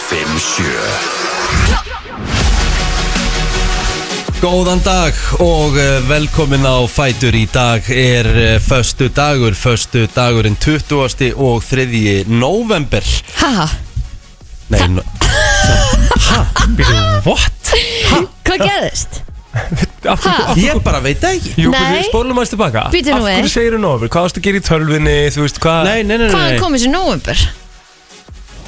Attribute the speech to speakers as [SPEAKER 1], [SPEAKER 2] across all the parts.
[SPEAKER 1] sjö
[SPEAKER 2] Góðan dag og eh, velkomin á Fætur í dag er eh, föstu dagur, föstu dagurinn 20. og 3. november
[SPEAKER 3] Haha,
[SPEAKER 2] Nei, no,
[SPEAKER 4] Býtu, what?
[SPEAKER 3] hvað gerðist?
[SPEAKER 4] Af hverju-
[SPEAKER 3] Ha?
[SPEAKER 4] af-
[SPEAKER 2] ég bara veit það ekki
[SPEAKER 4] Jú,
[SPEAKER 3] Nei.
[SPEAKER 4] við spólum aðeins tilbaka
[SPEAKER 3] Býtu nú
[SPEAKER 4] Af
[SPEAKER 3] við.
[SPEAKER 4] hverju segir þú nóver? Hvað varst að gera í tölvinni? Þú veist, hvað?
[SPEAKER 2] Nei, nei, nei, nei,
[SPEAKER 3] Hvaðan
[SPEAKER 2] nei.
[SPEAKER 3] kom þessi nóvember?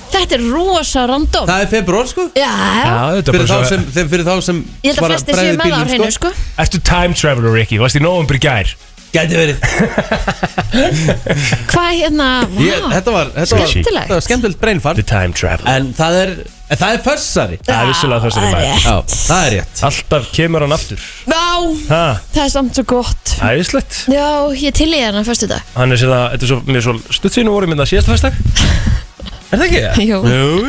[SPEAKER 3] Þetta er rosa random
[SPEAKER 2] Það er februar sko
[SPEAKER 3] Já,
[SPEAKER 4] Já, þetta er
[SPEAKER 2] Fyrir
[SPEAKER 4] bara
[SPEAKER 2] þá
[SPEAKER 4] svo
[SPEAKER 2] sem, þeim- fyrir þá sem
[SPEAKER 3] ég held að
[SPEAKER 2] bara
[SPEAKER 3] flestir séu
[SPEAKER 2] bregður
[SPEAKER 3] með það á
[SPEAKER 2] bílnum,
[SPEAKER 3] hreinu sko
[SPEAKER 4] Ertu time traveler, Rikki? Varst í nóver í gær?
[SPEAKER 2] Gæti verið
[SPEAKER 3] Hvað hérna, vá
[SPEAKER 2] ég, Þetta var, þetta var,
[SPEAKER 4] Skemmtilegt.
[SPEAKER 2] þetta var skemmtilegt breinfart
[SPEAKER 4] The time traveler
[SPEAKER 2] En það er, en það er fössari
[SPEAKER 4] Það er vissulega það sem
[SPEAKER 3] það
[SPEAKER 4] er
[SPEAKER 3] er
[SPEAKER 4] maður
[SPEAKER 2] Já, það er rétt
[SPEAKER 4] Alltaf kemur hann aftur
[SPEAKER 3] Vá,
[SPEAKER 4] Ha,
[SPEAKER 3] það er samt svo gott
[SPEAKER 4] æðislegt
[SPEAKER 3] Já, ég til í hérna fyrstu dag
[SPEAKER 4] Hann er sér það, þetta er svo, mér er svo stuttsinu voru minna hérna síðasta festdag Er það ekki það?
[SPEAKER 3] Jú,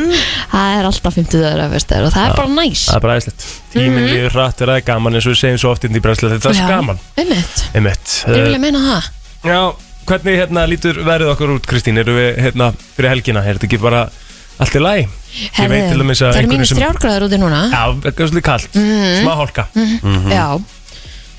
[SPEAKER 4] Jú,
[SPEAKER 3] það er alltaf 50 dagar að fyrstu og það er bara næs
[SPEAKER 4] það er bara æðislegt Tíminn líður hrætt er það gaman eins og við segjum svo oft inn í brenslu Þetta er
[SPEAKER 3] Mhm. Já,
[SPEAKER 4] svo gaman
[SPEAKER 3] Einmitt,
[SPEAKER 4] Einmitt
[SPEAKER 3] ég vilja meina það
[SPEAKER 4] Eh, Já, hvernig hérna lítur verið okkur út Kristín? Eru við hérna fyrir helgina? Er þetta ekki bara allt í læg? Ég veit til dæmis að
[SPEAKER 3] það er
[SPEAKER 4] einhverjum
[SPEAKER 3] mínus
[SPEAKER 4] sem-
[SPEAKER 3] þrjárgráður úti núna
[SPEAKER 4] Já, Mhm. það er svolítið kallt
[SPEAKER 3] Mhm.
[SPEAKER 4] Smá hálka
[SPEAKER 3] Já,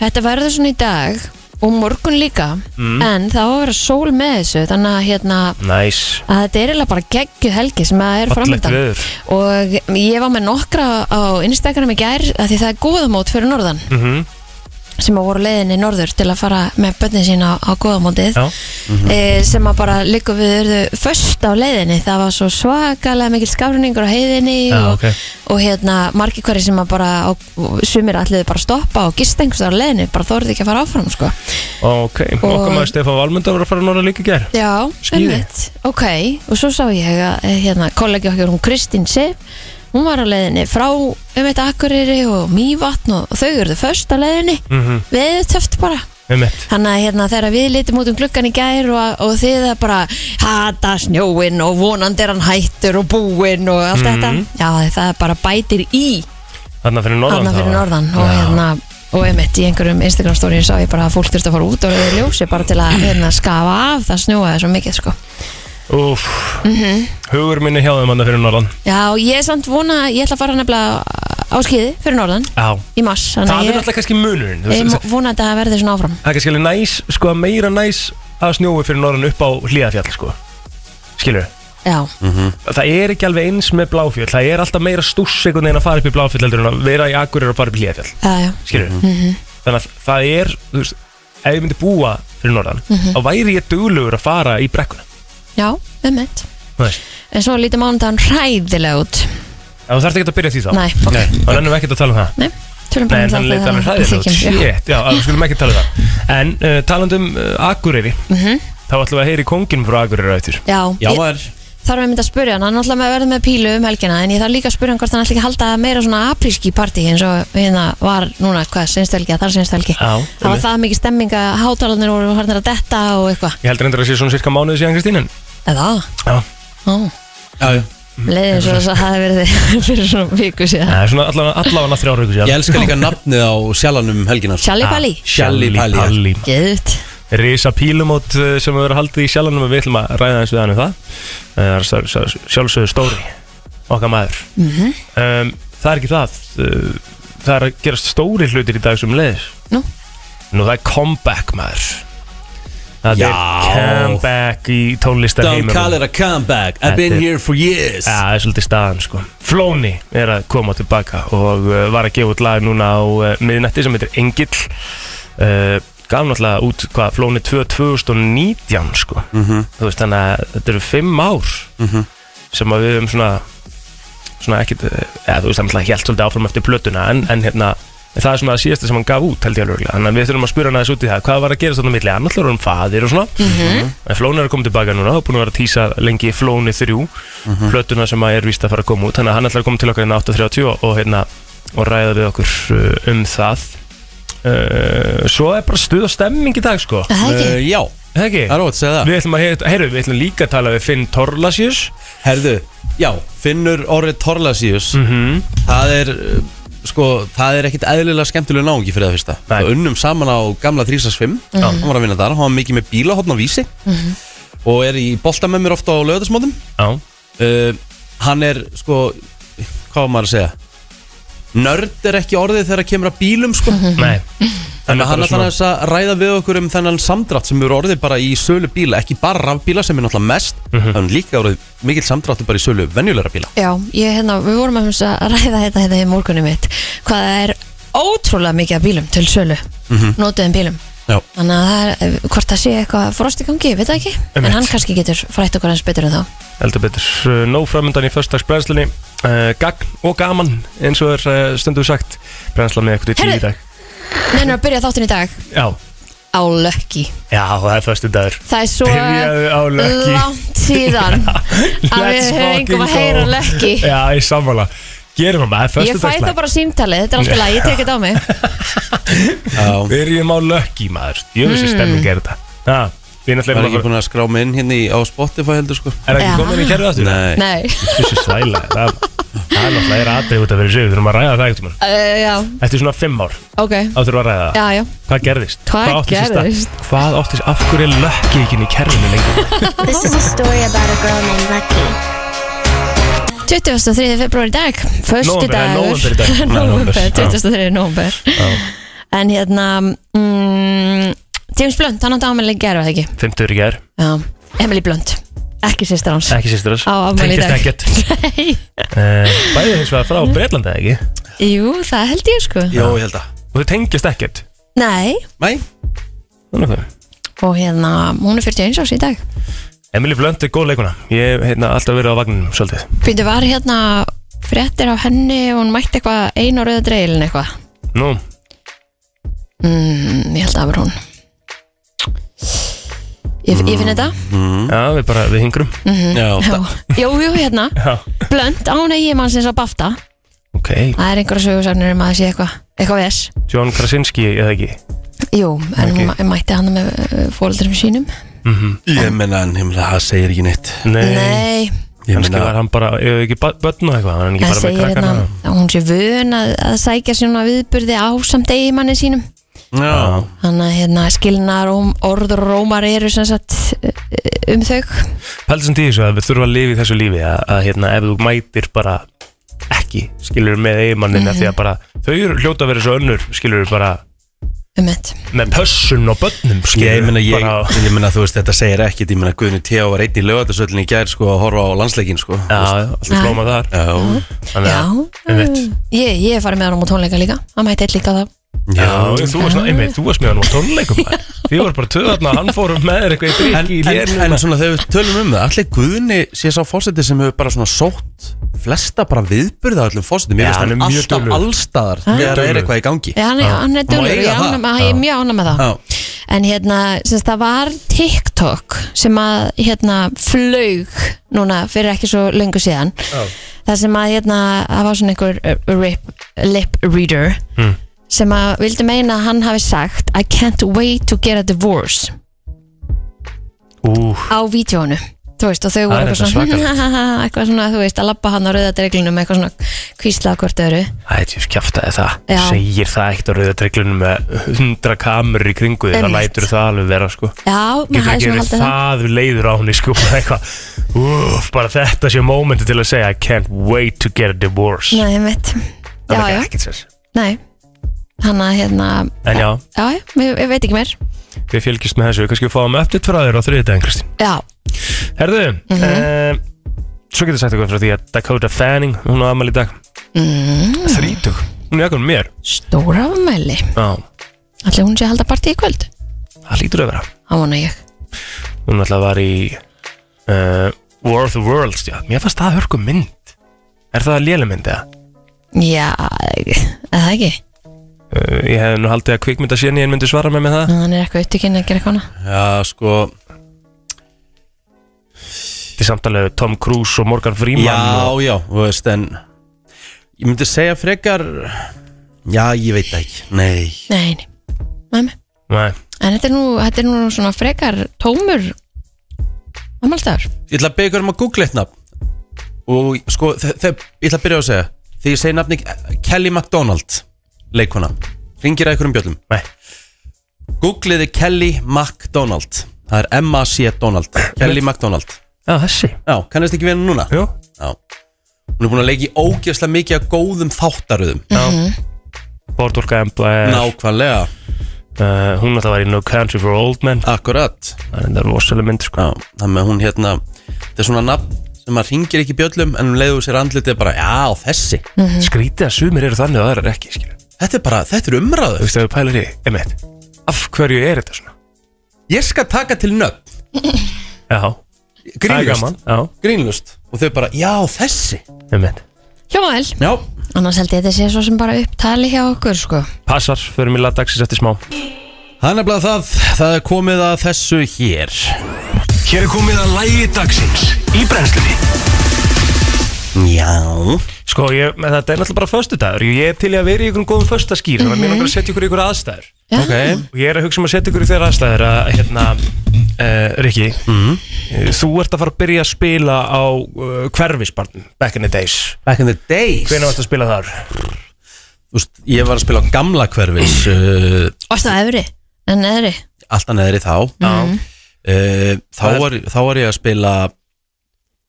[SPEAKER 3] þetta verður svona í dag og morgun líka
[SPEAKER 4] Mhm.
[SPEAKER 3] en það á að vera sól með þessu þannig að hérna
[SPEAKER 4] Næs
[SPEAKER 3] að þetta er eiginlega bara geggju helgi sem að er
[SPEAKER 4] Fallegt
[SPEAKER 3] framöndan
[SPEAKER 4] veður
[SPEAKER 3] og ég var með nokkra á Instagram í gær að því það er góðamót fyrir norðan
[SPEAKER 4] Mhm.
[SPEAKER 3] sem að voru leiðinni norður til að fara með börnin sín á, á góðamótið
[SPEAKER 4] Já.
[SPEAKER 3] e, sem að bara líka við urðu först á leiðinni, það var svo svakalega mikil skafruningur á heiðinni
[SPEAKER 4] Já,
[SPEAKER 3] og,
[SPEAKER 4] ok.
[SPEAKER 3] og hérna margir hverju sem að bara á, sumir allir bara stoppa og gist einhvers staðar á leiðinni, bara þorði ekki að fara áfram sko.
[SPEAKER 4] Ok, okkar maður Stefán Valmund var að fara norða líka í gær
[SPEAKER 3] Já,
[SPEAKER 4] Skíði.
[SPEAKER 3] einmitt. ok, og svo sá ég að eh, hérna, kollegi okkur, hún Kristín Sif hún var á leiðinni frá um eitt Akureyri og Mývatn og, og þau eru þau först á leiðinni
[SPEAKER 4] mm -hmm.
[SPEAKER 3] við erum töft bara
[SPEAKER 4] Einmitt
[SPEAKER 3] þannig að hérna, þegar við litum út um gluggan í gær og, og þið að bara hata snjóin og vonandi er hann hættur og búinn og allt
[SPEAKER 4] Mhm.
[SPEAKER 3] þetta já, það bara bætir í
[SPEAKER 4] Þarna fyrir norðan
[SPEAKER 3] hann fyrir
[SPEAKER 4] þá.
[SPEAKER 3] norðan og
[SPEAKER 4] Já.
[SPEAKER 3] hérna og einmitt í einhverjum Instagram stóriðin sá ég bara að fólk þurfti að fara út og rauða ljósi bara til að hérna, skafa af það snjóaði svo mikið sko.
[SPEAKER 4] Úff
[SPEAKER 3] Mhm.
[SPEAKER 4] Hugur minni hjá þeim hann fyrir norðan
[SPEAKER 3] Já, ég er samt vona, ég ætla að fara nefnilega á skiði fyrir norðan
[SPEAKER 4] Já
[SPEAKER 3] í mars Þannig
[SPEAKER 4] Það
[SPEAKER 3] að
[SPEAKER 4] er
[SPEAKER 3] ég,
[SPEAKER 4] alltaf kannski munurinn þú
[SPEAKER 3] ég
[SPEAKER 4] veist,
[SPEAKER 3] mo- vona að það verði svona áfram
[SPEAKER 4] Það er kannski alveg næs, sko meira næs að snjói fyrir norðan upp á hlíðafjall, sko Skilur
[SPEAKER 3] Já,
[SPEAKER 4] Mhm. það er ekki alveg eins með bláfjöll það er alltaf meira stúss einhvern veginn að fara upp í bláfjöll heldur en að vera í akkurir og fara upp í hlíðafjall
[SPEAKER 3] já, já,
[SPEAKER 4] skilur
[SPEAKER 3] Mhm.
[SPEAKER 4] þannig að það er þú veist, ef ég myndi búa fyrir norðan
[SPEAKER 3] Mhm.
[SPEAKER 4] þá væri ég duglugur að fara í brekkuna
[SPEAKER 3] já, einmitt
[SPEAKER 4] þú veist
[SPEAKER 3] En svo lítið mánudagan hræðilega út
[SPEAKER 4] En þú þarft ekki að byrja því þá
[SPEAKER 3] Nei, ok, nei,
[SPEAKER 4] þá ennum við ekki að tala um það
[SPEAKER 3] tölum
[SPEAKER 4] Nei,
[SPEAKER 3] bara
[SPEAKER 4] en
[SPEAKER 3] um
[SPEAKER 4] þannig
[SPEAKER 3] það
[SPEAKER 4] leitt alveg hræðilegt út.
[SPEAKER 3] þykjum, já.
[SPEAKER 4] Shit, já, alveg skulum ekki tala um það En uh, taland um uh, Akureyri
[SPEAKER 3] Mhm.
[SPEAKER 4] Þá ætlum við að heyri kóngin frá Akureyri rættur
[SPEAKER 3] Já,
[SPEAKER 2] Já,
[SPEAKER 3] ég
[SPEAKER 2] maður
[SPEAKER 3] þarf einmitt að spyrja hann, hann er alltaf með að verða með pílu um helgina en ég þarf líka að spyrja hann hvort hann ætla ekki að halda meira svona apríski partí eins og hérna var núna, hvað, sinnstelgi, þar sinnstelgi
[SPEAKER 4] Já,
[SPEAKER 3] Það var það mikið stemming að hátalarnir voru hann að detta og eitthvað
[SPEAKER 4] Ég heldur endur að sé svona cirka mánuði síðan Kristín en
[SPEAKER 3] Eða,
[SPEAKER 4] Já,
[SPEAKER 3] á,
[SPEAKER 2] Já, já
[SPEAKER 3] leiðið svo að það hefði verið fyrir svona viku síðan
[SPEAKER 4] það er svona allavega allavega þrjára ykkur
[SPEAKER 2] Ég
[SPEAKER 4] síðan
[SPEAKER 2] elska líka nafnið á um sjalanum helginar
[SPEAKER 3] Sjalli
[SPEAKER 4] Ah.
[SPEAKER 3] Bali,
[SPEAKER 2] Sjalli sko. Palli.
[SPEAKER 4] Palli.
[SPEAKER 3] geðut
[SPEAKER 4] Risa pílumót eh, sem hefur verið haldið í sjálfanum og við ætlum að ræða eins við hann um það Eh, það er s- s- sjálfsögðu stóri okkar maður um, það er ekki það eh, það er að gerast stóri hlutir í dag sem leiðis
[SPEAKER 3] Nú?
[SPEAKER 4] nú það er comeback maður það er
[SPEAKER 2] Já.
[SPEAKER 4] comeback í tónlistar
[SPEAKER 2] Don't call it a comeback I've been here for years
[SPEAKER 4] Já, það er svolítið staðan sko Flóni er að koma tilbaka og uh, var að gefa út lag núna á uh, miðnætti sem heitir Engill uh, gaf náttúrulega út hvað Flóni 2 2019 sko þú veist þannig að þetta eru fimm ár sem að við höfum svona svona ekkit eða þú veist það er náttúrulega helt svolítið áfram eftir plötuna en, en hérna það er svona það síðasta sem hann gaf út held ég alveg örugglega. þannig að við þurfum að spura hann aðeins út í það hvað var að gera svona milli annars var hann faðir og svona en Flóni er að koma tilbaka núna og búin að vera að týsa lengi í Flóni 3 plötuna sem að er víst að fara að koma út þannig að hann ætlar að koma til okkar inn á 8.30 og, og hérna og ræða við okkur uh, um það uh, svo er bara stuð og stemming í dag sko
[SPEAKER 3] Það
[SPEAKER 2] Uh,
[SPEAKER 3] er ekki,
[SPEAKER 2] Já,
[SPEAKER 4] Það ekki?
[SPEAKER 2] það er ótt að segja það
[SPEAKER 4] Við ætlum að, heyra- heyrðu, við ætlum líka að tala við Finn Torlasjus
[SPEAKER 2] Herðu, já, Finnur Orri Torlasíus
[SPEAKER 4] Mhm.
[SPEAKER 2] Það er, uh, sko, það er ekkit eðlilega skemmtilega náungi fyrir það fyrsta
[SPEAKER 4] Nei.
[SPEAKER 2] Það unnum saman á gamla 365
[SPEAKER 4] Já.
[SPEAKER 3] Mhm.
[SPEAKER 2] Hann var að vinna þar, hann var mikið með bíla á vísi Og er í bolta með mér ofta á lögðasmótum
[SPEAKER 4] Já,
[SPEAKER 2] uh, Hann er, sko, hvað var maður að segja Nörd er ekki orðið þegar kemur að bílum sko
[SPEAKER 4] Nei
[SPEAKER 2] Þannig að hann
[SPEAKER 4] bara
[SPEAKER 2] ætlar aðeins að ræða við okkur um þennan samdrátt sem eru orðið bara í sölu bíla ekki bara rafbíla sem er náttúrulega mest mm
[SPEAKER 4] Mhm.
[SPEAKER 2] -hmm. en líka orðið mikill samdráttur bara í sölu venjulegra bíla
[SPEAKER 3] Já, ég, hérna, við vorum að hugsa að ræða þetta hérna í morgunum mitt hvað það er ótrúlega mikið af bílum til sölu mm
[SPEAKER 4] Mhm.
[SPEAKER 3] notuðum bílum
[SPEAKER 2] Já,
[SPEAKER 3] þannig að það er, eh, hvort það sé eitthvað frost í gangi, ég veit það ekki
[SPEAKER 4] Einmitt.
[SPEAKER 3] en hann kannski getur frætt okkur hans betur en þá
[SPEAKER 4] Eldur betur Uh, Nóg framöndan í förstagsbrennslunni uh, Gagn og gaman eins og er uh, stundu sagt Brennslan með eitthvað í tíu í
[SPEAKER 3] Heyrðu.
[SPEAKER 4] dag
[SPEAKER 3] Nennir að byrja þáttin í dag
[SPEAKER 4] Já,
[SPEAKER 3] á lökki
[SPEAKER 4] já það er förstu dagur
[SPEAKER 3] Það er svo
[SPEAKER 4] Byrjaðu á Lökki.
[SPEAKER 3] langt síðan að við
[SPEAKER 4] Let's
[SPEAKER 3] höfum að
[SPEAKER 4] fucking
[SPEAKER 3] heyra
[SPEAKER 4] go.
[SPEAKER 3] lökki
[SPEAKER 4] Já, ég sammála Gerum það, það er
[SPEAKER 3] Ég
[SPEAKER 4] förstu
[SPEAKER 3] fæ það bara símtalið, þetta er alltaf lag, ég tek þetta á mig
[SPEAKER 2] Já.
[SPEAKER 4] Byrjum á lökki maður Jöfis mm. stemming er þetta Já, við
[SPEAKER 2] Ég var
[SPEAKER 4] náttúrulega
[SPEAKER 2] ekki
[SPEAKER 4] erum að-
[SPEAKER 2] búin að skrá mig inn hérna í, á Spotify heldur sko
[SPEAKER 4] Er það
[SPEAKER 3] Já.
[SPEAKER 4] ekki komin í kerfið aftur?
[SPEAKER 2] Nei,
[SPEAKER 3] Nei,
[SPEAKER 4] Þessu svæla Það það er náttúrulega er aðrið út að vera sig Við þurfum að ræða það ekkert mann
[SPEAKER 3] uh, já,
[SPEAKER 4] Eftir svona fimm ár
[SPEAKER 3] ok
[SPEAKER 4] Þá þurfum við að ræða það
[SPEAKER 3] Já, já,
[SPEAKER 4] Hvað gerðist?
[SPEAKER 3] Hvað
[SPEAKER 4] átti sér stað?
[SPEAKER 3] gerðist?
[SPEAKER 4] Hvað áttist, af hverju er lökki ekki inn í kerfinu lengur?
[SPEAKER 1] This is a story about a girl named Lucky.
[SPEAKER 3] 23. februar í dag Föstu
[SPEAKER 4] Nóvember, eh,
[SPEAKER 3] dagur
[SPEAKER 4] nóvember í dag. Nei,
[SPEAKER 3] Nóvember,
[SPEAKER 4] nóvember, já.
[SPEAKER 3] 23. nóvember En hérna mm, James Blunt, hann átti ámæli í gerð var það ekki
[SPEAKER 4] Fymtur í ger,
[SPEAKER 3] Já, Emily Blunt Ekki sýstir hans
[SPEAKER 4] ekki sýstur þess
[SPEAKER 3] Á afmæli í dag.
[SPEAKER 4] ekkert
[SPEAKER 3] Nei.
[SPEAKER 4] Eh, Bæði hins vegar frá Breitlandi eða ekki
[SPEAKER 3] Jú, það held ég sko
[SPEAKER 2] jó ég held að
[SPEAKER 4] Og þau tengjast ekkert
[SPEAKER 3] Nei,
[SPEAKER 2] Nei,
[SPEAKER 4] Þannig hvað
[SPEAKER 3] og hérna, hún er 41 árs í dag
[SPEAKER 4] Emily Blunt er góð leikuna Ég hef hérna, alltaf verið á vagninum svolítið
[SPEAKER 3] Býndu var hérna fréttir af henni og hún mætti eitthvað einu rauða dreilin eitthvað
[SPEAKER 4] Nú,
[SPEAKER 3] mm, Ég held að það var hún Ég, ég
[SPEAKER 4] Mm.
[SPEAKER 3] finn þetta
[SPEAKER 2] Mm.
[SPEAKER 4] já, við bara, við hingrum
[SPEAKER 3] Mm.
[SPEAKER 2] já,
[SPEAKER 3] Já. Jú, jú, hérna
[SPEAKER 4] Já,
[SPEAKER 3] Blönd án að ég mann sem svo bafta
[SPEAKER 4] ok
[SPEAKER 3] Það er einhverja sögursafnir um að það sé eitthvað eitthvað ves
[SPEAKER 4] John Krasinski eða ekki
[SPEAKER 3] Jú, en hún mæ- mætti hann með fólöldurum sínum
[SPEAKER 2] ég menna en ég meina, það segir ekki neitt
[SPEAKER 4] Nei,
[SPEAKER 3] Nei,
[SPEAKER 2] Ég
[SPEAKER 4] kannski
[SPEAKER 2] meina,
[SPEAKER 4] var hann bara, eða ekki ba- börn og eitthvað Hann
[SPEAKER 3] það
[SPEAKER 4] er ekki bara
[SPEAKER 3] segir
[SPEAKER 4] með krakkana
[SPEAKER 3] hérna að hún sé vön að, að sækja svona viðburði á samt eigimanni sínum
[SPEAKER 2] já,
[SPEAKER 3] Þannig að hérna, skilnaðar og orður og rómar eru sem sagt eh, um þau.
[SPEAKER 4] Pældi sem tíðis að við þurfum að lifa í þessu lífi að, að hérna, ef þú mætir bara ekki, skilur með eiginmannin mm því að bara, þau eru hljóta að vera svo önnur skilur bara
[SPEAKER 3] Um þetta.
[SPEAKER 4] með pössun og börnum skilur
[SPEAKER 2] Ég meina, ég,
[SPEAKER 4] bara,
[SPEAKER 2] ég meina, þú veist, þetta segir ekkit Ég meina, Guðni T.A. var einn í lögatarsöllinni í gær sko, að horfa á landsleikin sko.
[SPEAKER 4] Já, alltaf blóma þar
[SPEAKER 2] Já, um
[SPEAKER 4] Þannig
[SPEAKER 3] Já,
[SPEAKER 4] að, einmitt
[SPEAKER 3] ég, ég er farið með hann á tónleika líka. Hann mætti eitt líka á þá.
[SPEAKER 4] Já, þú varst, einmitt, þú varst með hann á tónleikum maður. Þið voru bara töðarna, hann fór með þér eitthvað í
[SPEAKER 2] En,
[SPEAKER 4] drikki í
[SPEAKER 2] en,
[SPEAKER 4] lérnum
[SPEAKER 2] en svona þegar við tölum um það Allir Guðni sé sá fórseti sem hefur bara svona sótt flesta bara viðburða öllum fórsetum Ég
[SPEAKER 4] Já,
[SPEAKER 2] veist
[SPEAKER 4] hann er
[SPEAKER 2] hann
[SPEAKER 4] mjög
[SPEAKER 2] alltaf
[SPEAKER 4] duglegur.
[SPEAKER 2] allstaðar þegar það er
[SPEAKER 4] duglegur.
[SPEAKER 2] eitthvað í gangi
[SPEAKER 3] Ég, hann, er- hann er
[SPEAKER 2] Má
[SPEAKER 3] dölur, ég,
[SPEAKER 2] eiga það?
[SPEAKER 3] ánægð með- ég er mjög ánæg með það.
[SPEAKER 2] Já.
[SPEAKER 3] En hérna, semst, það var TikTok sem að hérna, flaug núna fyrir ekki svo lengur síðan.
[SPEAKER 4] Já.
[SPEAKER 3] Það sem að hérna, það var svona einhver uh, rip, lip reader
[SPEAKER 4] Mm.
[SPEAKER 3] sem að vildi meina að hann hafi sagt I can't wait to get a divorce.
[SPEAKER 4] Ú,
[SPEAKER 3] á vídjónu þú veist, og þau
[SPEAKER 4] er
[SPEAKER 3] voru eitthvað
[SPEAKER 4] þetta
[SPEAKER 3] svona
[SPEAKER 4] svakalegt.
[SPEAKER 3] eitthvað svona, þú veist, að labba hann á rauða dreglunum eitthvað svona kvísla á hvort öru
[SPEAKER 4] ætjúf, kjaftaði það
[SPEAKER 3] Já.
[SPEAKER 4] Segir það ekkert á rauða treglunum með hundra kamerur í kringu því Það
[SPEAKER 3] Einmitt.
[SPEAKER 4] lætur það alveg vera, sko
[SPEAKER 3] já, maður
[SPEAKER 4] Getur
[SPEAKER 3] hafði
[SPEAKER 4] ekki
[SPEAKER 3] svona haldið
[SPEAKER 4] verið
[SPEAKER 3] það
[SPEAKER 4] það leiður á henni, sko bara Eitthvað, úf, bara þetta sé mómenti til að segja I can't wait to get a divorce
[SPEAKER 3] nei, ég veit, já,
[SPEAKER 4] Það er
[SPEAKER 3] já,
[SPEAKER 4] ekki ekkert sér
[SPEAKER 3] nei hann að hérna,
[SPEAKER 4] En já,
[SPEAKER 3] já, já, ég, ég veit ekki mér
[SPEAKER 4] við fylgjumst með þessu, kannski við fáum uppdætt frá þér á þriðdæðin, Kristín
[SPEAKER 3] já,
[SPEAKER 4] Herðu, mm
[SPEAKER 3] Mhm.
[SPEAKER 4] svo getur sagt eitthvað frá því að Dakota Fanning, hún á amal í dag mm. 30, hún er jakkan mér
[SPEAKER 3] stóra afmæli
[SPEAKER 4] Já,
[SPEAKER 3] allir hún sé að halda partí í kvöld
[SPEAKER 4] það lítur að vera
[SPEAKER 3] á vona ég,
[SPEAKER 4] Hún alltaf var í uh, War of the Worlds, já, mér fannst það hörku mynd Er það léle mynd eða?
[SPEAKER 3] já er það ekki,
[SPEAKER 4] Uh, ég hef nú haldið að kvikmynda síðan ég myndi svara með með það
[SPEAKER 3] hann er eitthvað upptökinn að gera kona
[SPEAKER 2] Já, sko
[SPEAKER 4] Þetta er samtalið Tom Cruise og Morgan Freeman
[SPEAKER 2] Já,
[SPEAKER 4] og,
[SPEAKER 2] já, þú veist, en Ég myndi segja frekar Já, ég veit það ekki Nei,
[SPEAKER 3] nei, nei, nei, nei.
[SPEAKER 4] Nei,
[SPEAKER 3] en þetta er nú, þetta er nú svona frekar tómur afmælstaður
[SPEAKER 2] ég ætla að byggja um að googla eitt nafn Og sko, þe- þe- ég ætla að byrja á að segja Þegar ég segi nafni Kelly MacDonald Leikona Ringir að ykkur um bjöllum
[SPEAKER 4] nei,
[SPEAKER 2] Googliði Kelly MacDonald Það er M-A-C Donald Kelly MacDonald
[SPEAKER 4] já þessi
[SPEAKER 2] Já, kannast ekki við henni núna
[SPEAKER 4] Jú,
[SPEAKER 2] Já Hún er búin að leika í ógeðslega mikið að góðum þáttaröðum
[SPEAKER 4] Boardwalk Empire
[SPEAKER 2] Nákvæmlega,
[SPEAKER 4] uh, Hún alltaf var í No Country for Old Men
[SPEAKER 2] akkurat
[SPEAKER 4] Það er enda rosalega mynd sko.
[SPEAKER 2] Já, þannig að hún hérna Þetta er svona nafn sem maður hringir ekki í bjöllum En hún leiður sér andlitið bara, já þessi
[SPEAKER 4] Skrítið að sumir eru þannig og aðrar eru ekki skilur.
[SPEAKER 2] Þetta er bara, þetta er
[SPEAKER 4] Þú
[SPEAKER 2] umræður
[SPEAKER 4] veist að við pælar í, emitt Af hverju er þetta svona?
[SPEAKER 2] Ég skal taka til nöfn,
[SPEAKER 4] Já, það er gaman
[SPEAKER 2] grínlust
[SPEAKER 4] Já,
[SPEAKER 2] Grínlust, og þau bara, já þessi
[SPEAKER 4] emitt
[SPEAKER 3] Hljóma vel
[SPEAKER 2] Já,
[SPEAKER 3] Annars held ég þetta sé svo sem bara upptali hjá okkur sko.
[SPEAKER 4] Passar, förum í lagdagsins eftir smá
[SPEAKER 2] það er nefnilega það Það er komið að þessu hér
[SPEAKER 5] Hér er komið að lægi dagsins í brennslunni
[SPEAKER 2] Já
[SPEAKER 4] Sko, ég, en þetta er náttúrulega bara föstudagur Ég er til í að vera í einhverjum góðum föstaskýr Þannig að mér langar að setja ykkur í ykkur aðstæður
[SPEAKER 3] Já.
[SPEAKER 2] Ok,
[SPEAKER 4] Og ég er að hugsa um að setja ykkur í þeirra aðstæður að, hérna, uh, Rikki
[SPEAKER 2] Mhm.
[SPEAKER 4] eh, Þú ert að fara að byrja að spila á uh, hverfisbarn Back in the days
[SPEAKER 2] back in the days
[SPEAKER 4] Hvenær varst að spila þar?
[SPEAKER 2] Þú veist, ég var að spila á gamla hverfis uh,
[SPEAKER 3] Varst það efri en neðri
[SPEAKER 2] Alltaf neðri þá
[SPEAKER 4] Já.
[SPEAKER 2] uh, þá,
[SPEAKER 4] Það er-
[SPEAKER 2] var, þá var ég að spila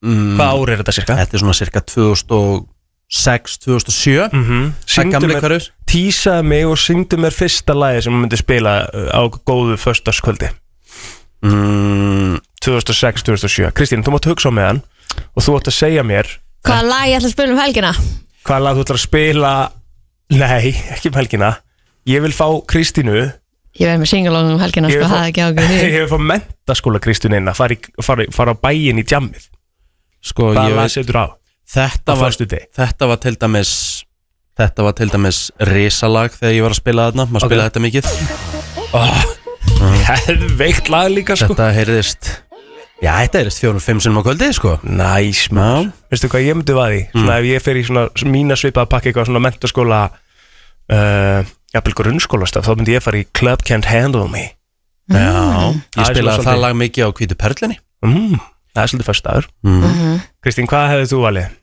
[SPEAKER 4] Hvað ár er þetta cirka?
[SPEAKER 2] Þetta er svona cirka 2006, 2007
[SPEAKER 4] Mm -hmm.
[SPEAKER 2] Það er gamli hverfis
[SPEAKER 4] Tísaði mig og syngdu mér fyrsta lagi sem hún myndi spila uh, á góðu föstaskvöldi
[SPEAKER 2] mm,
[SPEAKER 4] 2006-2007 Kristín, þú mátt hugsa á meðan og þú átt að segja mér
[SPEAKER 3] Hvaða lag ég ætla að spila um helgina?
[SPEAKER 4] Hvaða lag þú ætlar að spila Nei, ekki um helgina Ég vil fá Kristínu
[SPEAKER 3] Ég verði með singalong um helgina
[SPEAKER 4] Ég
[SPEAKER 3] sko,
[SPEAKER 4] vil
[SPEAKER 3] það er ekki ákveð því.
[SPEAKER 4] Ég vil fá mentaskóla Kristínu inn að fara, í- fara, fara á bæin í djammið
[SPEAKER 2] Sko, ég
[SPEAKER 4] Hvaða lag
[SPEAKER 2] veit
[SPEAKER 4] setur á
[SPEAKER 2] þetta
[SPEAKER 4] á
[SPEAKER 2] var,
[SPEAKER 4] föstudegi?
[SPEAKER 2] þetta var til dæmis Þetta var til dæmis risalag þegar ég var að spila þarna Maður
[SPEAKER 4] Ok. Sko.
[SPEAKER 2] spilaði þetta mikið
[SPEAKER 4] Veikt lag líka sko
[SPEAKER 2] Þetta heyrðist Já, þetta heyrðist fjórum, fimm sinnum á kvöldi, sko
[SPEAKER 4] Næs
[SPEAKER 2] Já,
[SPEAKER 4] Veistu hvað ég myndi vaði?
[SPEAKER 2] Mm.
[SPEAKER 4] Svona ef ég fer í svona mína svipaða pakka eitthvað svona mentaskóla uh, jafnvel grunnskólastaf þá myndi ég fara í Club Can't Handle Me
[SPEAKER 3] Mm.
[SPEAKER 2] já
[SPEAKER 4] Það
[SPEAKER 2] Ég
[SPEAKER 4] er
[SPEAKER 2] spilaði
[SPEAKER 4] svona
[SPEAKER 2] það
[SPEAKER 4] svolítið.
[SPEAKER 2] lag mikið á hvítu perlinni
[SPEAKER 4] mm. Það er svolítið fyrst dagur
[SPEAKER 2] Mm.
[SPEAKER 3] Mhm.
[SPEAKER 4] Kristín, hvað hefði þú valið?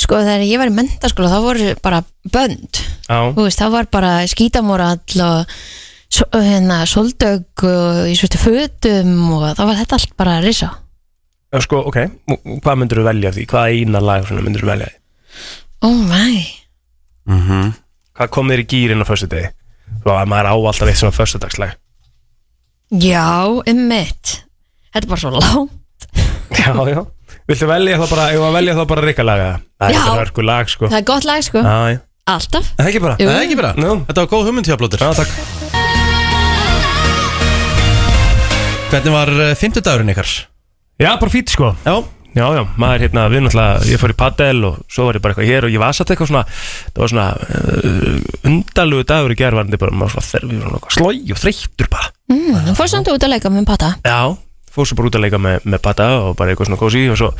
[SPEAKER 3] Sko þegar ég var í mentaskóla þá voru bara bönd
[SPEAKER 4] Á,
[SPEAKER 3] Þú veist, þá var bara skítamórall og so- hérna, soldögg og í svörtu fötum og þá var þetta allt bara risa
[SPEAKER 4] Já, sko, ok, M- m- hvað myndur þú velja af því? Hvað eina lag svona myndur þú velja af því?
[SPEAKER 3] Oh my
[SPEAKER 4] Hvað kom þér í gýrin á fyrstu degi? Svo að maður á alltaf eitt svona fyrstudagslag
[SPEAKER 3] Já, emmitt Þetta er bara svo langt
[SPEAKER 4] Já, já Viltu velja þá bara, ég var að velja þá bara rikka laga Það er
[SPEAKER 3] Já.
[SPEAKER 4] þetta hörku lag, sko
[SPEAKER 3] Það er gott lag sko,
[SPEAKER 4] Já, já
[SPEAKER 3] alltaf
[SPEAKER 4] Það er ekki bara
[SPEAKER 3] Jú.
[SPEAKER 2] Það er ekki bara,
[SPEAKER 4] Nú.
[SPEAKER 2] þetta var góð hugmynd hjá blótur
[SPEAKER 4] Já, takk
[SPEAKER 2] Hvernig var uh, fimmtudagurinn ykkar?
[SPEAKER 4] Já, bara fýtt, sko
[SPEAKER 2] Já,
[SPEAKER 4] Já, já, maður hérna, við náttúrulega, ég fór í padel og svo var ég bara eitthvað hér og ég var satt eitthvað svona, það var svona uh, undalugu dagur í gervarandi bara, maður svona þerfið svona eitthvað slói og þreyttur bara.
[SPEAKER 3] mm, Hún fór samt út að leika með pata
[SPEAKER 4] Já, fór svo bara út að leika með, með padda og bara eitthvað svona kósi og svo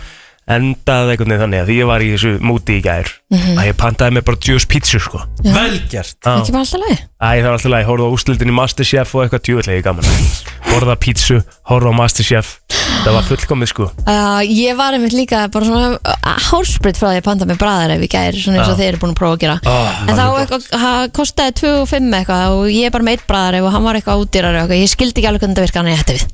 [SPEAKER 4] endaði einhvern veginn þannig að því ég var í þessu múti í gær, að ég pantaði mig bara djús pítsu sko.
[SPEAKER 2] velgjart
[SPEAKER 4] Já.
[SPEAKER 3] Ekki bara alltaf lagi
[SPEAKER 4] Æ, það var alltaf læg, horfðu á úslitin í Masterchef og eitthvað djúvillega gaman. Borða pítsu, horfðu á Masterchef, það var fullkomið sko.
[SPEAKER 3] Uh, ég var einmitt líka bara svona uh, hálsbritt frá því að panta með bræðar ef ég gæri svona eins og
[SPEAKER 4] Já.
[SPEAKER 3] þeir eru búin að prófa að gera
[SPEAKER 4] Ah,
[SPEAKER 3] en þá
[SPEAKER 4] maður gott.
[SPEAKER 3] eitthvað, það kostaði 2 og 5 eitthvað og ég er bara með eitt bræðar og hann var eitthvað útýrar eitthvað, ég skildi ekki alveg hvernig þetta virka hann ég hætti við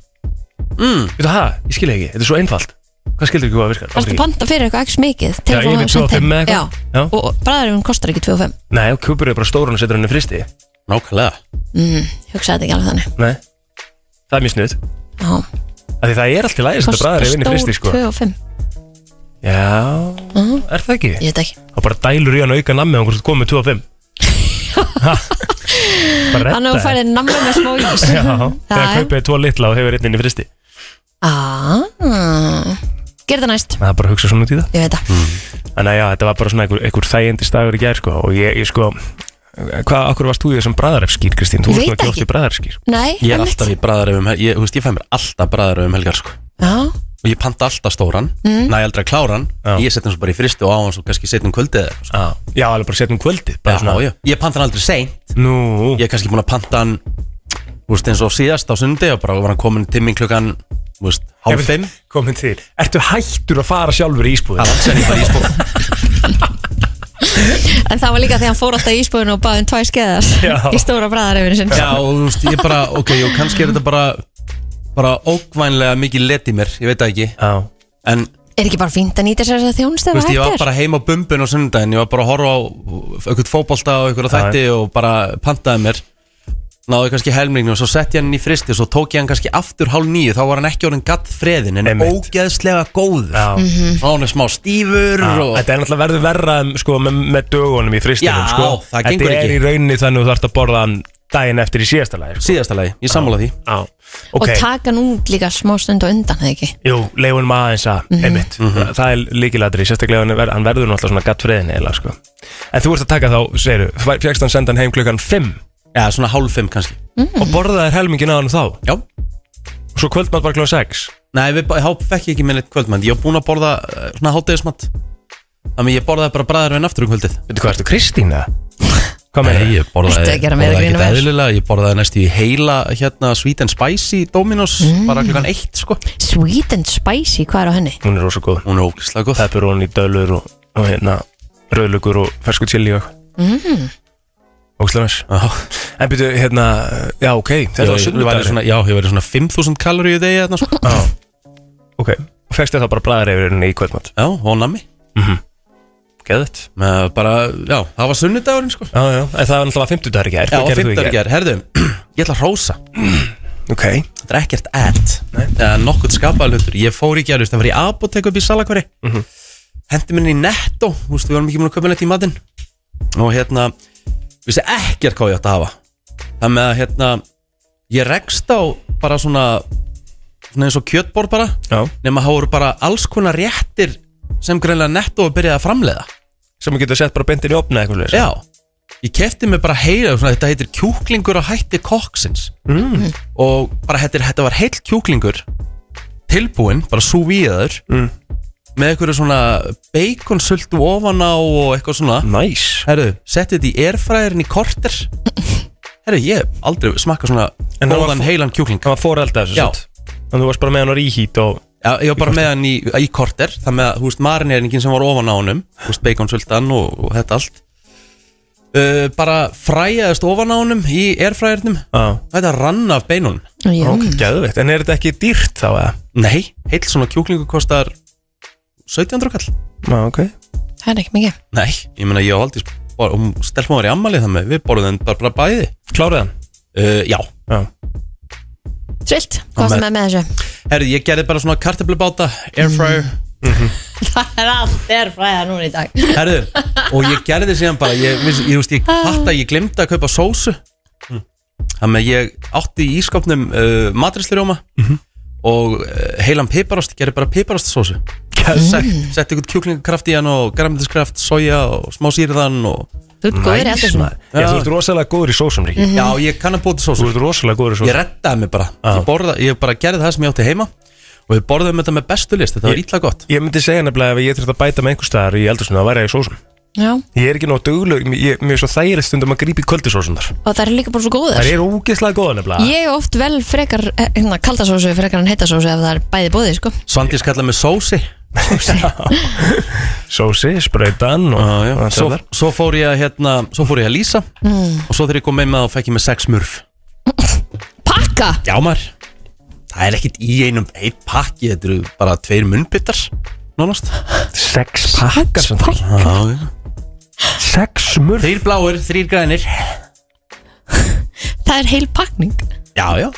[SPEAKER 4] Veitu það, ég skil ekki, þetta er svo einfalt Hvað skildur ekki hvað virkar?
[SPEAKER 3] Það er að panta fyrir eitthvað x mikið til
[SPEAKER 4] Já,
[SPEAKER 3] að
[SPEAKER 4] ég
[SPEAKER 3] fá
[SPEAKER 4] er með
[SPEAKER 3] hann sent
[SPEAKER 4] 2 og 5
[SPEAKER 3] heim.
[SPEAKER 4] eða eitthvað.
[SPEAKER 3] Já.
[SPEAKER 4] Já.
[SPEAKER 3] og bræðarinn kostar ekki 2 og 5
[SPEAKER 4] Nei, og kjúpur er bara stóran og setur henni í fristi
[SPEAKER 2] Nákvæmlega
[SPEAKER 3] hugsaði þetta ekki alveg þannig
[SPEAKER 4] Nei Það er mjög snuð
[SPEAKER 3] Já,
[SPEAKER 4] Af því það er alltaf lægis þetta bræðar ef henni í fristi sko
[SPEAKER 3] 2 og 5
[SPEAKER 4] Já, er það ekki?
[SPEAKER 3] ég veit ekki
[SPEAKER 4] Og bara dælur í hann auka nammi og hvort komið 2 og 5 Bara redda
[SPEAKER 3] þannig að þú færði nammi með smá ís
[SPEAKER 4] Já, þegar
[SPEAKER 3] Já.
[SPEAKER 4] kaupið tvo litla og hefur einn inn í fristi
[SPEAKER 3] Ah, gerði það næst
[SPEAKER 4] Það er bara að hugsa svona út í það
[SPEAKER 3] ég veit það
[SPEAKER 4] Mm. Þannig að já, þetta var bara svona einhver, einhver þægjendist dagur í gær sko Og ég, ég sko Hvað, okkur varst þú í þessum bræðarefskýr, Kristín? Þú
[SPEAKER 3] Ég
[SPEAKER 4] varst nú
[SPEAKER 3] veit
[SPEAKER 4] ekki
[SPEAKER 3] ekki.
[SPEAKER 4] oft í bræðarefskýr
[SPEAKER 3] Nei,
[SPEAKER 2] Ég er
[SPEAKER 3] einmitt.
[SPEAKER 2] alltaf í bræðaröfum, ég, þú veist, ég fæ mér alltaf bræðaröfum helgar sko
[SPEAKER 3] Já,
[SPEAKER 2] Og ég panta alltaf stóran, mm. næ aldrei að klára hann
[SPEAKER 4] Já.
[SPEAKER 2] Ég setjum svo bara í fristu og á hann svo kannski setjum kvöldið eða eitthvað, sko.
[SPEAKER 4] Já, já, alveg bara setjum kvöldið bara
[SPEAKER 2] Já, já, ég panta hann aldrei seint
[SPEAKER 4] Nú,
[SPEAKER 2] Ég er kannski búin að panta hann, þú veist, eins og síðast á sundi Og bara var hann komin til mín klukkan, þú veist, hálf fimm
[SPEAKER 4] Komin til Ertu hættur að fara sjálfur í ísbúðin?
[SPEAKER 2] Það langt sem ég bara í spóð
[SPEAKER 3] En það var líka þegar hann fór alltaf í ísbúðinu og baði um tvær skeiðar
[SPEAKER 4] Já.
[SPEAKER 3] í stóra bræðarefinu sinn.
[SPEAKER 2] Já, og þú veist, ég bara, ok, og kannski er þetta bara Bara ókvænlega mikið let í mér, ég veit það ekki
[SPEAKER 4] Já
[SPEAKER 2] En
[SPEAKER 3] er ekki bara fínt að nýta sér þess að þjónustu
[SPEAKER 2] Þú
[SPEAKER 3] ef
[SPEAKER 2] veist,
[SPEAKER 3] að
[SPEAKER 2] ég var
[SPEAKER 3] hægt er?
[SPEAKER 2] bara heima á bumbun á sundaginn, ég var bara að horfa á einhvern fótbolta og einhverja
[SPEAKER 4] Já,
[SPEAKER 2] þætti og bara pantaði mér náði kannski helminginu og svo sett ég hann í fristi og svo tók ég hann kannski aftur hálf nýju þá var hann ekki orðin gatt freðin en
[SPEAKER 4] Einmitt.
[SPEAKER 2] ógeðslega góður
[SPEAKER 4] Já.
[SPEAKER 3] Mhm.
[SPEAKER 2] og hann er smá stífur
[SPEAKER 4] Já,
[SPEAKER 2] og
[SPEAKER 4] Þetta er náttúrulega verður verra um, sko, með, með dögunum í fristinum
[SPEAKER 2] Já,
[SPEAKER 4] sko.
[SPEAKER 2] það gengur
[SPEAKER 4] Þetta er
[SPEAKER 2] ekki.
[SPEAKER 4] í rauninni þannig að þú þarft að borða hann daginn eftir í síðasta lagi sko.
[SPEAKER 2] síðasta lagi, ég sammála því
[SPEAKER 4] Já,
[SPEAKER 3] og
[SPEAKER 4] ok,
[SPEAKER 3] taka hann út líka smá stund og undan eða ekki
[SPEAKER 4] jú, leifunum aðeins að einmitt,
[SPEAKER 2] Mhm.
[SPEAKER 4] Þa- það er líkilatri sérstaklega hann, ver, hann verður náttúrulega svona gatt friðin eiginlega, sko. en þú ert að taka þá, segir þú fjöxt hann sendan heim klukkan 5
[SPEAKER 2] Já, svona hálf fimm kannski
[SPEAKER 4] og borða þær helmingin að hann þá
[SPEAKER 2] Já,
[SPEAKER 4] og svo kvöldmatt bara klukkan 6
[SPEAKER 2] nei, við, ba- þá fekk ég ekki minn eitt kvöldmann ég var búin að borða eh, svona hátdegismat þannig ég borðaði bara bræður en aftur um kvöldið
[SPEAKER 4] veitu hvað ertu, Kristín eða? hvað meina
[SPEAKER 2] Nei, ég borðaði,
[SPEAKER 3] Ertu að gera meira
[SPEAKER 2] borðaði
[SPEAKER 3] grín
[SPEAKER 2] ekkert
[SPEAKER 3] og vel?
[SPEAKER 2] eðlilega Ég borðaði næstu í heila hérna, Sweet and Spicy Dominos Bara klukkan eitt sko
[SPEAKER 3] sweet and spicy, hvað er á henni?
[SPEAKER 4] hún er rosa góð
[SPEAKER 2] Hún er ógislega góð
[SPEAKER 4] pepperoni, dölur og, og hérna rauðlugur og fersku chili og mm. næs
[SPEAKER 2] Já,
[SPEAKER 4] en byrju, hérna, já ok þetta var
[SPEAKER 2] ég væri
[SPEAKER 4] sunnudagur
[SPEAKER 2] svona, já, ég væri svona 5000 kaloríu í degi þarna, sko.
[SPEAKER 4] já, ok, og fegst þér þá bara bræðar yfir henni í kvöldmatt
[SPEAKER 2] Já, og nami
[SPEAKER 4] geðið
[SPEAKER 2] Með bara, já, það var sunnudagurinn sko
[SPEAKER 4] já, já, en það var náttúrulega 50 dagar í gær
[SPEAKER 2] Já,
[SPEAKER 4] Hvað
[SPEAKER 2] og
[SPEAKER 4] gerðir þú í
[SPEAKER 2] fimmtar gerð, herðu Ég ætla að rósa,
[SPEAKER 4] ok,
[SPEAKER 2] þetta er ekkert ad
[SPEAKER 4] Nei.
[SPEAKER 2] Eða nokkuð skapaða hlutur Ég fór í gerðust, það var í apotek upp í salakvari mm -hmm. Hendi minni í netto Þú veist, við varum ekki múin að köpa neitt í matinn Og hérna, vissi ekkert hvað ég átt að hafa Það með að hérna Ég rekst á bara svona Svona eins og kjötbór bara
[SPEAKER 4] já,
[SPEAKER 2] Nefn að það voru bara alls konar réttir Sem greinlega netto að byrjaði að framleiða
[SPEAKER 4] sem getur sett bara bendin í opna eitthvað leys
[SPEAKER 2] Já, ég kefti mig bara heila svona, Þetta heitir kjúklingur að hætti kokksins mm. Og bara þetta, er- þetta var heil kjúklingur Tilbúinn, bara súvíðaður
[SPEAKER 4] Mm.
[SPEAKER 2] Með einhverju svona Beikonsultu ofan á og eitthvað svona
[SPEAKER 4] næs
[SPEAKER 2] Herru, setti þetta í erfræðirinn í korter Herru, ég hef aldrei smakka svona
[SPEAKER 4] En hann var
[SPEAKER 2] Góðan
[SPEAKER 4] fó-
[SPEAKER 2] heilan kjúkling
[SPEAKER 4] það var forelda þessu
[SPEAKER 2] Já.
[SPEAKER 4] satt en þú varst bara með hann á ríhít og
[SPEAKER 2] Já, ég var bara með hann í, í korter Það með að, þú veist, marineringin sem var ofan á honum Þú veist, beikonsultan og, og þetta allt uh, Bara fræjaðist ofan á honum Í erfræðirnum
[SPEAKER 4] já,
[SPEAKER 2] Þetta rann af beinunum
[SPEAKER 3] Jú.
[SPEAKER 4] ok, geðið en er þetta ekki dýrt þá eða?
[SPEAKER 2] Nei, heill svona kjúklingu kostar 1700 kall
[SPEAKER 4] já, ok,
[SPEAKER 3] það er ekki mikið
[SPEAKER 2] Nei, ég meina ég á aldrei Og um, stelpum var í ammalið það með Við borðum bara, bara bæði
[SPEAKER 4] klárið hann
[SPEAKER 2] uh, Já,
[SPEAKER 4] já,
[SPEAKER 3] svilt, hvað sem er með þessu
[SPEAKER 2] herri, ég gerði bara svona kartöflubáta Airfryer
[SPEAKER 4] Mhm.
[SPEAKER 3] það er allt er fræða núna í dag
[SPEAKER 2] Herðu, og ég gerði síðan bara Ég, ég, ég, veist, ég
[SPEAKER 3] Ah.
[SPEAKER 2] fatt að ég glemdi að kaupa sósu
[SPEAKER 4] Mm.
[SPEAKER 2] Þannig að ég átti í ískapnum uh, matristurjóma
[SPEAKER 4] Mhm.
[SPEAKER 2] Og uh, heilan piparost Gerði bara piparost sósu Sett
[SPEAKER 3] Mm.
[SPEAKER 2] set ykkur kjúklingakraft í hann og græmdiskraft, soja og smá sýrðan og...
[SPEAKER 3] þú ert góður í alltaf svona
[SPEAKER 4] maður. Já, þú ert rosalega góður í sósum rík
[SPEAKER 3] Mm.
[SPEAKER 2] Já, ég kann að búa til
[SPEAKER 4] Þú
[SPEAKER 2] sósu
[SPEAKER 4] ert rosalega góður í
[SPEAKER 2] Ég
[SPEAKER 4] sósum
[SPEAKER 2] reddaði mig bara ég, borða, ég bara gerði það sem ég átti heima Og við borðum þetta með bestu list Þetta var
[SPEAKER 4] Ég-
[SPEAKER 2] ítla gott
[SPEAKER 4] Ég myndi segja nefnilega ef ég þurfti að bæta með einhver staðar í eldursunni þá væri ég í sósum
[SPEAKER 3] Já,
[SPEAKER 4] Ég er ekki nóg duglur, ég, mér er svo þægilegt stundum að grípa í kvöldisósunar
[SPEAKER 3] og það er líka bara svo góður
[SPEAKER 4] Það er ógeðslega góða nefnilega
[SPEAKER 3] Ég er oft vel frekar eh, hérna, kaldasósu frekar en heitasósu ef það er bæði bóði sko.
[SPEAKER 2] Svandís kallaði mig sósi
[SPEAKER 4] Sósi, sprautan og
[SPEAKER 2] Já, já.
[SPEAKER 4] og allt
[SPEAKER 2] Svo,
[SPEAKER 4] það.
[SPEAKER 2] svo fór ég að hérna, svo fór ég að lýsa
[SPEAKER 3] Hmm.
[SPEAKER 2] og svo þegar ég kom með með þá fekk ég með sex mörf
[SPEAKER 3] Pakka!
[SPEAKER 2] Já maður, það er ekkit í einum eitt pakki, þetta eru bara tveir munnbyttar nánast
[SPEAKER 4] Sex pakkar sem það Sex smurf
[SPEAKER 2] Þrýr bláir, þrýr grænir
[SPEAKER 3] Það er heil pakning
[SPEAKER 2] Já, já,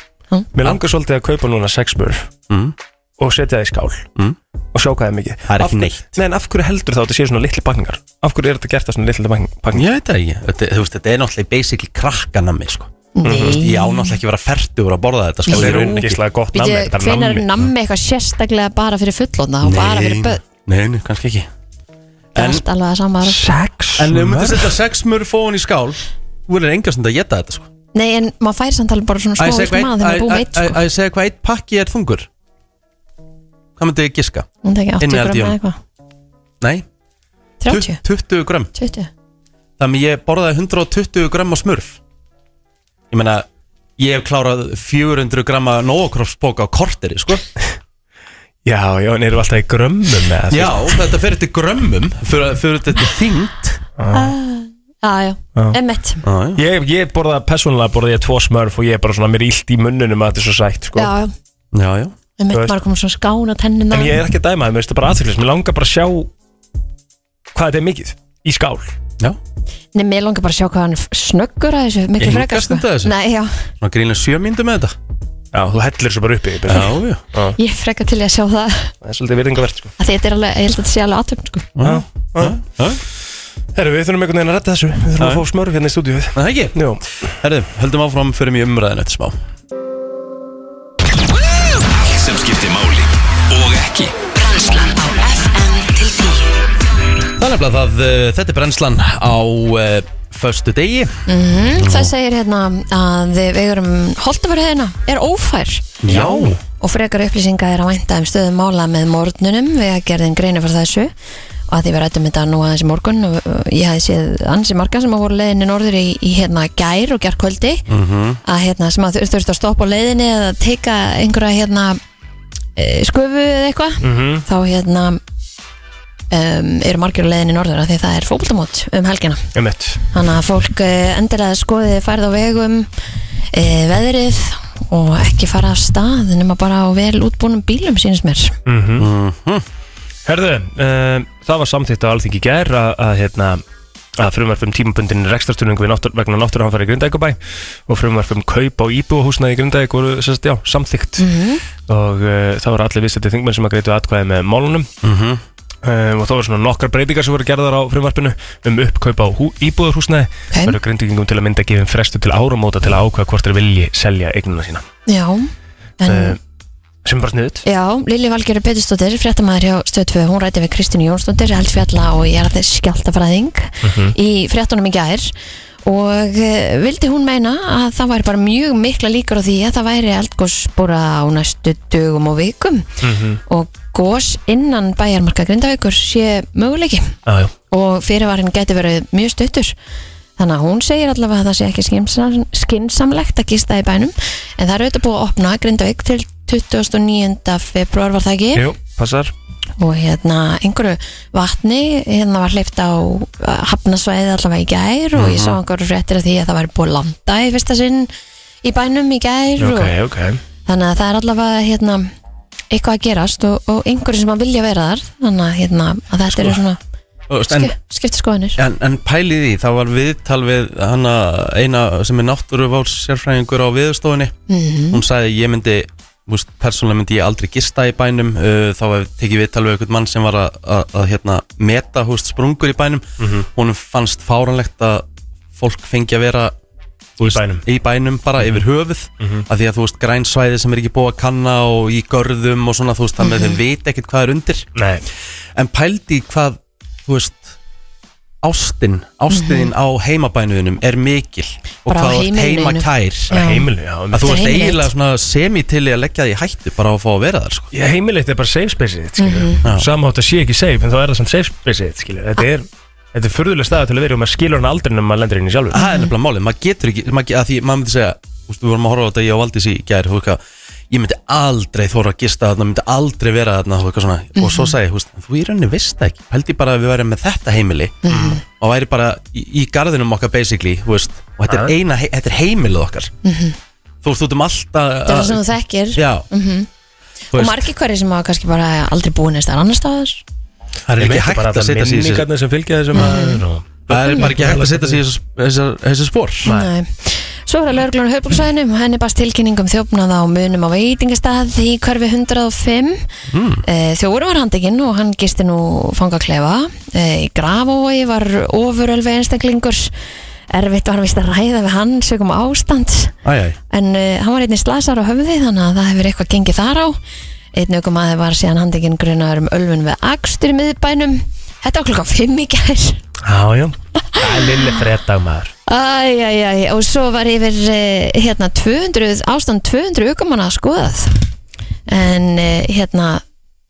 [SPEAKER 4] Mér langar svolítið að kaupa núna sex smurf
[SPEAKER 2] Mm.
[SPEAKER 4] og setja það í skál mm. og sjá hvað er mikið
[SPEAKER 2] Það er ekki
[SPEAKER 4] Af-
[SPEAKER 2] neitt.
[SPEAKER 4] Nei, en af hverju heldur þá að þetta séu svona litli pakningar? Af hverju er þetta gert að svona litli pakningar?
[SPEAKER 2] ég veit það ekki þetta, Þú veist, þetta er náttúrulega basically krakkanami sko. Þú veist,
[SPEAKER 3] Nei
[SPEAKER 2] Ég á náttúrulega ekki að vera ferdugur að borða þetta sko.
[SPEAKER 4] Það er
[SPEAKER 2] Í rauninni ekki.
[SPEAKER 4] ógeðslega gott nammi, þetta er
[SPEAKER 3] Hvenar er
[SPEAKER 4] nammi.
[SPEAKER 3] nammi eitthvað sérstaklega bara fyrir fullotna og bara fyrir
[SPEAKER 2] Nei,
[SPEAKER 3] börn
[SPEAKER 2] nei, nei, kannski ekki
[SPEAKER 3] Það er
[SPEAKER 2] En-
[SPEAKER 3] allt alveg að sama þar.
[SPEAKER 4] Sex
[SPEAKER 2] En ef þú myndir
[SPEAKER 4] smurf?
[SPEAKER 2] setja sex mörf ofan í skál Þú verður engast að geta þetta sko.
[SPEAKER 3] Nei, en maður fær samt alveg bara svona
[SPEAKER 2] Að ég
[SPEAKER 3] smá
[SPEAKER 2] segja
[SPEAKER 3] vilk
[SPEAKER 2] hvað
[SPEAKER 3] maður þegar maður búið meitt
[SPEAKER 2] eitt- að-
[SPEAKER 3] sko.
[SPEAKER 2] að- að ég segja hvað eitt pakki er þungur Hvað myndi ég giska?
[SPEAKER 3] Hún tekja 80
[SPEAKER 2] innihald í
[SPEAKER 3] gram eða
[SPEAKER 2] honum.
[SPEAKER 3] eitthvað
[SPEAKER 2] Nei,
[SPEAKER 3] 30,
[SPEAKER 2] 20 grömm
[SPEAKER 3] 20
[SPEAKER 2] Þannig ég borðaði 120 grömm á smurf Ég meina Ég hef klárað 400 gramma nógokroppsbóka á korteri, sko
[SPEAKER 4] Já, já, en eru alltaf í grömmum með
[SPEAKER 2] Já, þetta fer eftir grömmum Fyrir, fyrir þetta eftir þyngd
[SPEAKER 3] Já, já, emmett
[SPEAKER 2] Já,
[SPEAKER 4] Ég, ég borða, persónulega borða ég tvo smörf og ég er bara svona mér illt í munnunum að þetta er svo sætt sko.
[SPEAKER 3] Já, já,
[SPEAKER 2] já, já
[SPEAKER 3] Við
[SPEAKER 4] Þú
[SPEAKER 3] mitt
[SPEAKER 4] veist.
[SPEAKER 3] maður komum svona skán á tennina
[SPEAKER 4] En ég er ekki að dæma það, mér finnst það bara aðtöklis Mér langar bara að sjá hvað þetta er mikið Í skál
[SPEAKER 2] Já,
[SPEAKER 3] Nei, mér langar bara að sjá hvað hann er f- snöggur að þessu Miklu
[SPEAKER 2] Ég
[SPEAKER 3] frekar sko.
[SPEAKER 2] hingast þetta að þessu?
[SPEAKER 3] Nei, já
[SPEAKER 2] svona grínlega sjö myndum með þetta
[SPEAKER 4] Já, þú hellir þessu bara uppi ég bara-
[SPEAKER 2] Já, já
[SPEAKER 3] Ég er frekar til í að sjá það
[SPEAKER 4] Það er svolítið virðingavert sko.
[SPEAKER 3] að Þetta er alveg, ég held að þetta sé alveg aðtöfn sko.
[SPEAKER 2] Já, já, já.
[SPEAKER 4] Herru, við þurfum einhvern veginn að redda þessu Við þurfum að
[SPEAKER 2] Já.
[SPEAKER 4] fá smörf hérna í stúdíuð
[SPEAKER 2] Það ekki
[SPEAKER 4] Jó,
[SPEAKER 2] Herðu, höldum áfram fyrir mig umræðin eftir smá
[SPEAKER 5] Allt sem skiptir máli og ekki
[SPEAKER 6] Brennslan á FM til 10
[SPEAKER 2] Það er nefnilega það, uh, þetta er brennslan á uh, föstu degi
[SPEAKER 3] Það segir hérna að við erum Holtavörhæðina er ófær
[SPEAKER 2] Já
[SPEAKER 3] og frekar upplýsinga er að vænta um stöðum mála með morgnunum við að gerðin greina fyrir þessu og að því við rættum þetta nú aðeins í morgun og og ég hafði séð ansi marga sem að voru leiðinni norður í, í hérna gær og gær kvöldi
[SPEAKER 2] Mhm.
[SPEAKER 3] -hmm. að hérna sem að þur, þurftu að stoppa á leiðinni eða teika einhverja hérna e, sköfu eða eitthvað
[SPEAKER 2] Mhm.
[SPEAKER 3] -hmm. þá hérna um, eru margir á leiðinni norður að því það er fókbaltamót um helgina
[SPEAKER 4] um
[SPEAKER 3] Þannig að fólk eh, endilega skoði færð á vegum, e, veðrið og ekki fara af stað nema bara á vel útbúnum bílum sínist mér.
[SPEAKER 4] Mhm. Herðu, uh, það var samþýtt á alþingi í gær að, að, hérna, að frumvarp um tímabundin rekstarstuðning náttúr, vegna náttúrhanfæri í Grindavíkabæ og frumvarp um kaup á íbúhúsnaði í Grindavík voru sérst, já, samþýtt og uh, það voru allir vissið til þingmenn sem að greitu atkvæði með málunum um, og þá voru svona nokkar breytingar sem voru gerðar á frumvarpinu um uppkaup á hú, íbúðarhúsnaði
[SPEAKER 3] Ok.
[SPEAKER 4] verður grindvíkingum til að mynda gefin frestu til áramóta til að ákveða hvort þeir vilji selja eignuna sína
[SPEAKER 3] Já, en Eh?
[SPEAKER 4] uh, sem er bara sniðut
[SPEAKER 3] já, Lili Valgerur Petursdóttir, fréttamaður hjá Stöð 2, hún rætti við Kristínu Jónsdóttir, eldfjalla og ég er að þess skjáltafræðing í fréttunum í gær og e, vildi hún meina að það væri bara mjög mikla líkur á því að það væri eldgós bara á næstu dögum og vikum og gós innan bæjarmarka Grindavíkur sé möguleiki.
[SPEAKER 4] ah, já.
[SPEAKER 3] og fyrirvarinn geti verið mjög stuttur þannig að hún segir allavega að það sé ekki skynsam, skynsamlegt að gista í bænum en það er auðvitað búið að opna Grindavík til 29. februar var það ekki
[SPEAKER 4] Jú, passar
[SPEAKER 3] og hérna einhverju vatni hérna var hleyft á eh, hafnasvæði allavega í gær og ég sá
[SPEAKER 4] Mhm.
[SPEAKER 3] einhverju fréttir af því að það væri búið að landa í fyrsta sinn í bænum í gær
[SPEAKER 4] ok,
[SPEAKER 3] og,
[SPEAKER 4] ok
[SPEAKER 3] þannig að það er allavega hérna eitthvað að gerast og, og einhverju sem að vilja vera þar þannig að, hérna, að þetta
[SPEAKER 4] Sko,
[SPEAKER 3] eru svona
[SPEAKER 2] en,
[SPEAKER 3] skip, skipta skoðanir
[SPEAKER 2] en, en pælið í, því, það var viðtal við hana eina sem er náttúruváls sérfræðingur á viðstofinni Hún sagði ég myndi, múst, persónulega myndi ég aldrei gista í bænum uh, Þá hef tekið viðtal við einhvern mann sem var að, að, að hérna, meta húst sprungur í bænum
[SPEAKER 4] Mhm.
[SPEAKER 2] Hún fannst fáranlegt að fólk fengi að vera
[SPEAKER 4] Í bænum Mhm.
[SPEAKER 2] í bænum bara yfir höfuð af því að þú veist grænsvæði sem er ekki búið að kanna og í görðum og svona þú veist þannig að þau veit ekkert hvað er undir
[SPEAKER 4] Nei,
[SPEAKER 2] en pældi hvað þú veist ástin, ástiðin á heimabænuðinum er mikil og
[SPEAKER 3] Bara á
[SPEAKER 2] hvað þú ert
[SPEAKER 3] heimilinu.
[SPEAKER 2] heimakær
[SPEAKER 4] bara
[SPEAKER 3] Já.
[SPEAKER 4] heimilu já,
[SPEAKER 2] að þú
[SPEAKER 3] Þetta er
[SPEAKER 2] ert
[SPEAKER 3] heimilegt.
[SPEAKER 2] eiginlega svona semi til í að leggja því hættu bara að fá að vera þar sko.
[SPEAKER 4] Já, heimilegt er bara safe space-ið þitt, skilur
[SPEAKER 2] Mhm. Já.
[SPEAKER 4] Samhátt að sé ekki safe, en þá er það samt safe space-ið þitt, skilur Þetta er, þetta er furðulega staða til að vera og maður skilur hann aldrei nema maður lendir inn í sjálfur
[SPEAKER 2] það er nefnilega málið, maður getur ekki maður, get- að því maður myndi segja, úst, við vorum að horfa á þetta ég og Valdís í gær, þú veist hvað ég myndi aldrei þóra að gista þarna, myndi aldrei vera þarna þú veist hvað svona, og
[SPEAKER 3] Mhm.
[SPEAKER 2] svo sagði ég, þú veist þú í rauninni veist það ekki, held ég bara að við væri með þetta heimili
[SPEAKER 3] Mhm.
[SPEAKER 2] og væri bara í, í garðinum okkar basically, þú veist og þetta er, eina, he- þetta er heimilið okkar þú veist, þú ert um alltaf
[SPEAKER 3] Það Mhm. er það sem þú þekkir Mhm.
[SPEAKER 2] já, þú
[SPEAKER 3] og
[SPEAKER 2] veist,
[SPEAKER 3] margir hverjir sem hafa kannski bara aldrei búin eða annars staðar
[SPEAKER 2] það er ekki hægt að setja sig í þessu-
[SPEAKER 4] minningarnir sem fylgja þessum
[SPEAKER 2] Mhm.
[SPEAKER 4] maður og...
[SPEAKER 2] það er bara ekki hægt að setja sig í þessu- þessar- þessu spór
[SPEAKER 3] Nei. Svo er að lögreglun á höfbruksvæðinu henni barst tilkynning um þjófnað á munum á veitingastað í hverfi 105
[SPEAKER 2] Hmm.
[SPEAKER 3] mm. þjófur var handekinn og hann gisti nú fangaklefa Eh, í Grafói var ofurölfi einstaklingur erfitt var vist að ræða við hann sögum ástand
[SPEAKER 2] Æ, æ.
[SPEAKER 3] en uh, hann var einnig slasar á höfði þannig að það hefur eitthvað gengið þar á einn aukum aðeins var síðan handekinn grunar um ölfun við akstur í miðbænum þetta var klukkan 5 í gær
[SPEAKER 4] Já, já Það er lille fredag maður
[SPEAKER 3] Æj, æj, æj, og svo var yfir eh, hérna 200, ástand 200 aukumanna skoðað en eh, hérna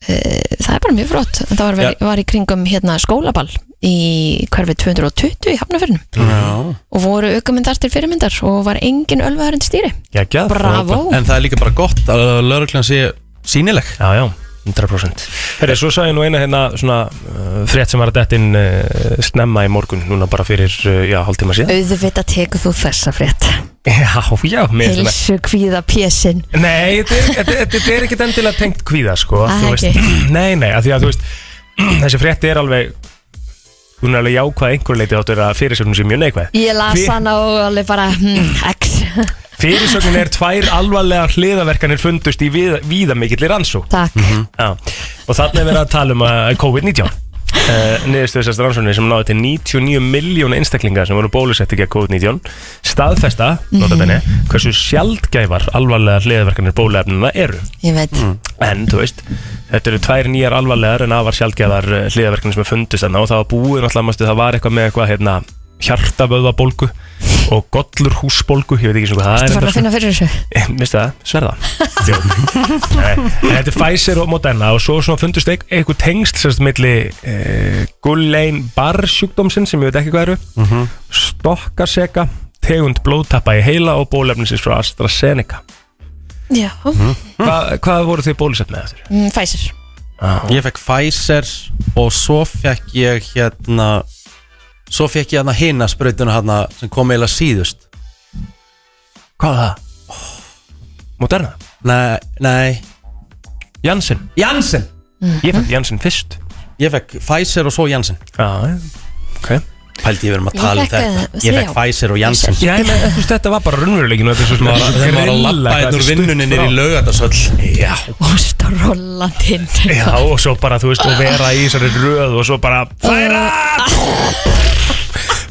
[SPEAKER 3] eh, það er bara mjög frott það var,
[SPEAKER 2] Já.
[SPEAKER 3] var í kringum hérna skólaball í hverfi 220 í hafnafyrnum
[SPEAKER 2] Já.
[SPEAKER 3] og voru aukumyndar til fyrirmyndar og var engin ölvaðurinn stýri
[SPEAKER 4] Já, já
[SPEAKER 3] Bravo,
[SPEAKER 2] en það er líka bara gott að lauruglan sé sínileg
[SPEAKER 4] Já, já 100% Herri, svo sagði ég nú eina hérna svona uh, frétt sem var að dettin uh, snemma í morgun núna bara fyrir, uh, já, hálftíma síðan
[SPEAKER 3] auðvitað tekur þú þessa frétt
[SPEAKER 4] Já, já, mér finnst það
[SPEAKER 3] Hilsu kvíða pjessin
[SPEAKER 4] Nei, þetta er- þetta- þetta þetta er ekkit endilega tengt kvíða, sko
[SPEAKER 3] Ah,
[SPEAKER 4] þú veist, Nei, nei, af því að þú veist Þessi frétti er alveg Hún er alveg jákvæð að einhverju leiti áttur að fyrirsögnum sé mjög neikvæð
[SPEAKER 3] Ég las
[SPEAKER 4] Fy-
[SPEAKER 3] hana og alveg bara hmm, X,
[SPEAKER 4] Fyrirsögnin er tvær alvarlegar hliðaverkanir fundust í viða- víðamikillir rannsók
[SPEAKER 3] takk
[SPEAKER 4] Já, og þarna er verið að tala um að COVID-19 uh, niðurstöðu þessast rannsóknir sem náði til 99 miljón einstaklinga sem voru bólusetti gegn COVID-19 staðfesta, notabenni, hversu sjaldgæfar alvarlega hliðverkanir bóluefnina eru
[SPEAKER 3] Ég veit,
[SPEAKER 4] en, þú veist, þetta eru tvær nýjar alvarlegar en afar sjaldgæfar hliðverkanir sem er fundist þarna og það var búið náttúrulega, mástu, það var eitthvað með eitthvað hérna, hjartavöðvabólgu og gollur húsbólgu, ég veit ekki sem hvað það er
[SPEAKER 3] þú farin
[SPEAKER 4] þetta
[SPEAKER 3] að finna fyrir þessu
[SPEAKER 4] Vistu það? Sverða Nei, Þetta er Pfizer og Moderna og svo svona fundust eik- einhver tengst sérst milli uh, Gullein barsjúkdómsinn sem ég veit ekki hvað eru mm -hmm. Stokkaseka tegund blóðtappa í heila og bólefnisins frá AstraZeneca
[SPEAKER 3] Já, mm.
[SPEAKER 4] Hva, Hvað voru þið bólusett með þessir?
[SPEAKER 3] Pfizer
[SPEAKER 2] Ég fekk Pfizer og svo fekk ég hérna Svo fekk ég hérna hina sprautuna hérna sem kom eiginlega síðust
[SPEAKER 4] Hvað var það? Moderna?
[SPEAKER 2] Nei, nei
[SPEAKER 4] Janssen?
[SPEAKER 2] Janssen
[SPEAKER 4] Ég fætti Janssen fyrst
[SPEAKER 2] Ég fekk Pfizer og svo Janssen
[SPEAKER 4] Já, ok
[SPEAKER 2] Pældi ég verðum að
[SPEAKER 3] Ég
[SPEAKER 2] tala um
[SPEAKER 3] fekk,
[SPEAKER 2] þetta
[SPEAKER 3] eh,
[SPEAKER 2] Ég fekk
[SPEAKER 3] þrjá.
[SPEAKER 2] Pfizer og Janssen
[SPEAKER 4] Já, ég meina, þú veist, þetta var bara raunveruleikin og þetta er svo sem
[SPEAKER 2] Þegar maður var að lappa einn úr vinnunni nýri lögatarsöll
[SPEAKER 4] Já,
[SPEAKER 3] Og stór rollandinn
[SPEAKER 4] Já, og svo bara, þú veist, og vera í þessari röð og svo bara færa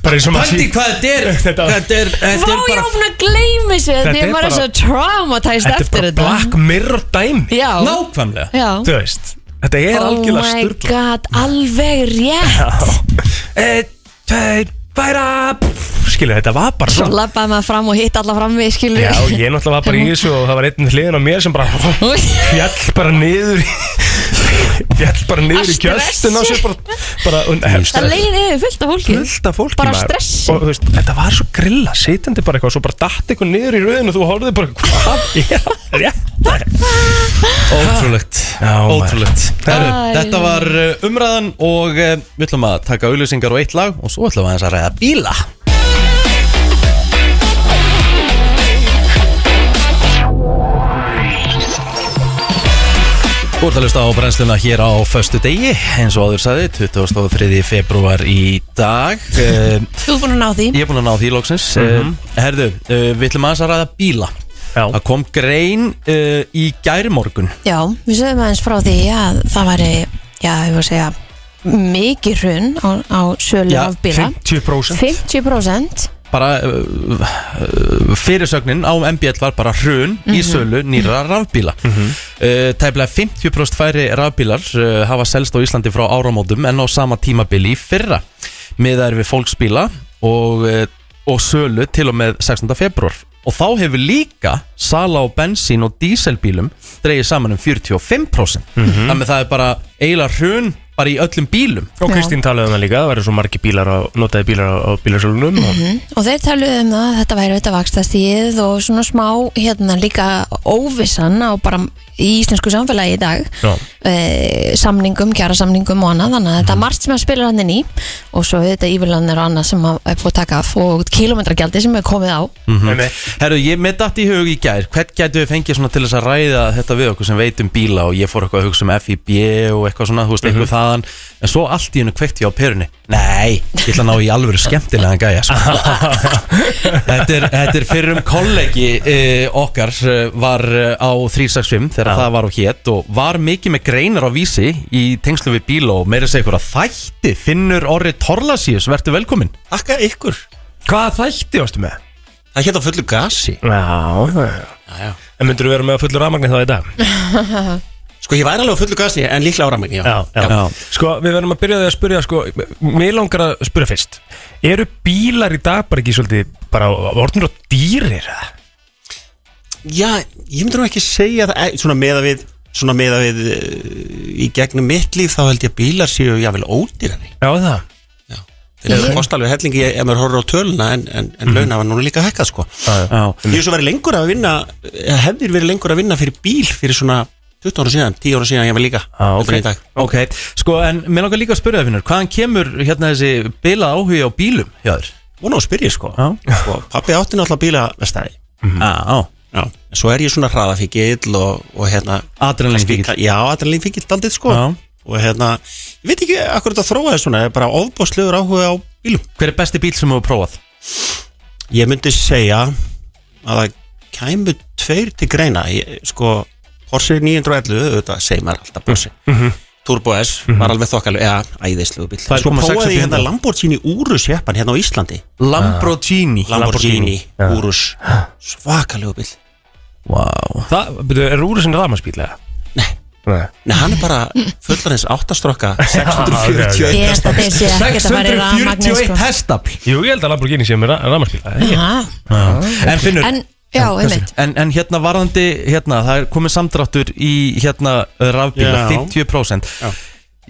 [SPEAKER 4] bara eins og maður
[SPEAKER 2] Pældi
[SPEAKER 4] sé
[SPEAKER 2] hvað þetta er
[SPEAKER 4] Þetta-
[SPEAKER 2] Þetta er,
[SPEAKER 3] Vá,
[SPEAKER 2] þetta er
[SPEAKER 3] ég
[SPEAKER 2] bara
[SPEAKER 3] ofna að gleymi sér
[SPEAKER 4] Þetta
[SPEAKER 3] Því
[SPEAKER 4] er
[SPEAKER 3] ég var
[SPEAKER 4] bara-
[SPEAKER 3] svo traumatæst
[SPEAKER 4] Þetta er
[SPEAKER 3] eftir
[SPEAKER 4] bara
[SPEAKER 3] þetta
[SPEAKER 4] black mirror dæmi
[SPEAKER 3] Já,
[SPEAKER 2] Nákvæmlega
[SPEAKER 3] já
[SPEAKER 4] Þú veist, þetta er algjörlega
[SPEAKER 3] Oh my
[SPEAKER 4] styrla
[SPEAKER 3] god, alveg rétt
[SPEAKER 4] Eitt, tveit, færa Skilja, þetta var bara
[SPEAKER 3] Svo
[SPEAKER 4] svona
[SPEAKER 3] labbaði maður fram og hitt alla fram við skilur
[SPEAKER 4] Já, og ég náttúrulega var bara í þessu og það var einn hliðin á mér sem bara fjall bara niður í fjall bara niður í
[SPEAKER 3] Að
[SPEAKER 4] kjöstin á sér
[SPEAKER 3] stressi.
[SPEAKER 4] bara, bara hefst
[SPEAKER 3] Það leiði yfir fullt af fólki
[SPEAKER 4] fullt af fólki
[SPEAKER 3] Bara
[SPEAKER 4] maður.
[SPEAKER 3] stressi.
[SPEAKER 4] og, þú veist, Þetta var svo grilla, sitjandi bara eitthvað og svo bara datt eitthvað niður í rauðinu og þú horfði bara hvað er að rétta
[SPEAKER 2] Ótrúlegt
[SPEAKER 4] Já, maður.
[SPEAKER 2] Ótrúlegt Herru,
[SPEAKER 3] Æ.
[SPEAKER 2] Þetta var uh, umræðan og uh, við ætlum að taka auðlýsingar og eitt lag og svo ætlum við aðeins að ræða bíla Þú ert að hlusta á brennsluna hér á föstu degi eins og áður saði 23. februar í dag Eh,
[SPEAKER 3] Þú er búin að ná því
[SPEAKER 2] Ég er búin að ná því lóksins mm Herðu, uh, við ætlum aðeins að ræða bíla
[SPEAKER 4] Já.
[SPEAKER 2] Það kom grein uh, í gærmorgun
[SPEAKER 3] Já, við sögum aðeins frá því að það væri, já, ég voru að segja mikið hrun á, á sölu
[SPEAKER 2] Já,
[SPEAKER 3] af bíla
[SPEAKER 4] 50%
[SPEAKER 3] 50%
[SPEAKER 2] bara uh, uh, fyrirsögnin á MBL var bara hrun í sölu nýra rafbíla mm tæplega 50% færi rafbílar uh, hafa selst á Íslandi frá áramótum en á sama tímabili í fyrra miðað er við fólksbíla og, uh, og sölu til og með 16. februar og þá hefur líka sala á bensín og díselbílum dreigir saman um 45% þannig að það er bara eiginlega hrun bara í öllum bílum
[SPEAKER 4] Og Kristín talaði um það líka, það verður svo margi bílar á, notaði bílar á, á bílarsölunum
[SPEAKER 3] og þeir taluðu um það að þetta væri auðvitað vakstastíð og svona smá hérna líka óvissan á bara í íslensku samfélagi í dag
[SPEAKER 4] Já.
[SPEAKER 3] e, samningum, kjara samningum og annað þannig að þetta er margt sem að spila hann inn í og svo auðvitað ívillanir og annað sem að er búið að taka af og kilometragjaldi sem er komið á
[SPEAKER 4] og
[SPEAKER 2] Herru, ég með datt í hug í gær Hvern gætu við fengið svona til þess að ræða þetta við okkur sem veitum bíla og ég fór eitthvað að hugsa um FIB og eitthvað svona, þú veist, eitthvað þaðan en svo allt í hennu kveikt ég á perunni Nei, ég ætla að ná í alvöru skemmtilegan gæja sko. þetta, er, þetta er fyrir um kollegi e, okkar eh, var eh, á 365 þegar það var og hétt og var mikið með greinar á vísi í tengslu við bíla og meira segja ykkur að þætti Finnur Orri Torlasíus, vertu velkomin
[SPEAKER 7] Akka ykkur
[SPEAKER 4] Hvað þætti ástu með?
[SPEAKER 7] Það hétt á fullu gasi
[SPEAKER 4] Já, já, já En myndirðu vera með að fullur rafmagni þá í dag?
[SPEAKER 7] Sko ég væri alveg á fullu gasi en líklega ára minni
[SPEAKER 4] já, já.
[SPEAKER 2] Já.
[SPEAKER 4] Sko, við verðum að byrja því að spyrja sko, Mér langar að spyrja fyrst Eru bílar í dag bara ekki svolítið bara orðnir og dýrir? eða?
[SPEAKER 7] já, ég myndi nú ekki segja það eh, Svona meða við Svona meða við eh, Í gegnum mitt líf þá held ég að bílar séu jáfnvel ódýrari
[SPEAKER 4] Já, það
[SPEAKER 7] Já Þeir eru kost alveg hellingi ef maður horfður á töluna en, en, en laun hafa núna líka hækkað sko
[SPEAKER 2] Mhm. Já,
[SPEAKER 7] Ég er svo verið lengur að vinna eh, hefðir verið lengur að vinna fyrir bíl fyrir svona 20 ára síðan, 10 ára síðan ég var líka
[SPEAKER 4] Ah, ok.
[SPEAKER 7] heldur en í dag.
[SPEAKER 2] Ok, sko en mér langar líka að spyrja það finnur, hvaðan kemur hérna þessi bilað áhugi á bílum hjá þér?
[SPEAKER 7] vona að spyrja sko
[SPEAKER 2] Já.
[SPEAKER 7] sko, pappi átti náttúrulega bíla vestæði
[SPEAKER 2] Ah, á, á
[SPEAKER 7] Já, en svo er ég svona hraðafíkil og, og hérna
[SPEAKER 2] Adrenalínfíkill.
[SPEAKER 7] kannski- Já, adrenalinfíkil daldið sko
[SPEAKER 2] Já.
[SPEAKER 7] og hérna, ég veit ekki akkur þetta þróaði svona, er bara ofbóðslegur áhuga á bílum
[SPEAKER 2] Hver er besti bíl sem þú hefur prófað?
[SPEAKER 7] Ég myndi segja að það kæmu tveir til greina ég, sko, Porsche 911 auðvitað segir maður alltaf Porsche Turbo S var alveg þokkalug eða æðislegu bíl
[SPEAKER 2] Mhm. Það er
[SPEAKER 7] Svo
[SPEAKER 2] koma sex
[SPEAKER 7] prófaði
[SPEAKER 2] upp í
[SPEAKER 7] ég hérna
[SPEAKER 2] hundrað.
[SPEAKER 7] Lamborghini Urus jeppan hérna á Íslandi
[SPEAKER 2] Lamborghini
[SPEAKER 7] Lamborghini, Urus svakalegu bíl
[SPEAKER 2] Vá
[SPEAKER 4] Það, byrju, er úr sinni rafmarsbíl eða? Nei
[SPEAKER 7] Nei, hann er bara fullar eins áttastrokka 641
[SPEAKER 3] Ég held að þeir séu ekkert að fara í rafmagnið sko.
[SPEAKER 2] hestafl
[SPEAKER 4] Jú, ég held að Lamborghini sé með rafmarsbíl
[SPEAKER 3] Ha?
[SPEAKER 2] En finnur
[SPEAKER 3] En, já, einmitt
[SPEAKER 2] en, en hérna varðandi hérna, það er komið samdráttur í hérna uh, rafbíla,
[SPEAKER 7] Já.
[SPEAKER 2] 50%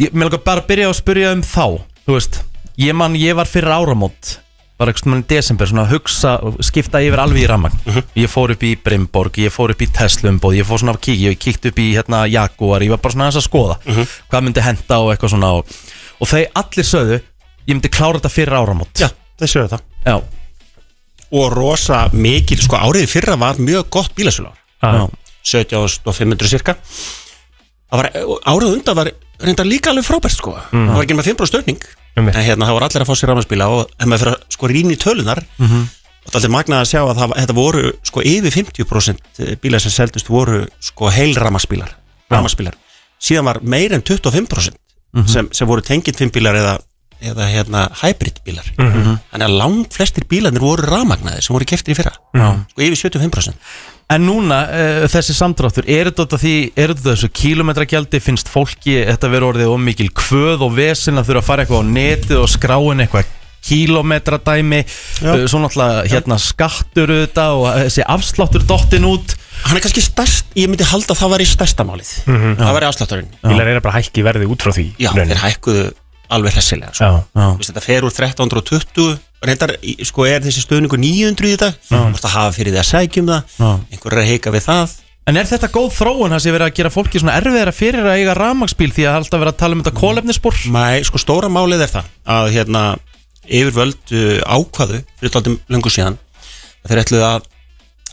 [SPEAKER 2] ég, Mér langar bara að byrja að spyrja um þá Þú veist, ég mann, ég var fyrir áramót var eitthvað mann í desember, svona að hugsa skipta yfir alveg í rafmagn
[SPEAKER 7] Mhm.
[SPEAKER 2] ég fór upp í Brimborg, ég fór upp í Teslumbóð ég fór svona að kíkja, ég kíkti upp í hérna Jaguar, ég var bara svona aðeins að skoða
[SPEAKER 7] Mhm.
[SPEAKER 2] hvað myndi henda og eitthvað svona og, og þeir allir sögðu, ég myndi klára þetta fyrir áramót
[SPEAKER 7] Já, það séu það
[SPEAKER 2] Já.
[SPEAKER 7] Og rosa mikil, sko árið fyrra var mjög gott bílasölar
[SPEAKER 4] Ah,
[SPEAKER 2] Já.
[SPEAKER 7] 17.500 cirka Það var, árið undan var reyndar líka alveg frábært sko það var ekki með 5% stöðning
[SPEAKER 4] Einmitt.
[SPEAKER 7] en hérna það voru allir að fá sér rafmansbíla og ef maður fyrir að sko rýna í tölunar og það er aldrei magnað að sjá að það, þetta voru sko yfir 50% bíla sem seldust voru sko heil rafmansbílar rafmansbílar síðan var meir en 25% sem, sem voru tengið fimmbilar eða eða hérna hybrid bílar þannig að langt flestir bílarnir voru rafmagnaðir sem voru keftir í fyrra sko yfir 75%
[SPEAKER 2] En núna, uh, þessi samdráttur, er þetta út af því, er þetta út af þessu kílometragjaldi, finnst fólki þetta verið orðið ómikil kvöð og vesin að þurfa að fara eitthvað á netið og skráin eitthvað kílometradæmi, uh, svo náttúrulega hérna skattur auðvitað og þessi afsláttur dottin út.
[SPEAKER 7] hann er kannski stærst, ég myndi halda að það væri stærsta málið það væri afslátturinn
[SPEAKER 4] Bílar er bara að hækki verði út frá því í
[SPEAKER 7] já,
[SPEAKER 4] rauninni.
[SPEAKER 7] þeir hækkuðu alveg hressilega sko.
[SPEAKER 4] Já,
[SPEAKER 7] Þú veist, þetta fer úr 1320 reyndar, í- sko er þessi stöðningur 900 í dag, þú mást að hafa fyrir því að sækjum það
[SPEAKER 2] Já.
[SPEAKER 7] einhver er að heika við það
[SPEAKER 2] En er þetta góð þróun það sem verið að gera fólki svona erfiðara fyrir að eiga rafmagsbíl því að alltaf verið að tala um þetta kólefnispor?
[SPEAKER 7] Mæ, sko stóra málið er það að hérna yfirvöld uh, ákvaðu fyrir tóttum löngu síðan að þeir ætluðu að,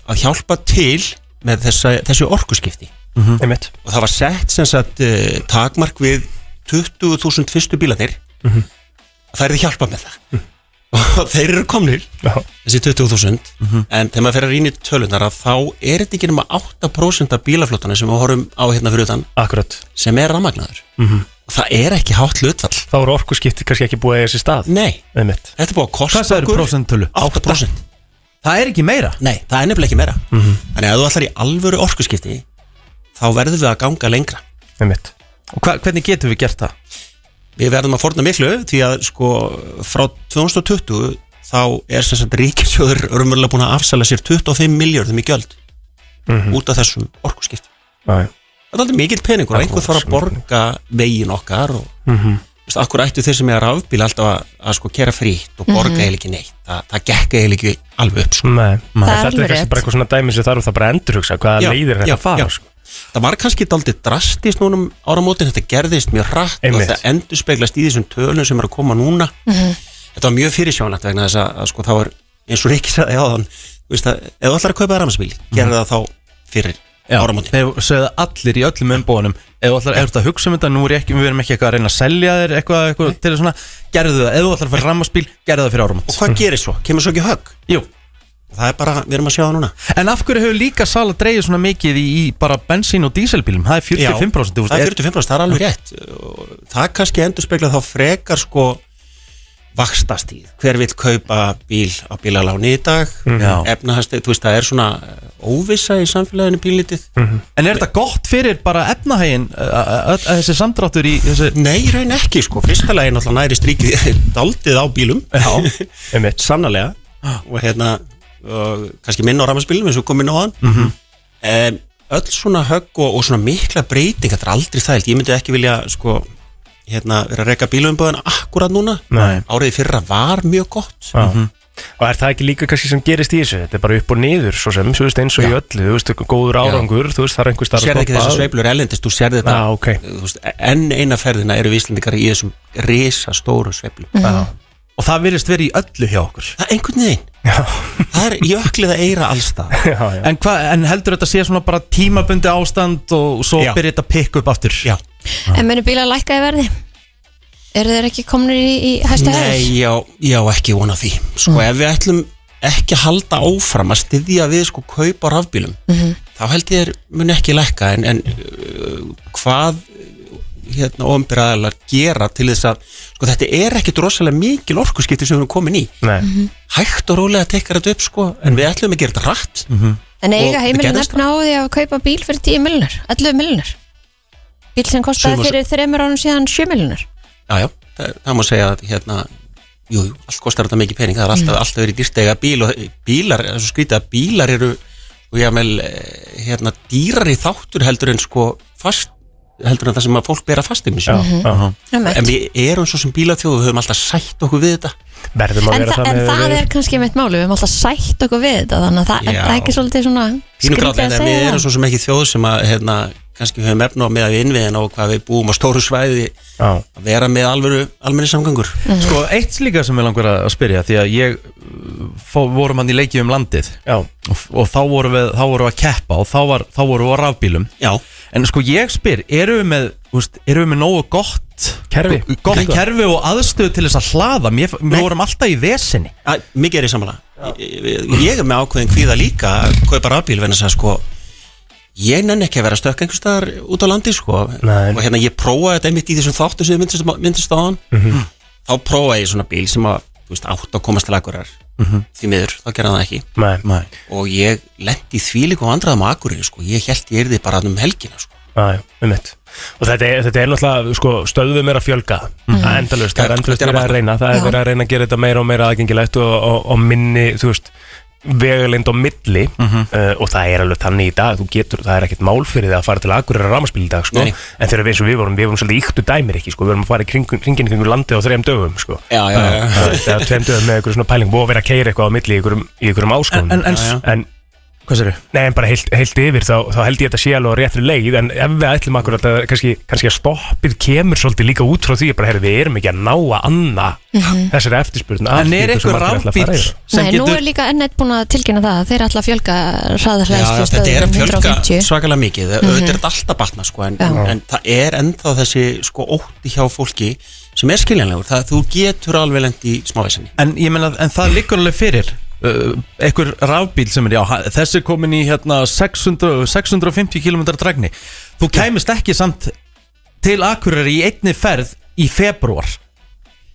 [SPEAKER 7] að hjálpa til með þessa, þessu orkuskipti
[SPEAKER 4] einmitt
[SPEAKER 7] og það var sett sem sagt uh, takmark við 20.000 fyrstu bílanir mm -hmm. það er þið hjálpa með það og þeir eru komnir
[SPEAKER 4] Já,
[SPEAKER 7] þessi 20.000 en þegar maður fer að rýna í tölunar að þá er þetta ekki nema 8% af bílaflotana sem við horfum á hérna fyrir utan
[SPEAKER 4] akkurat
[SPEAKER 7] sem er rammagnaður og það er ekki hátt hlutfall
[SPEAKER 4] Þá voru orkuskipti kannski ekki búið að eiga sér stað
[SPEAKER 7] nei,
[SPEAKER 4] Einmitt
[SPEAKER 7] þetta er búið að kosta
[SPEAKER 2] Hvað sagður prósentölu?
[SPEAKER 7] 8%
[SPEAKER 2] Það er ekki meira.
[SPEAKER 7] nei, það er nefnilega ekki meira þannig að ef þú ætlar í alvöru orkuskipti þá verðum við að ganga lengra
[SPEAKER 4] Einmitt
[SPEAKER 2] Og hva, hvernig getum við gert það?
[SPEAKER 7] Við verðum að forna miklu því að sko frá 2020 þá er sem sagt ríkisjóður örmurlega búin að afsala sér 25 miljörðum í gjöld út af þessum orkuskipt.
[SPEAKER 4] Já, já.
[SPEAKER 7] Það er aldrei mikill peningur að einhver þarf að borga vegin okkar og mm -hmm. akkur ættu þeir sem er rafbíl alltaf að, að sko kera frítt og borga eiginlega ekki neitt. Það, það gekk eiginlega ekki alveg upp sko.
[SPEAKER 4] Nei,
[SPEAKER 3] Það er
[SPEAKER 4] þetta
[SPEAKER 3] alveg
[SPEAKER 4] er kannski
[SPEAKER 3] rétt.
[SPEAKER 4] bara eitthvað svona dæmi sem þarf það bara að endurhugsa hvaða
[SPEAKER 7] Já,
[SPEAKER 4] leiðir þetta
[SPEAKER 7] já,
[SPEAKER 4] að fara
[SPEAKER 7] já.
[SPEAKER 4] sko.
[SPEAKER 7] Það var kannski daldið drastist núna um áramótin, þetta gerðist mjög rætt
[SPEAKER 4] Einmitt.
[SPEAKER 7] og það endur speglast í þessum tölum sem eru að koma núna. Þetta var mjög fyrirsjónlegt vegna þess að, að sko, þá er eins og Rikki sagði áðan, þú veist að ef þú ætlar að kaupa rafmansbíl, mm gerðu það þá fyrir
[SPEAKER 2] Já,
[SPEAKER 7] áramótin.
[SPEAKER 2] þeir sögðu allir í öllum umbóðunum ef þú ætlar, ef þú ert að hugsa um þetta, nú er ég ekki, við erum ekki eitthvað að reyna að selja þér eitthvað, eitthvað til svona, gerðu það, ef þú ætlar að fara rammarspíl, gerðu það fyrir
[SPEAKER 7] Og
[SPEAKER 2] áramót
[SPEAKER 7] hvað gerir svo? Kemur svo ekki högg?
[SPEAKER 2] Jú,
[SPEAKER 7] Það er bara, við erum að sjá það núna.
[SPEAKER 2] en af hverju hefur líka sala dreigið svona mikið í, í bara bensín og díselbílum, það er 45% þú veist,
[SPEAKER 7] það
[SPEAKER 2] er-
[SPEAKER 7] er 45%, það er alveg rétt. Og Það kannski endur speglað þá frekar sko vakstastíð. Hver vill kaupa bíl á bílaláni í dag?
[SPEAKER 2] Mhm. Já.
[SPEAKER 7] Efnahagsstig- þú veist, það er svona eh, óvissa í samfélaginu pínlítið.
[SPEAKER 2] En er þetta gott fyrir bara efnahægin að þessi samdráttur í þessi,
[SPEAKER 7] Nei, í raun ekki sko, fyrsta lagi náttúrulega næri strikið daldið á bílum Já,
[SPEAKER 4] Einmitt
[SPEAKER 7] sannarlega og hérna, og kannski minna á rafmansbílum eins og komin á hann mm
[SPEAKER 2] Mhm.
[SPEAKER 7] öll svona högg og, og svona mikla breyting, þetta er aldrei þælt ég myndi ekki vilja sko hérna, vera að reyka bílumböðin akkurat núna
[SPEAKER 2] Nei.
[SPEAKER 7] árið fyrra var mjög gott
[SPEAKER 4] Já. Mhm. Og er það ekki líka kannski sem gerist í þessu? Þetta er bara upp og niður svo sem, þú veist, eins og í öllu, þú veist, góður árangur, þú veist, það er einhver
[SPEAKER 7] Þú
[SPEAKER 4] starf
[SPEAKER 7] sérði ekki þessar sveiflur erlendist, þú sérði þetta
[SPEAKER 4] Já, ok.
[SPEAKER 7] þú veist, enn eina ferðina eru Íslandikar í þessum risastóru sveiflur
[SPEAKER 4] Já,
[SPEAKER 7] og
[SPEAKER 2] og það virðist verið í öllu hjá okkur
[SPEAKER 7] það er einhvern veginn,
[SPEAKER 4] Já,
[SPEAKER 7] það er jöklið að eira allstað
[SPEAKER 4] já, já
[SPEAKER 2] en, hva, en heldur þetta sé svona bara tímabundi ástand og svo
[SPEAKER 7] Já.
[SPEAKER 2] byrja þetta að pikka upp aftur
[SPEAKER 7] Já,
[SPEAKER 3] En munu bílar lækka í verði? Eru þeir ekki komnir í, í hæsta
[SPEAKER 7] nei,
[SPEAKER 3] hæðir?
[SPEAKER 7] já, já, ekki vona því Sko, ef við ætlum ekki að halda áfram að styðja við sko kaup á rafbílum þá held ég er mun ekki lækka en, en uh, hvað hérna ofnbyrðaðalar gera til þess að, sko þetta er ekkit rosalega mikil orkuskipti sem við erum komin í
[SPEAKER 3] Mhm.
[SPEAKER 4] Nei,
[SPEAKER 7] hægt og rólega tekkar þetta upp sko en við ætlum að gera þetta rætt
[SPEAKER 3] Mhm. En eiga
[SPEAKER 7] og
[SPEAKER 3] heimilin
[SPEAKER 7] gerðist
[SPEAKER 3] efna á því að kaupa bíl fyrir 10 miljonar, 11 miljonar Bíl sem kostaði
[SPEAKER 7] Sumar-
[SPEAKER 3] fyrir þreymur ánum síðan 7 miljonar
[SPEAKER 7] Já, já, það, það má segja að hérna Jú, jú, allt kostar þetta mikið pening Það er
[SPEAKER 3] Mhm.
[SPEAKER 7] alltaf, alltaf verið dýrt að eiga bíl og bílar, þessu skrítið að bílar eru og ég meðl, hérna, dýrari þáttur heldur en sko fast, heldur en það sem að fólk bera fast sko.
[SPEAKER 4] já, já
[SPEAKER 7] En við erum svo sem bílaþjóð og við höfum alltaf sætt okkur við þetta
[SPEAKER 4] Verðum að
[SPEAKER 3] En,
[SPEAKER 4] vera
[SPEAKER 3] þa en
[SPEAKER 4] þannig
[SPEAKER 3] það er kannski mitt máli, við höfum alltaf sætt okkur við þetta þannig að það er
[SPEAKER 7] Já.
[SPEAKER 3] það ekki svolítið svona
[SPEAKER 7] Pínu grátt,
[SPEAKER 3] skrítið að
[SPEAKER 7] en við
[SPEAKER 3] segja
[SPEAKER 7] erum
[SPEAKER 3] það
[SPEAKER 7] svo sem ekki þjóð sem að, hérna, kannski höfum efna á með að við innviðin og hvað við búum á stóru svæði
[SPEAKER 4] Já,
[SPEAKER 7] að vera með alvöru, almenni samgangur
[SPEAKER 3] Mm.
[SPEAKER 4] Mhm.
[SPEAKER 2] Sko, eitt líka sem ég langar að að spyrja því að ég uh, fó, vorum hann í leiki um landið
[SPEAKER 4] já,
[SPEAKER 2] og, og þá vorum við, þá vorum við að keppa og þá, var, þá vorum við á rafbílum
[SPEAKER 7] Já,
[SPEAKER 2] en sko ég spyr, eru við með úst, eru við með nógu gott
[SPEAKER 4] Kerfi.
[SPEAKER 2] gott
[SPEAKER 7] Kerfi.
[SPEAKER 2] kerfi og aðstöð til þess að hlaða mér,
[SPEAKER 7] Nei.
[SPEAKER 2] mér vorum alltaf í vesinni
[SPEAKER 7] Að, mikið er ég samanlega ég, ég er með ákveðin kvíða líka að kaupa rafbíl vegna þess að sko ég nenn ekki að vera stökk einhvers staðar út á landi sko
[SPEAKER 4] Nei.
[SPEAKER 7] og hérna ég prófaði þetta einmitt í þessum þáttu sem þið myndist, myndist á hann
[SPEAKER 4] Mhm.
[SPEAKER 7] þá prófaði ég svona bíl sem að þú veist, átt að komast til akkurar því miður, þá gerði hann það ekki
[SPEAKER 4] nei, Mhm. nei,
[SPEAKER 2] Nei.
[SPEAKER 7] og ég lendi því líka og andraðum á akkurinu sko ég held ég erði bara um helgina sko
[SPEAKER 4] um mitt Og þetta er, þetta er náttúrulega, sko, stöðum er að fjölga mm. Endalust, það er endalust verið
[SPEAKER 7] Þetta er að
[SPEAKER 4] að
[SPEAKER 7] batna.
[SPEAKER 4] reyna Það er
[SPEAKER 3] Já.
[SPEAKER 4] verið að reyna að gera þetta meira og meira aðgengilegt og, og, og minni, þú veist vegalind og milli
[SPEAKER 7] Mhm.
[SPEAKER 4] uh, og það er alveg þannig í dag, þú getur það er ekkert mál fyrir það að fara til Akureyrar rámaspil í dag sko.
[SPEAKER 7] Nei, nei.
[SPEAKER 4] en þegar við eins og við vorum, við vorum svolítið yktu dæmir ekki, sko. við vorum að fara í kring, kringin kringu landið á þrejum dögum sko.
[SPEAKER 7] Já, já, já, já.
[SPEAKER 4] það er tveim dögum með einhverjum svona pæling og vera að keira eitthvað á milli í einhverjum, í einhverjum áskonum
[SPEAKER 2] en, en,
[SPEAKER 7] Já, já.
[SPEAKER 4] en
[SPEAKER 2] hvað sér
[SPEAKER 4] Nei, en bara heilt, heilt yfir þá, þá held ég þetta sé alveg á réttri leið en ef við ætlum akkur að kannski, kannski að stoppið kemur svolítið líka út frá því bara, heyrðu, við erum ekki að ná að anna
[SPEAKER 3] Mhm.
[SPEAKER 4] þessari eftirspurn af
[SPEAKER 2] en er
[SPEAKER 4] því hversu
[SPEAKER 2] eitthvað
[SPEAKER 4] margir ætla að
[SPEAKER 2] rafbíl
[SPEAKER 4] fara í það.
[SPEAKER 2] sem
[SPEAKER 3] Nei, nú er
[SPEAKER 2] getur
[SPEAKER 3] líka ennett búin að tilkynna það að þeir ætla að fjölga
[SPEAKER 7] Já,
[SPEAKER 3] hraðarhræðslu
[SPEAKER 7] þetta er að fjölga
[SPEAKER 3] 150
[SPEAKER 7] svakalega mikið mm
[SPEAKER 3] Mhm.
[SPEAKER 7] auðvitað er þetta alltaf batna sko, en, en, en það er ennþá þessi sko ótti hjá fólki sem er skiljanlegur það þú getur alveg lent í smávæsinni
[SPEAKER 2] en, ég meina, en það liggur alveg fyrir Uh, einhver rafbíl sem er já, ha- þessi er komin í hérna 600, 650 km dragni þú kæmist ekki samt til Akureyri í einni ferð í februar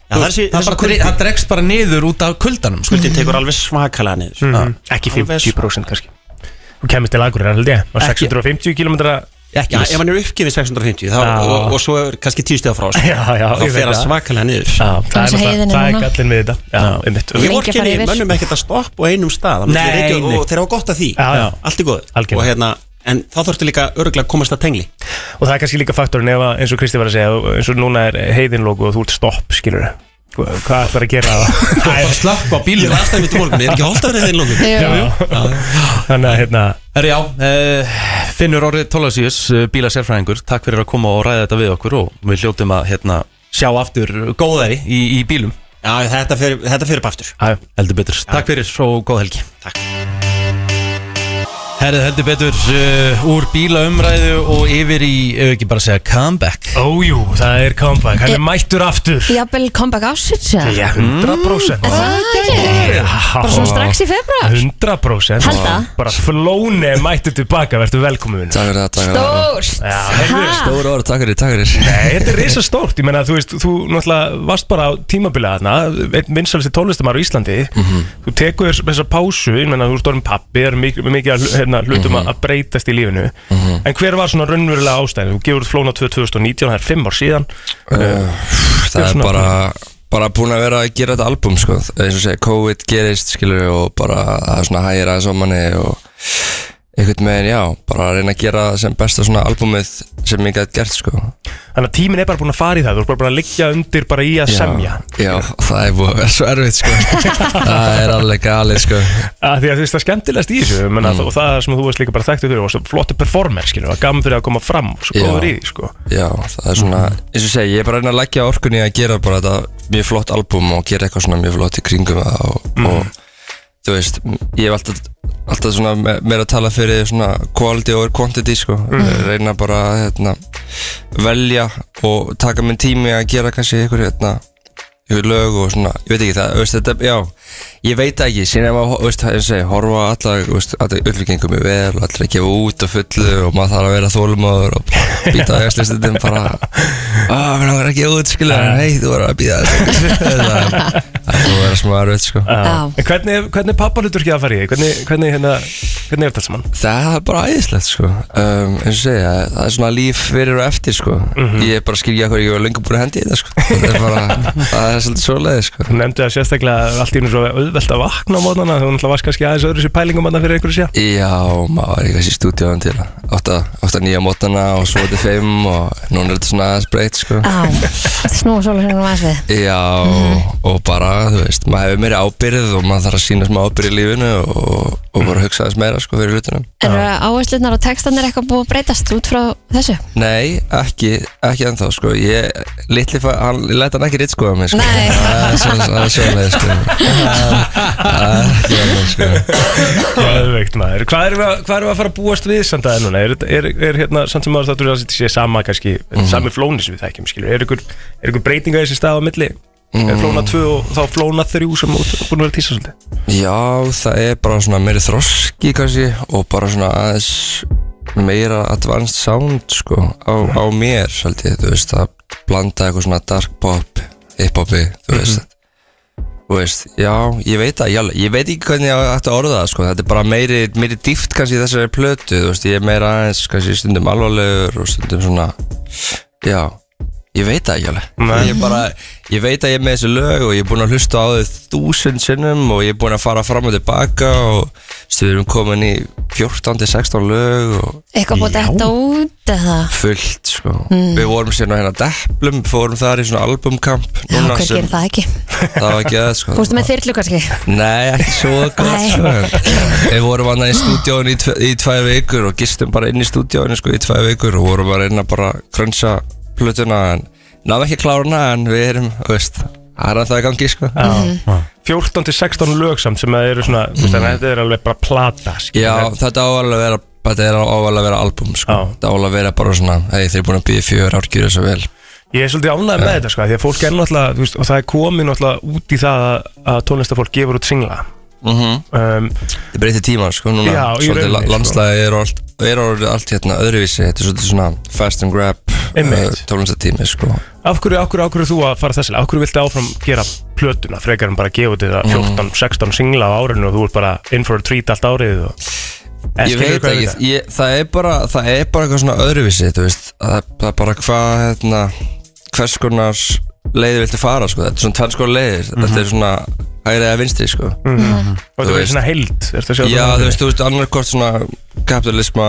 [SPEAKER 7] Já, það, er þessi,
[SPEAKER 2] það, bara, dre- það dregst bara niður út af kuldanum sko.
[SPEAKER 7] skuldin tekur alveg svakalega niður
[SPEAKER 4] Mhm.
[SPEAKER 2] Ah.
[SPEAKER 4] Ekki
[SPEAKER 7] Alveg
[SPEAKER 4] 50% kannski Þú kemist til Akureyrar held ég á
[SPEAKER 2] Ekki.
[SPEAKER 4] 650 km
[SPEAKER 2] ekki
[SPEAKER 7] Já,
[SPEAKER 2] viss.
[SPEAKER 7] ef hann er uppgefið 650 þá,
[SPEAKER 4] Já.
[SPEAKER 7] og, og svo er kannski 10 stíða frá sko.
[SPEAKER 4] Já, já,
[SPEAKER 7] þá
[SPEAKER 4] ég veit
[SPEAKER 7] fer það
[SPEAKER 4] það.
[SPEAKER 7] svakalega niður
[SPEAKER 4] Já, það er,
[SPEAKER 3] Eins og heiðin
[SPEAKER 4] náttúrulega-
[SPEAKER 3] er
[SPEAKER 4] það er
[SPEAKER 3] núna.
[SPEAKER 4] gallin við þetta Já, einmitt
[SPEAKER 7] Við
[SPEAKER 3] Lengi að fara
[SPEAKER 7] vorkinni
[SPEAKER 3] yfir.
[SPEAKER 7] mönnum ekkert að stoppa á einum stað það
[SPEAKER 2] Nei,
[SPEAKER 7] er ekki-
[SPEAKER 2] nei.
[SPEAKER 7] og þeir hafa gott af því
[SPEAKER 4] Já, já.
[SPEAKER 7] allt er góð
[SPEAKER 4] Algjörlega.
[SPEAKER 7] og, hérna, en þá þurftu líka örgulega að komast að tengli
[SPEAKER 4] og það er kannski líka faktorin ef að, eins og Kristi var að segja eins og núna er heiðinlóku og þú ert stopp skilur hvað ætlar að gera
[SPEAKER 2] Það er bara slökk á
[SPEAKER 7] Ég
[SPEAKER 2] bílum
[SPEAKER 7] er aðstæðið mitt í morgun, ég er ekki holdt að vera þeim lókum
[SPEAKER 3] Jú.
[SPEAKER 4] þannig að hérna
[SPEAKER 2] Herri já, uh, Finnur Orri Tólasíus, uh, bílasérfræðingur Takk fyrir að koma og ræða þetta við okkur og við hljótum að hérna, sjá aftur góðari í, í bílum
[SPEAKER 7] Já, þetta fer- þetta fyrir upp aftur
[SPEAKER 4] já, já.
[SPEAKER 2] Heldur betur, takk fyrir og góð helgi
[SPEAKER 7] Takk.
[SPEAKER 2] Herrið heldur betur uh, úr bílaumræðu og yfir í, ef ekki bara að segja, comeback
[SPEAKER 4] Ójú, það er comeback, hann er mættur aftur
[SPEAKER 3] Jafnvel comeback ásins eða?
[SPEAKER 4] Já, 100%
[SPEAKER 3] Er það ekki?
[SPEAKER 4] Já.
[SPEAKER 3] Bara svona strax í februar
[SPEAKER 4] 100%
[SPEAKER 3] Held það.
[SPEAKER 4] Bara flóni er mættur tilbaka, verður velkomin
[SPEAKER 8] Takk fyrir það, takk fyrir það
[SPEAKER 3] Stórst
[SPEAKER 4] Já, heyrðu,
[SPEAKER 3] Ha?
[SPEAKER 8] Stóru orð, takk fyrir, takk fyrir
[SPEAKER 4] Nei, þetta er risa stórt, ég meina þú veist, þú náttúrulega varst bara á tímabilið þarna, einn vinsalisti tónlistamar á Íslandi,
[SPEAKER 8] Mhm.
[SPEAKER 4] þú tekur þess- þessa pásu, ég meina þú ert orðin pappi, það er mikið, mikið að hlu- hérna, hlutum
[SPEAKER 8] Mhm.
[SPEAKER 4] mm að breytast í lífinu, en hver var svona raunverulega ástæðin, þú gefur út flóna 2019, það er fimm ár síðan,
[SPEAKER 8] Eh, Það er
[SPEAKER 4] svona-
[SPEAKER 8] bara, bara búin að vera að gera þetta album sko. eins og segja, COVID gerist skilur og bara það er svona hægir aðeins á manni og einhvern veginn, já, bara að reyna að gera sem besta svona albúmið sem ég gæti gert, sko
[SPEAKER 4] Þannig að tíminn er bara búin að fara í það Þú er bara búin að liggja undir bara í að semja
[SPEAKER 8] Já, já, það er búið að vera svo erfitt, sko Það er alveg galið, sko
[SPEAKER 4] að Því að þú veist það skemmtilegst í þessu menna, mm. Og það sem þú veist líka bara þekktu fyrir Og svo flottu performer, skilur, og gaman fyrir að koma fram og Svo
[SPEAKER 8] Já.
[SPEAKER 4] góður í því, sko
[SPEAKER 8] Já, það er svona, eins og ég segi, ég er bara að reyna að leggja orkunni að gera bara þetta mjög flott albúm og gera eitthvað svona mjög flott í kringum það og, og þú veist, ég hef alltaf, alltaf svona me- meira að tala fyrir svona quality over quantity, sko reyna bara að hérna, velja og taka minn tími að gera kannski ykkur, hérna, ykkur lög og svona, ég veit ekki það, þú veist, þetta, já ég veit það ekki, síðan ef að, þú veist, eins og ég segi, horfa á alla, þú veist, alla uppbyggingum er vel og allir að gefa út og fullu og maður þarf að vera þólmaður og býta á jægslistundum bara að við erum að gefa út, skilja, hei, þú verður að býta það það þú verður smá erfitt, sko
[SPEAKER 3] Já.
[SPEAKER 4] En hvernig, hvernig pappalutur ekki að fara í því? Hvernig, hvernig, hérna, hvernig er þetta saman?
[SPEAKER 8] það er bara æðislegt, sko um, eins og segja, það er svona líf fyrir og eftir, sko ég er bara að skilja hverju ég var lengur búin að hendi í þetta, sko það er bara, það er svolítið svoleiði, sko
[SPEAKER 4] Þú nefndi það sérstaklega allt í einu svo auðvelt að vakna á mótnana Þú náttúrulega varst kannski aðeins öðru sér pælingum þarna fyrir einhverju síðan
[SPEAKER 8] Já, maður var í þessi stúdíóðum til 8-9 mótana og svo til 5 og núna er þetta svona aðeins breytt sko.
[SPEAKER 3] Á, snúa sólarhengunum aðeins við
[SPEAKER 8] Já, og bara, þú veist, maður hefur meiri ábyrð og maður þarf að sína smá ábyrð í lífinu og, og bara hugsa aðeins meira sko fyrir hlutunum.
[SPEAKER 3] Eru áherslunar og textan er eitthvað búið að breytast út frá þessu?
[SPEAKER 8] Nei, ekki, ekki ennþá sko, ég, litli, fa- hann, ég læt hann ekki ritt sko að mig sko.
[SPEAKER 3] Nei.
[SPEAKER 8] Það er svo- það er svolítið sko. Það er ekki annað sko.
[SPEAKER 4] Geðveikt maður. Hvað erum við, að- hvað erum við að fara að búast við samt aðeins núna? Er, er, er hérna, samt sem maður þáttur að þetta sé sama kannski, sami flóni sem við þekkjum, skilur? Er ykkur, er ykkur breytinga þessi stað á milli? Er flóna 2 og þá flóna 3 sem út, búin að vera tísa svolítið?
[SPEAKER 8] Já, það er bara svona meiri þroski kannski og bara svona aðeins meira advanced sound sko á, á mér svolítið, þú veist að blanda eitthvað svona dark pop hip-hopi, þú veist þú veist, já, ég veit að ég, ég veit ekki hvernig ég ætti að orða það sko þetta er bara meiri, meiri dýft kannski í þessari plötu þú veist, ég er meira aðeins kannski stundum alvarlegur og stundum svona já, ég veit það ekki alveg ég, bara, ég veit að ég er með þessu lög og ég er búin að hlusta á þau þúsund sinnum og ég er búin að fara fram og tilbaka og stuðum komin í 14-16 lög og
[SPEAKER 3] Eitthvað búið að detta út eða?
[SPEAKER 8] fullt sko
[SPEAKER 3] Mm.
[SPEAKER 8] við vorum sérna hérna deplum fórum þar í svona albumkamp
[SPEAKER 3] Já,
[SPEAKER 8] núna
[SPEAKER 3] hver
[SPEAKER 8] sem-
[SPEAKER 3] gerir það ekki?
[SPEAKER 8] það var ekki það sko
[SPEAKER 3] Fórstu með þyrlu kannski?
[SPEAKER 8] Nei, ekki svo gott
[SPEAKER 3] Nei.
[SPEAKER 8] sko. Við vorum annað í stúdíóinu í, tve, í tvær vikur og gistum bara inn í stúdíóinu sko, í tvær vikur og vorum að reyna bara að krönsa plötuna en náðum ekki að klára hana en við erum, þú veist, það er að það er gangi sko.
[SPEAKER 4] Já. Mhm. 14 Mhm. til 16 lög samt sem að eru svona, þú veist, þannig að þetta er alveg bara plata, skilur?
[SPEAKER 8] Já, þetta ávalega vera Þetta er ávalega að vera album sko.
[SPEAKER 4] Já.
[SPEAKER 8] Þetta ávalega að vera bara svona Hei, þeir eru búin að býja fjör ár gjöra svo vel
[SPEAKER 4] Ég er svolítið ánægð með þetta sko, því að fólk er náttúrulega, þú veist, og það er komið náttúrulega út í það að- að tónlistafólk gefur út singla.
[SPEAKER 8] mm -hmm.
[SPEAKER 4] Um,
[SPEAKER 8] Þetta breytir tíma sko, núna
[SPEAKER 4] Já, í
[SPEAKER 8] Svolítið
[SPEAKER 4] rauninni,
[SPEAKER 8] la-
[SPEAKER 4] sko.
[SPEAKER 8] landslæði er allt, er orðið allt hérna öðruvísi Þetta er svolítið svona fast and grab
[SPEAKER 4] Einmitt.
[SPEAKER 8] Tónlistatími sko.
[SPEAKER 4] Af hverju, af hverju, af hverju þú að fara þessi leið? Af hverju viltu áfram gera plötuna frekar en bara gefa út
[SPEAKER 8] Mm.
[SPEAKER 4] þetta 14, 16 singla á árinu og þú ert bara in for a treat allt árið og En
[SPEAKER 8] ég
[SPEAKER 4] skilurðu
[SPEAKER 8] veit
[SPEAKER 4] hvað ég
[SPEAKER 8] ekki,
[SPEAKER 4] meina?
[SPEAKER 8] ég, það er bara það er bara eitthvað svona öðruvísi þú veist, það, það er bara hvað hérna, hvers konar leiði viltu fara sko, þetta er svona tvenns konar leiðir
[SPEAKER 4] Mhm.
[SPEAKER 8] þetta er svona hægrið að vinstri sko
[SPEAKER 4] og
[SPEAKER 8] þú
[SPEAKER 4] þú
[SPEAKER 8] veist.
[SPEAKER 4] veist svona heild ertu að sjá
[SPEAKER 8] já,
[SPEAKER 4] það
[SPEAKER 8] þú veist, þú veist, annarkort svona kapitalisma,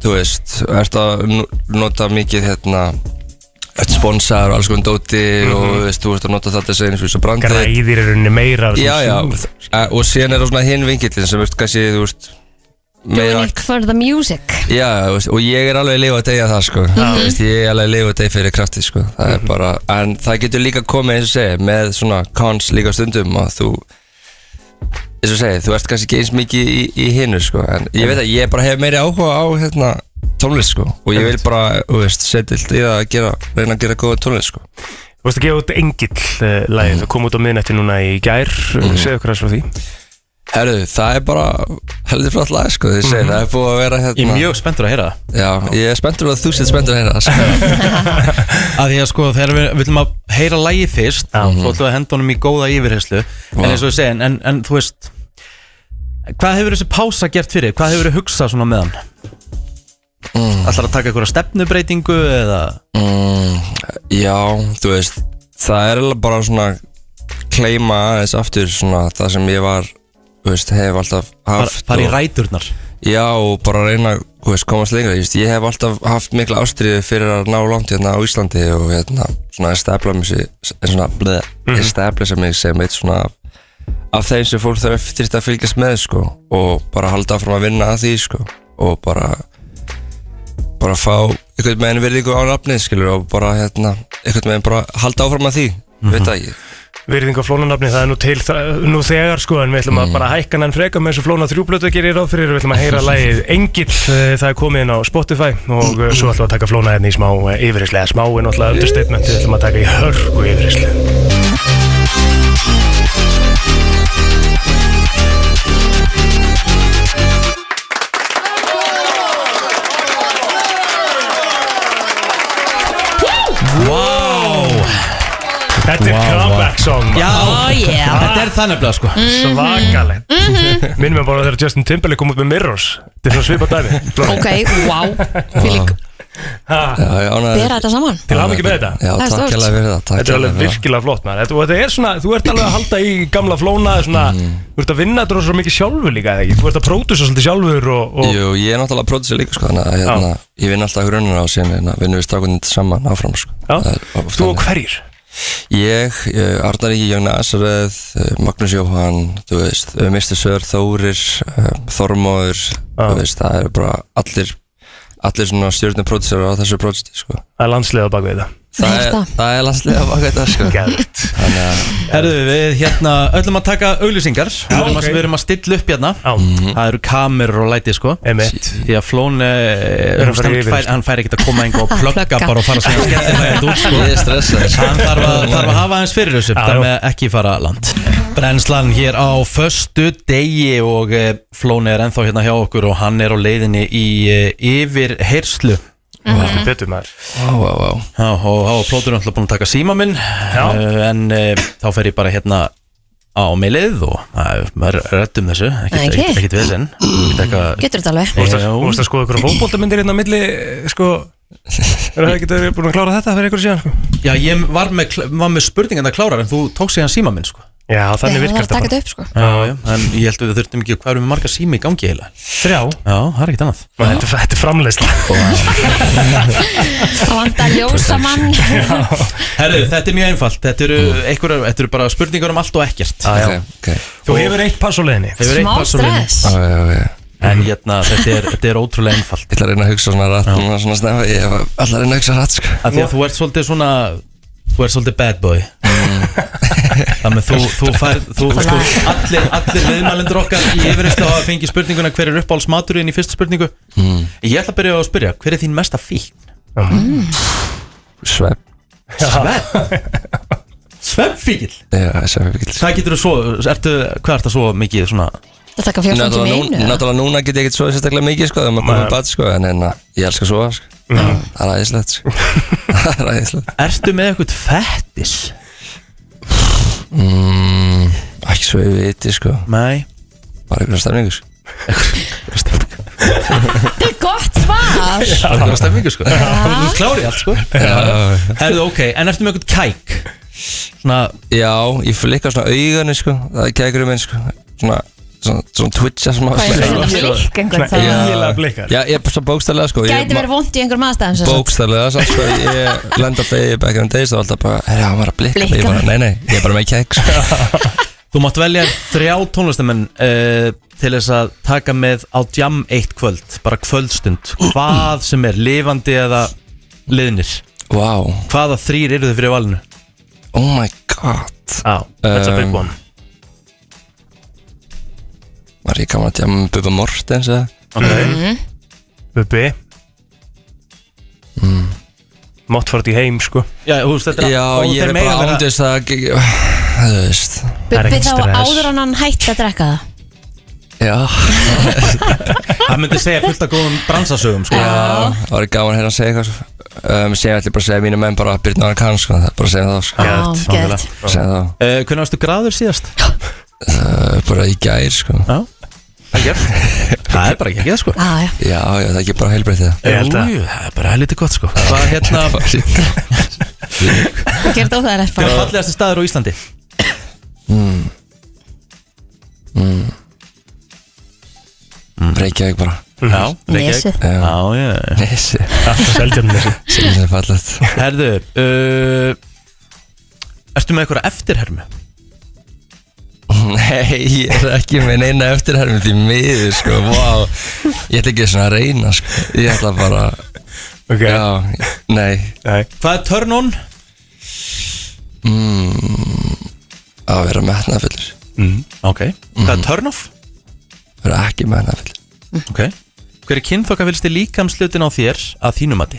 [SPEAKER 8] þú veist ert að nú- nota mikið hérna, ert sponsar og alls konar dóti og
[SPEAKER 4] Mhm.
[SPEAKER 8] þú veist, þú veist að nota þetta segir eins og þessu brandi
[SPEAKER 4] græðir er unni meira
[SPEAKER 8] já, já, Eh,
[SPEAKER 4] svona-
[SPEAKER 8] og- og síðan er það svona hinn vingillin sem, þú veist, kannski, þú veist
[SPEAKER 3] Doing it for the music
[SPEAKER 8] Já, þú veist, og ég er alveg leið að deyja það sko Þú veist, Ég er alveg leið að deyja fyrir krafti sko Það er bara, en það getur líka komið eins og segja með svona cons líka stundum að þú eins og segja, þú ert kannski ekki eins mikið í, í hinu sko, en ég veit að ég bara hef meiri áhuga á hérna tónlist sko og ég vil bara, þú veist, setja allt í það að gera, reyna að gera góða tónlist sko
[SPEAKER 4] Þú veist að gefa út engill uh,
[SPEAKER 8] Mm.
[SPEAKER 4] lagið, það kom út á miðnætti núna í gær
[SPEAKER 8] Mhm.
[SPEAKER 4] mm. segðu okkur aðeins frá því
[SPEAKER 8] Herru, það er bara heldur flott lag sko, þið segir, það er búið að vera
[SPEAKER 2] Ég er
[SPEAKER 8] hérna
[SPEAKER 2] mjög spenntur að heyra það
[SPEAKER 8] Já, ég er spenntur að þú sétt spenntur að heyra það sko
[SPEAKER 2] Að því að sko þegar við viljum að heyra lægi fyrst Þá ætlum við að henda honum í góða yfirherslu En eins og við segja, en, en þú veist Hvað hefur þessi pása gert fyrir? þig? Hvað hefur þið hugsað svona meðan? Mm. Ætlar að taka einhverja stefnubreitingu eða
[SPEAKER 8] Mm, já, þú veist Það er alveg bara svona kleima aðeins aftur svona það sem ég var þú veist, hef alltaf
[SPEAKER 2] fara,
[SPEAKER 8] haft
[SPEAKER 2] fara í
[SPEAKER 8] og-
[SPEAKER 2] ræturnar?
[SPEAKER 8] Já, og bara reyna að þú veist, komast lengra ég, veist, ég hef alltaf haft mikla ástriðu fyrir að ná langt hérna á Íslandi og hérna, svona establa mig sig- svona, bleð, establisa mig sem eitt svona af, af þeim sem fólk þarf þyrst að fylgjast með sko, og bara halda áfram að vinna að því sko, og bara bara fá einhvern veginn virðingu á nafnið skilur og bara hérna, einhvern veginn bara halda áfram að því veit það ekki
[SPEAKER 4] virðingu á flónanafni, það er nú til þa- nú þegar sko, en við ætlum að bara hækka hann freka með þessu flóna þrjúblötu gerir ráð fyrir og við ætlum að heyra lagið Engill, eh, það er komið inn á Spotify og eh, svo ætlum við að taka flóna hérna í smá yfirislega, smá en alltaf understatement við ætlum að taka í hörgu yfirislega Þetta er comeback song
[SPEAKER 2] Já,
[SPEAKER 3] Oh yeah
[SPEAKER 2] þetta er það nefnilega sko
[SPEAKER 4] svakalegt Minnum ég bara þegar Justin Timberlake kom út með Mirrors Þetta er svona svipað dæmi Flóni.
[SPEAKER 3] Ok, wow Fylg,
[SPEAKER 4] Ha,
[SPEAKER 8] Já, ég ánægður-
[SPEAKER 3] bera þetta saman
[SPEAKER 4] Til hafa með þetta
[SPEAKER 8] Já,
[SPEAKER 3] Það er
[SPEAKER 8] takk
[SPEAKER 3] stórt.
[SPEAKER 8] hérlega fyrir það takk
[SPEAKER 4] Þetta er alveg
[SPEAKER 8] hérlega fyrir það.
[SPEAKER 4] virkilega flott maður Þetta- og Þetta er svona, þú ert alveg að halda í gamla flóna svona,
[SPEAKER 8] Mm.
[SPEAKER 4] Þú ert að vinna þetta svo mikið sjálfur líka eða ekki? Þú ert að pródusa svolítið sjálfur og, og
[SPEAKER 8] Jú, ég er náttúrulega pródusir líka sko, þannig að hérna, ég vinn alltaf grunnar á síðan hérna, vinnum við strákunni saman áfram sko.
[SPEAKER 4] Já.
[SPEAKER 8] Það er oft
[SPEAKER 4] Þú og
[SPEAKER 8] þannig.
[SPEAKER 4] hverjir?
[SPEAKER 8] Ég, eh, Arnar Ígi, Jón Asaröð, eh, Magnús Jóhann, þú veist, eh, Mr. Sör, Þórir, eh, Þormóður, þú veist, það eru bara allir, allir svona stjórnir pródusir á þessu pródusti sko.
[SPEAKER 4] Það er landslega bak við þetta
[SPEAKER 3] Það er það.
[SPEAKER 8] það er landslega baka þetta sko.
[SPEAKER 4] Gæðvægt
[SPEAKER 8] Þannig að,
[SPEAKER 2] Herðu við hérna öllum að taka auglýsingar Við erum að-
[SPEAKER 4] ok. Mm.
[SPEAKER 2] við erum að stilla upp hérna
[SPEAKER 4] Já,
[SPEAKER 8] Mm.
[SPEAKER 2] Það eru kamerur og læti sko
[SPEAKER 4] emitt
[SPEAKER 2] Því að Flón, eh,
[SPEAKER 4] Erum bara
[SPEAKER 2] hann,
[SPEAKER 4] yfir,
[SPEAKER 2] fær,
[SPEAKER 4] sko.
[SPEAKER 2] hann fær ekkert að koma einhver og plugga
[SPEAKER 3] Plugga.
[SPEAKER 2] bara og fara að segja skemmtilega út sko
[SPEAKER 8] ég er stressað sko.
[SPEAKER 2] Hann þarf að, þarf að hafa hans fyrir þessu
[SPEAKER 4] Já,
[SPEAKER 2] Það
[SPEAKER 4] já.
[SPEAKER 2] með ekki fara land Brennslan hér á föstu degi og eh, Flóni er ennþá hérna hjá okkur og hann er á leiðinni í eh, yfir heyrslu
[SPEAKER 3] Mhm.
[SPEAKER 4] Þetta er betur maður
[SPEAKER 8] Vá, vá, vá.
[SPEAKER 2] Já, og þá er plótur náttúrulega búin að taka síma minn eh, en eh, þá fer ég bara hérna á meilið og eh, maður rættum þessu ekkert
[SPEAKER 3] Ok.
[SPEAKER 2] okay. ekkit, ekkit vesen ekkit eitthvað Eh,
[SPEAKER 3] Getur þetta alveg
[SPEAKER 4] Þú veist að-
[SPEAKER 2] Já.
[SPEAKER 4] þú veist að skoða ykkur fótboltamyndir hérna á milli eh, sko Er það ekki búin að klára þetta fyrir ykkur síðan? Sko?
[SPEAKER 2] Já, ég var með, kl- var með spurningan að klára en þú tók síðan síma minn sko
[SPEAKER 4] Já, þannig
[SPEAKER 3] Það
[SPEAKER 4] virkar
[SPEAKER 3] er að
[SPEAKER 4] þetta
[SPEAKER 3] taka
[SPEAKER 4] bara
[SPEAKER 3] þetta upp sko
[SPEAKER 2] Já, já, en ég held að við þurftum ekki hvað erum við marga sími í gangi heila Já,
[SPEAKER 4] Þrjá
[SPEAKER 2] það er ekkit annað
[SPEAKER 4] Maður, Þetta þetta er framleiðsla
[SPEAKER 3] Það vantar ljósamann
[SPEAKER 2] Herru, þetta er mjög einfalt Þetta eru, einhverjar, þetta eru bara spurningar um allt og ekkert
[SPEAKER 4] Já,
[SPEAKER 8] Ok,
[SPEAKER 4] já.
[SPEAKER 8] ok.
[SPEAKER 4] Þú hefur eitt pass á leiðinni
[SPEAKER 2] Þau eru eitt
[SPEAKER 3] Smá
[SPEAKER 2] persónuleg.
[SPEAKER 3] stress
[SPEAKER 8] Já, já, já.
[SPEAKER 2] En hérna, þetta er, þetta er ótrúlega einfalt
[SPEAKER 8] Ég ætla að reyna að hugsa svona rætt núna svona snemma, ég hef alltaf að reyna að hugsa rætt sko.
[SPEAKER 2] Af því að þú ert svolítið svona Þú ert svolítið bad boy Þannig að þú, þú fær þú, Mm. sko, Allir, allir viðmælendur okkar í yfirreyslu hafa fengið spurninguna hver er uppáhalds maturinn í fyrstu spurningu Ég ætla að byrja á að spyrja, hver er þín mesta fíkn?
[SPEAKER 8] Svepp,
[SPEAKER 2] Svepp Sveppfíkil
[SPEAKER 8] já, svepp ekki
[SPEAKER 2] Hvað getur þú svo, ertu, hvað ert það svo mikið svona
[SPEAKER 3] Það taka 14 tíma í
[SPEAKER 8] Náttúrulega
[SPEAKER 3] einu
[SPEAKER 8] núna,
[SPEAKER 3] eða?
[SPEAKER 8] náttúrulega núna get ég ekkert svoðið sérstaklega mikið sko, þegar maður komið bad sko, en hérna, ég elska að svoða sko. Það er æðislegt sko. Það er æðislegt.
[SPEAKER 2] Ertu með eitthvað fettis?
[SPEAKER 8] Mm, ekki svo ég viti sko,
[SPEAKER 2] Nei
[SPEAKER 8] bara einhverja stemningu sko.
[SPEAKER 3] Þetta er gott svar
[SPEAKER 2] Það er stemmingu sko Þú ert klári allt sko
[SPEAKER 8] Já,
[SPEAKER 2] Herðu ok, en ertu með eitthvað kæk? Svona,
[SPEAKER 8] já, ég flikka svona augunni sko, það kækur um einn sko, svona, svona, svona twitcha smá.
[SPEAKER 3] Hvað er
[SPEAKER 8] svona-
[SPEAKER 3] þetta blikk einhvern
[SPEAKER 4] Svona
[SPEAKER 3] það?
[SPEAKER 4] Ægilega blikkar.
[SPEAKER 8] Já, ég er bara svo bókstallega sko. ég-
[SPEAKER 3] Gæti verið vond í einhverjum aðstæðum sem sagt.
[SPEAKER 8] Bókstarlega sann, sko, ég lenda baby back in the days og alltaf bara, herra, hann var að blikka mig, ég
[SPEAKER 3] Blikka
[SPEAKER 8] bara, nei, nei, ég er bara með kegg, sko.
[SPEAKER 2] þú mátt velja þrjá tónlistamenn uh, til þess að taka með á jam eitt kvöld bara kvöldstund, hvað sem er lifandi eða liðnir
[SPEAKER 8] Wow,
[SPEAKER 2] hvaða þrýr eru þau fyrir valinu?
[SPEAKER 8] oh my god.
[SPEAKER 4] Já, that's a big
[SPEAKER 8] Um,
[SPEAKER 4] one
[SPEAKER 8] Var ég gaman að tjáma með Bubba Mortens eða?
[SPEAKER 4] Bubbi
[SPEAKER 8] Mm.
[SPEAKER 4] Mátt fara því heim sko
[SPEAKER 2] Já, þú veist þetta er-
[SPEAKER 8] Já,
[SPEAKER 2] og
[SPEAKER 8] ég
[SPEAKER 2] þeir
[SPEAKER 8] er
[SPEAKER 2] mega
[SPEAKER 8] bara
[SPEAKER 2] vera-
[SPEAKER 8] ándist að, þú veist,
[SPEAKER 4] Það er
[SPEAKER 3] Bubbi
[SPEAKER 4] ekkert
[SPEAKER 3] þá
[SPEAKER 4] stress.
[SPEAKER 3] áður en hann hætti að drekka það
[SPEAKER 8] já,
[SPEAKER 2] Það myndi segja fullt af góðum bransasögum sko.
[SPEAKER 8] það var gaman að hérna að segja eitthvað, sko. Um, Sér ætli bara að segja mínu menn bara að byrna hann kann, sko, það er bara að segja það, sko.
[SPEAKER 3] Já, gett
[SPEAKER 8] Bara að segja það,
[SPEAKER 2] uh, Hvernig varstu graður síðast?
[SPEAKER 8] uh, bara í gær, sko.
[SPEAKER 2] Já, það er Það er bara ekki ekki það sko
[SPEAKER 3] Já, Ah, já.
[SPEAKER 8] Já, já, það er ekki bara heilbreytið.
[SPEAKER 4] Ég held að-
[SPEAKER 2] Jú, jú, það er bara helviti gott sko Hvað hérna, hvað
[SPEAKER 3] Það gerði óþægilegt
[SPEAKER 2] er
[SPEAKER 3] bara
[SPEAKER 2] fallegasti staður á Íslandi?
[SPEAKER 8] Mm. Reykjavík bara
[SPEAKER 4] Já,
[SPEAKER 3] Nesið.
[SPEAKER 8] Já,
[SPEAKER 2] Já, já
[SPEAKER 8] Nesi
[SPEAKER 4] alltaf seldjarnir
[SPEAKER 8] sem er fallegt
[SPEAKER 2] Herðu uh, Ertu með eitthvað eftirhermu?
[SPEAKER 8] Nei, ég er ekki með neina eftirhermi því miður, sko, vá Ég ætla ekki svona að reyna, sko Ég ætla bara,
[SPEAKER 4] Ok,
[SPEAKER 8] já, nei
[SPEAKER 4] nei
[SPEAKER 2] Hvað er turn on?
[SPEAKER 8] að vera metnafullur
[SPEAKER 2] Mm, Ok Hvað er turn off?
[SPEAKER 8] vera ekki metnafullur
[SPEAKER 2] Ok Hver er kynþokkafylsti líkamslutin á þér að þínumati?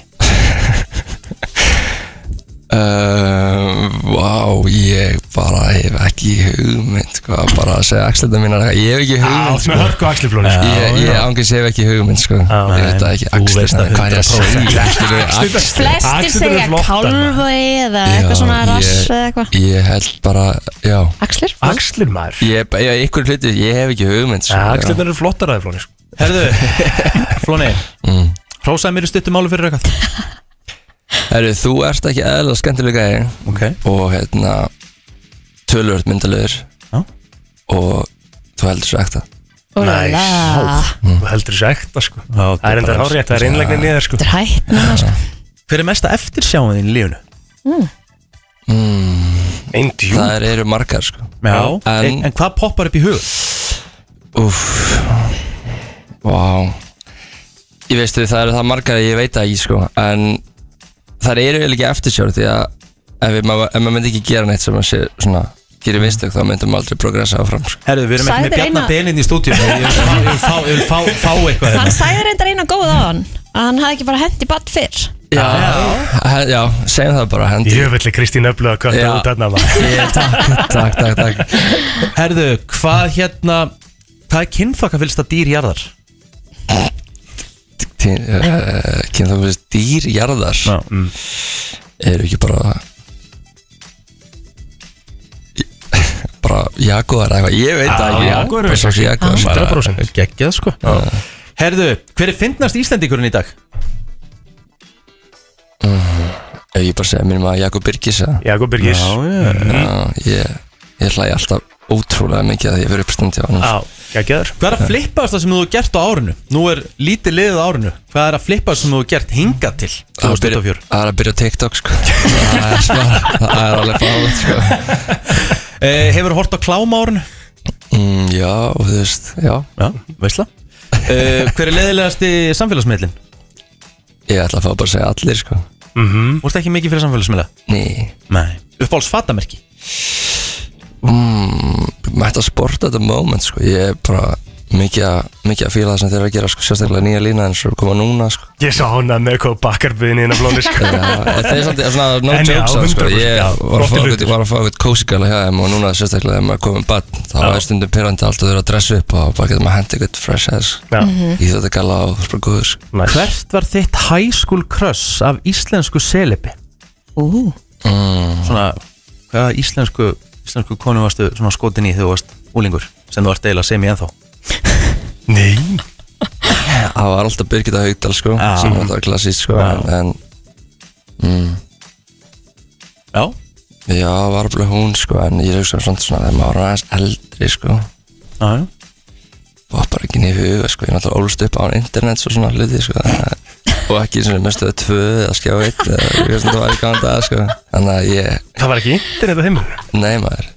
[SPEAKER 8] Uh, vá, ég bara hef ekki hugmynd sko, bara að segja axlita mínar eitthvað. ég hef ekki
[SPEAKER 4] Á,
[SPEAKER 8] hugmynd sko.
[SPEAKER 4] með hörku axliflónu
[SPEAKER 8] ég, ég angis hef ekki hugmynd sko. ég
[SPEAKER 4] nei,
[SPEAKER 8] veit það ekki,
[SPEAKER 4] þú veist
[SPEAKER 8] axlita
[SPEAKER 4] að
[SPEAKER 8] hvað er ég að
[SPEAKER 4] 100%
[SPEAKER 8] segja Skilurðu, axlirnar?
[SPEAKER 3] Flestir segja kálvei eða eitthvað svona
[SPEAKER 8] Já,
[SPEAKER 3] rass
[SPEAKER 8] ég-
[SPEAKER 3] eða eitthvað
[SPEAKER 8] ég held bara, já
[SPEAKER 3] Axlir?
[SPEAKER 4] Axlir maður
[SPEAKER 8] ég, já, ykkur hluti, ég hef ekki hugmynd sko, já.
[SPEAKER 4] Axlirnar eru flottar sko. aðeins flónu
[SPEAKER 2] Herðu Flóni Mm. Rósaði mér í stuttum málu fyrir eitthvað
[SPEAKER 8] Heru, þú ert ekki eðla skemmtilega gæði
[SPEAKER 2] Ok
[SPEAKER 8] og hérna tölvöld myndalegur
[SPEAKER 2] Já.
[SPEAKER 8] og þú heldur svo ekta
[SPEAKER 4] Næs.
[SPEAKER 8] Mm.
[SPEAKER 4] Þú heldur þessu ekta sko Það er enda hárétt, það er innlegni niður sko
[SPEAKER 3] Þetta er hætt núna sko.
[SPEAKER 2] Hver er mesta eftirsjáin þín í lífunu?
[SPEAKER 4] Einn djú
[SPEAKER 8] það eru margar sko
[SPEAKER 2] Já En,
[SPEAKER 8] En-
[SPEAKER 2] en hvað poppar upp í hug?
[SPEAKER 8] Úff Vá Ég veistu það eru það margar að ég veit það ekki sko En það eru eiginlega ekki eftirsjór Því að ef við- maður ef maður myndi ekki gera neitt sem að sé svona Gerir mistök þá myndum maður aldrei progressa áfram sko
[SPEAKER 2] Herðu, við erum ekki með
[SPEAKER 3] Sagðir
[SPEAKER 2] Bjarna
[SPEAKER 3] eina-
[SPEAKER 2] Benin í stúdíu Ég vil fá- ég vil fá, ég vil fá, fá eitthvað
[SPEAKER 3] Hann
[SPEAKER 2] hérna.
[SPEAKER 3] sagði reyndar eina góð á hann að hann hafði ekki bara hendi badd fyrr
[SPEAKER 8] Já, já, já segjum það bara hendi
[SPEAKER 4] Jöfnvelli Kristín Öflug að kvarta
[SPEAKER 8] Já.
[SPEAKER 4] út aðna maður
[SPEAKER 8] Ég- Takk, takk, takk, takk
[SPEAKER 2] Herðu, hvað hérna Hvað er kynþokkafylsta dýr jarðar?
[SPEAKER 8] Kynna þú veist dýr jarðar
[SPEAKER 2] mm.
[SPEAKER 8] Eru ekki bara bara jaguar eða eitthvað, ég veit það ekki
[SPEAKER 4] Jaguar eru
[SPEAKER 8] Bara svo sem jaguar, bara-
[SPEAKER 4] 100%
[SPEAKER 2] Geggjað sko Herðu, hver er fyndnast Íslendikurinn í dag?
[SPEAKER 8] Ef ég bara segja minnum að Jakob Birgis eða?
[SPEAKER 4] Jakob Birgis
[SPEAKER 2] já
[SPEAKER 8] Já, ég, ég hlæ alltaf ótrúlega mikið að ég verið uppstandi á hann
[SPEAKER 4] Á, geggjaður
[SPEAKER 2] Hvað er að flippaðast það sem þú hefur gert á árinu? Nú er lítið liðið á árinu Hvað er að flippaðast sem þú hefur gert hingað til
[SPEAKER 8] Það er að byrja-
[SPEAKER 2] 2024?
[SPEAKER 8] það er að byrja á TikTok sko Það er bara- það er alveg fáið sko
[SPEAKER 2] Uh, hefur hort á klám á árinu?
[SPEAKER 8] mm, Já, og þú veist, já
[SPEAKER 2] Já, veistla uh, Hver er leiðilegasti samfélagsmiðlinn?
[SPEAKER 8] Ég ætla að fá bara að segja allir sko
[SPEAKER 2] Þú ert ekki mikið fyrir samfélagsmiðla?
[SPEAKER 8] Ný,
[SPEAKER 2] Mm. Nei Uppáhalds fatamerki?
[SPEAKER 8] mm, mætti að sporta þetta moment sko Ég er bara mikið að, mikið að fíla það sem þeir eru að gera sko Sérstaklega nýja lína eins og koma núna sko
[SPEAKER 4] Ég sá hana með eitthvað bakkarbyðin innan blóni sko
[SPEAKER 8] Já, en þeir samt er svona no
[SPEAKER 4] En já,
[SPEAKER 8] jokes að sko,
[SPEAKER 4] 100%,
[SPEAKER 8] ég
[SPEAKER 4] já,
[SPEAKER 8] var að fá
[SPEAKER 4] flottir
[SPEAKER 8] eitthvað,
[SPEAKER 4] hlutir.
[SPEAKER 8] var að fá eitthvað cozy gæla hjá þeim og núna sérstaklega þegar maður komið bann, þá er stundum pyrrandi alltaf að vera að dressa upp og bara getur maður hendi eitthvað fresh ass
[SPEAKER 4] Já,
[SPEAKER 8] í þetta gæla og það er bara góður sko.
[SPEAKER 4] næs
[SPEAKER 2] Hvert var þitt high school crush af íslensku selebi?
[SPEAKER 3] Ú,
[SPEAKER 2] Svona, hvaða íslensku, íslensku konu varstu svona skotin í þegar þú varst úlingur sem þú ert eiginlega sem ég ennþá
[SPEAKER 4] Nei
[SPEAKER 8] Það var alltaf Birgitta Haugdal sko,
[SPEAKER 2] Já.
[SPEAKER 8] sem var alltaf klassísk sko,
[SPEAKER 4] Já.
[SPEAKER 8] en,
[SPEAKER 2] Já
[SPEAKER 8] en já, var alveg hún sko, en ég er hugsa svona svona þegar maður var aðeins eldri sko,
[SPEAKER 2] Já,
[SPEAKER 8] var bara ekki niður huga sko, ég er náttúrulega ólst upp á internet svo svona hluti sko, þannig að- og ekki svona mestuðu tvö eða skjá eitt eða ég veist þetta var í gamla dag sko, þannig að ég,
[SPEAKER 4] Það var ekki internet á heimilinu
[SPEAKER 8] nei maður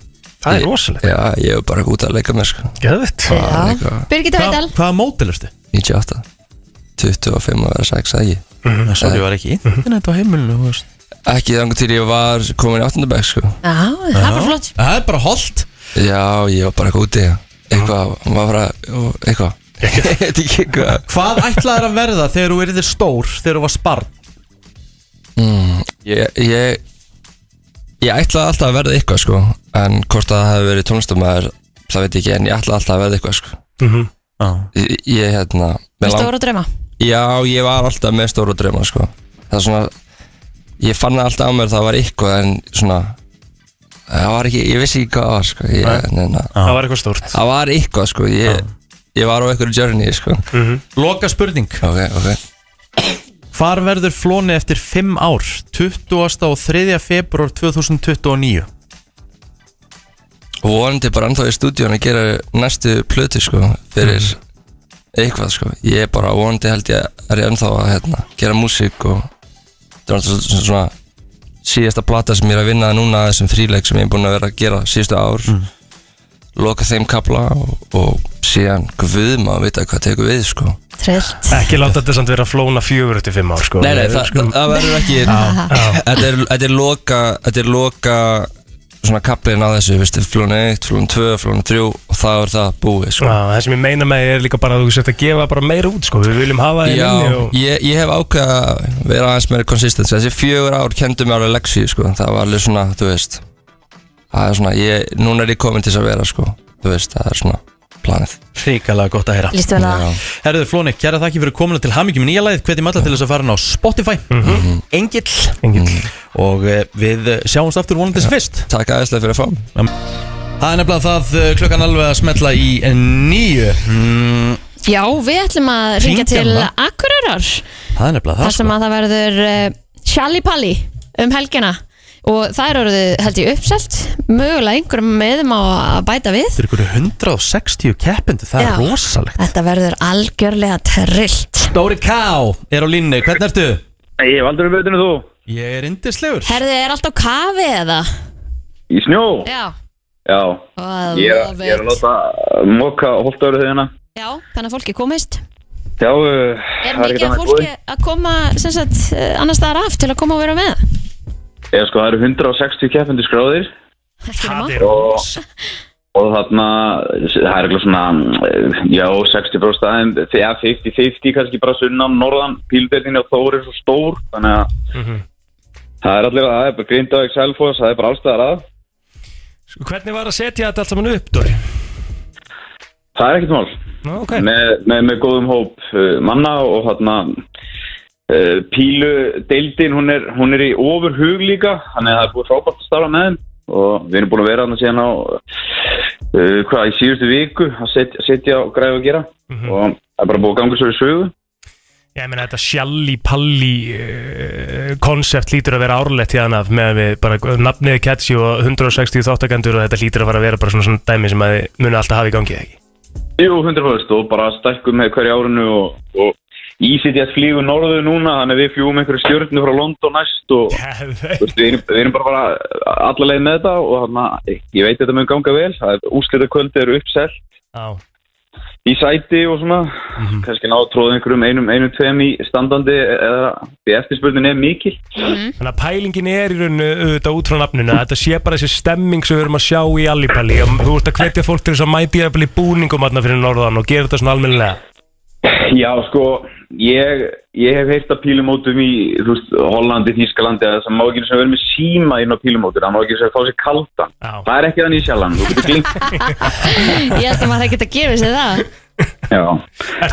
[SPEAKER 4] Það er
[SPEAKER 8] Ég-
[SPEAKER 4] rosalegt
[SPEAKER 8] Já, ég hef bara út að leika mér sko
[SPEAKER 4] Geðvitt
[SPEAKER 8] Bara
[SPEAKER 3] já
[SPEAKER 8] eitthvað
[SPEAKER 3] Birgitta Veidal
[SPEAKER 2] Hvað, hvaða mótil erstu?
[SPEAKER 8] 98 25 og vera 6 ekki
[SPEAKER 2] Sorry, ég var ekki internet á heimilinu þú veist.
[SPEAKER 8] Ekki þangur til ég var komin í 8. bekk sko
[SPEAKER 3] Já, það er bara flott
[SPEAKER 2] Það er bara holdt
[SPEAKER 8] Já, ég var bara eitthvað úti Eitthvað, maður bara, og eitthvað Ég veit ekki eitthvað
[SPEAKER 2] Hvað ætlaðir að verða þegar þú erðir stór þegar þú var sparn?
[SPEAKER 8] Ég, ég, ég ætlaði alltaf að verða eitthvað sko En hvort að það hefði verið tónlistamæður Það veit ég ekki, en ég ætlaði alltaf að verða eitthvað sko
[SPEAKER 2] Já
[SPEAKER 8] Ég, ég hérna mig
[SPEAKER 3] Með
[SPEAKER 8] lang-
[SPEAKER 3] stóra drauma
[SPEAKER 8] Já, ég var alltaf með stóru drauma sko. Það er svona Ég fann það alltaf á mér það var eitthvað En svona Það var ekki, ég vissi ekki hvað það var sko. ég, neina,
[SPEAKER 4] Það var eitthvað stórt
[SPEAKER 8] Það var eitthvað sko. ég, ég var á einhverju journey sko.
[SPEAKER 2] Loka spurning
[SPEAKER 8] Ok, ok
[SPEAKER 2] Hvar verður flóni eftir 5 ár? 20. og 3. februar 2029
[SPEAKER 8] Og vonandi bara ennþá í stúdíun að gera næstu plötu sko, Fyrir eitthvað sko ég er bara vonandi held ég er ég ennþá að hérna, gera músík og þetta er alltaf svona, svona síðasta plata sem ég er að vinna núna þessum þríleik sem ég er búin að vera að gera síðustu ár loka þeim kapla og, og síðan guð maður að vita hvað tekur við sko
[SPEAKER 3] trillt
[SPEAKER 4] Ekki láta þetta samt vera flóna fjögur eftir fimm ár sko
[SPEAKER 8] Nei, nei,
[SPEAKER 4] Við
[SPEAKER 8] það,
[SPEAKER 4] skulum-
[SPEAKER 8] það verður ekki Þetta er, þetta er loka Þetta er loka Svona kaplinn á þessu, veistu, flón 1, flón 2, flón 3 Og það er það búið, sko
[SPEAKER 4] Já, það sem ég meina með er líka bara að þú sett að gefa bara meira út sko Við viljum hafa það í
[SPEAKER 8] Já,
[SPEAKER 4] minni og
[SPEAKER 8] ég, ég hef ákveð að vera aðeins meira konsistens Þessi fjögur ár kendur mér alveg leksi, sko Það var alveg svona, þú veist Það er svona, ég, núna er ég komin til þess að vera, sko Þú veist, það er svona planið
[SPEAKER 2] Ríkalega gott að heyra
[SPEAKER 3] Lýstu vel að
[SPEAKER 8] Já,
[SPEAKER 2] Herðu Flóni, kæra þakki fyrir komuna til hamingjum í nýja lagið Hvetjum alla til þess að fara ná Spotify Engill
[SPEAKER 4] engin
[SPEAKER 2] Og eh, við eh, sjáumst aftur vonandi sem fyrst
[SPEAKER 8] Takk aðeinslega fyrir að fá mig.
[SPEAKER 2] Það er nefnilega það eh, klukkan alveg að smetla í eh, nýju mm,
[SPEAKER 3] Já, við ætlum að ringa
[SPEAKER 2] Hringjum
[SPEAKER 3] til
[SPEAKER 2] það.
[SPEAKER 3] Akureyrar
[SPEAKER 2] Það er nefnilega
[SPEAKER 3] þar
[SPEAKER 2] það
[SPEAKER 3] sem
[SPEAKER 2] sko
[SPEAKER 3] að það verður uh, Shalipalli um helgina og það er orðið held ég uppselt mögulega einhverjum meðum á að bæta við
[SPEAKER 2] Þetta er ykkur 160 keppindu, það
[SPEAKER 3] Já.
[SPEAKER 2] er rosalegt
[SPEAKER 3] Þetta verður algjörlega trillt
[SPEAKER 2] Dóri Ká er á línu, hvernig ertu?
[SPEAKER 9] Ég hef aldrei veitin þú
[SPEAKER 2] Ég er indislegur
[SPEAKER 3] Herðið er alltaf kafi eða?
[SPEAKER 9] Í snjó?
[SPEAKER 3] Já
[SPEAKER 9] Já
[SPEAKER 3] Og
[SPEAKER 9] Ég, er- ég er að láta moka holta öru þeirna
[SPEAKER 3] Já, þannig að fólki komist
[SPEAKER 9] Já uh,
[SPEAKER 3] Er
[SPEAKER 9] það
[SPEAKER 3] mikið
[SPEAKER 9] ekkert
[SPEAKER 3] af
[SPEAKER 9] annað
[SPEAKER 3] fólki að koma sem sagt, eh, annars staðar af til að koma og vera með?
[SPEAKER 9] boðið. Ég sko það eru 160 keppendur skráðir
[SPEAKER 3] Ekki nema.
[SPEAKER 4] Það er
[SPEAKER 9] Og Og þarna, það er eitthvað svona, eh, já, 60 frá staðin, þegar 50-50, kannski bara sunnan, norðan, píldeldinni og Þór er svo stór, þannig að það er allir, það er bara Grindavík, Selfoss, það er bara allstæðar að.
[SPEAKER 4] Sko, Hvernig var að setja þetta allt saman upp, Dóri?
[SPEAKER 9] Það er ekkert mál.
[SPEAKER 4] Ná, ok
[SPEAKER 9] með, með, með góðum hóp uh, manna og þarna uh, pílu deildin hún er, hún er í ofur hug líka þannig að það er búið frábært að starfa með þeim og við erum búin að vera hann síðan á uh, hvað í síðustu viku að setja, setja og græfa að gera og það er bara búið að ganga svo í sögu
[SPEAKER 4] Ég meina þetta sjalli palli uh, konsept lítur að vera árlegt hérna af með að við bara nafnið er catchy og 160 þáttakendur og þetta lítur að fara að vera bara svona, svona dæmi sem að þið muni alltaf hafa í gangi eða ekki
[SPEAKER 9] Jú, 100% og bara stækkum með hverju árinu og, og E Ísitjast flýgur norðu núna þannig að við fljúum einhverju stjórnu frá London næst og
[SPEAKER 4] Geðveikt.
[SPEAKER 9] Þú veist, við, erum, við erum bara, bara allalegið með þetta og þarna, ég veit þetta mun ganga vel það er úrslitakvöldi eru uppsell
[SPEAKER 4] Já,
[SPEAKER 9] í sæti og svona kannski ná að tróða einhverjum einum, einum, tveim í standandi eða því eftirspurnin er mikil
[SPEAKER 4] þannig að pælingin er í rauninu auðvitað út frá nafninu að þetta sé bara þessi stemming sem við erum að sjá í allipalli og þú ert að hvetja fólk til þess að mæti að bli búningum aðna fyrir norðan og gera þetta svona almennilega
[SPEAKER 9] Já, sko, ég, ég hef heyrt að pílumótum í þú veist, Hollandi, Þískalandi að það má ekki einu sinni vera með síma inn á pílumótur það má ekki eins og fá sér kaldan
[SPEAKER 4] Já.
[SPEAKER 9] það er ekki þannig í sjálfan þú getur glint
[SPEAKER 3] Ég held að maður ekkert að gefa sér það
[SPEAKER 9] Já.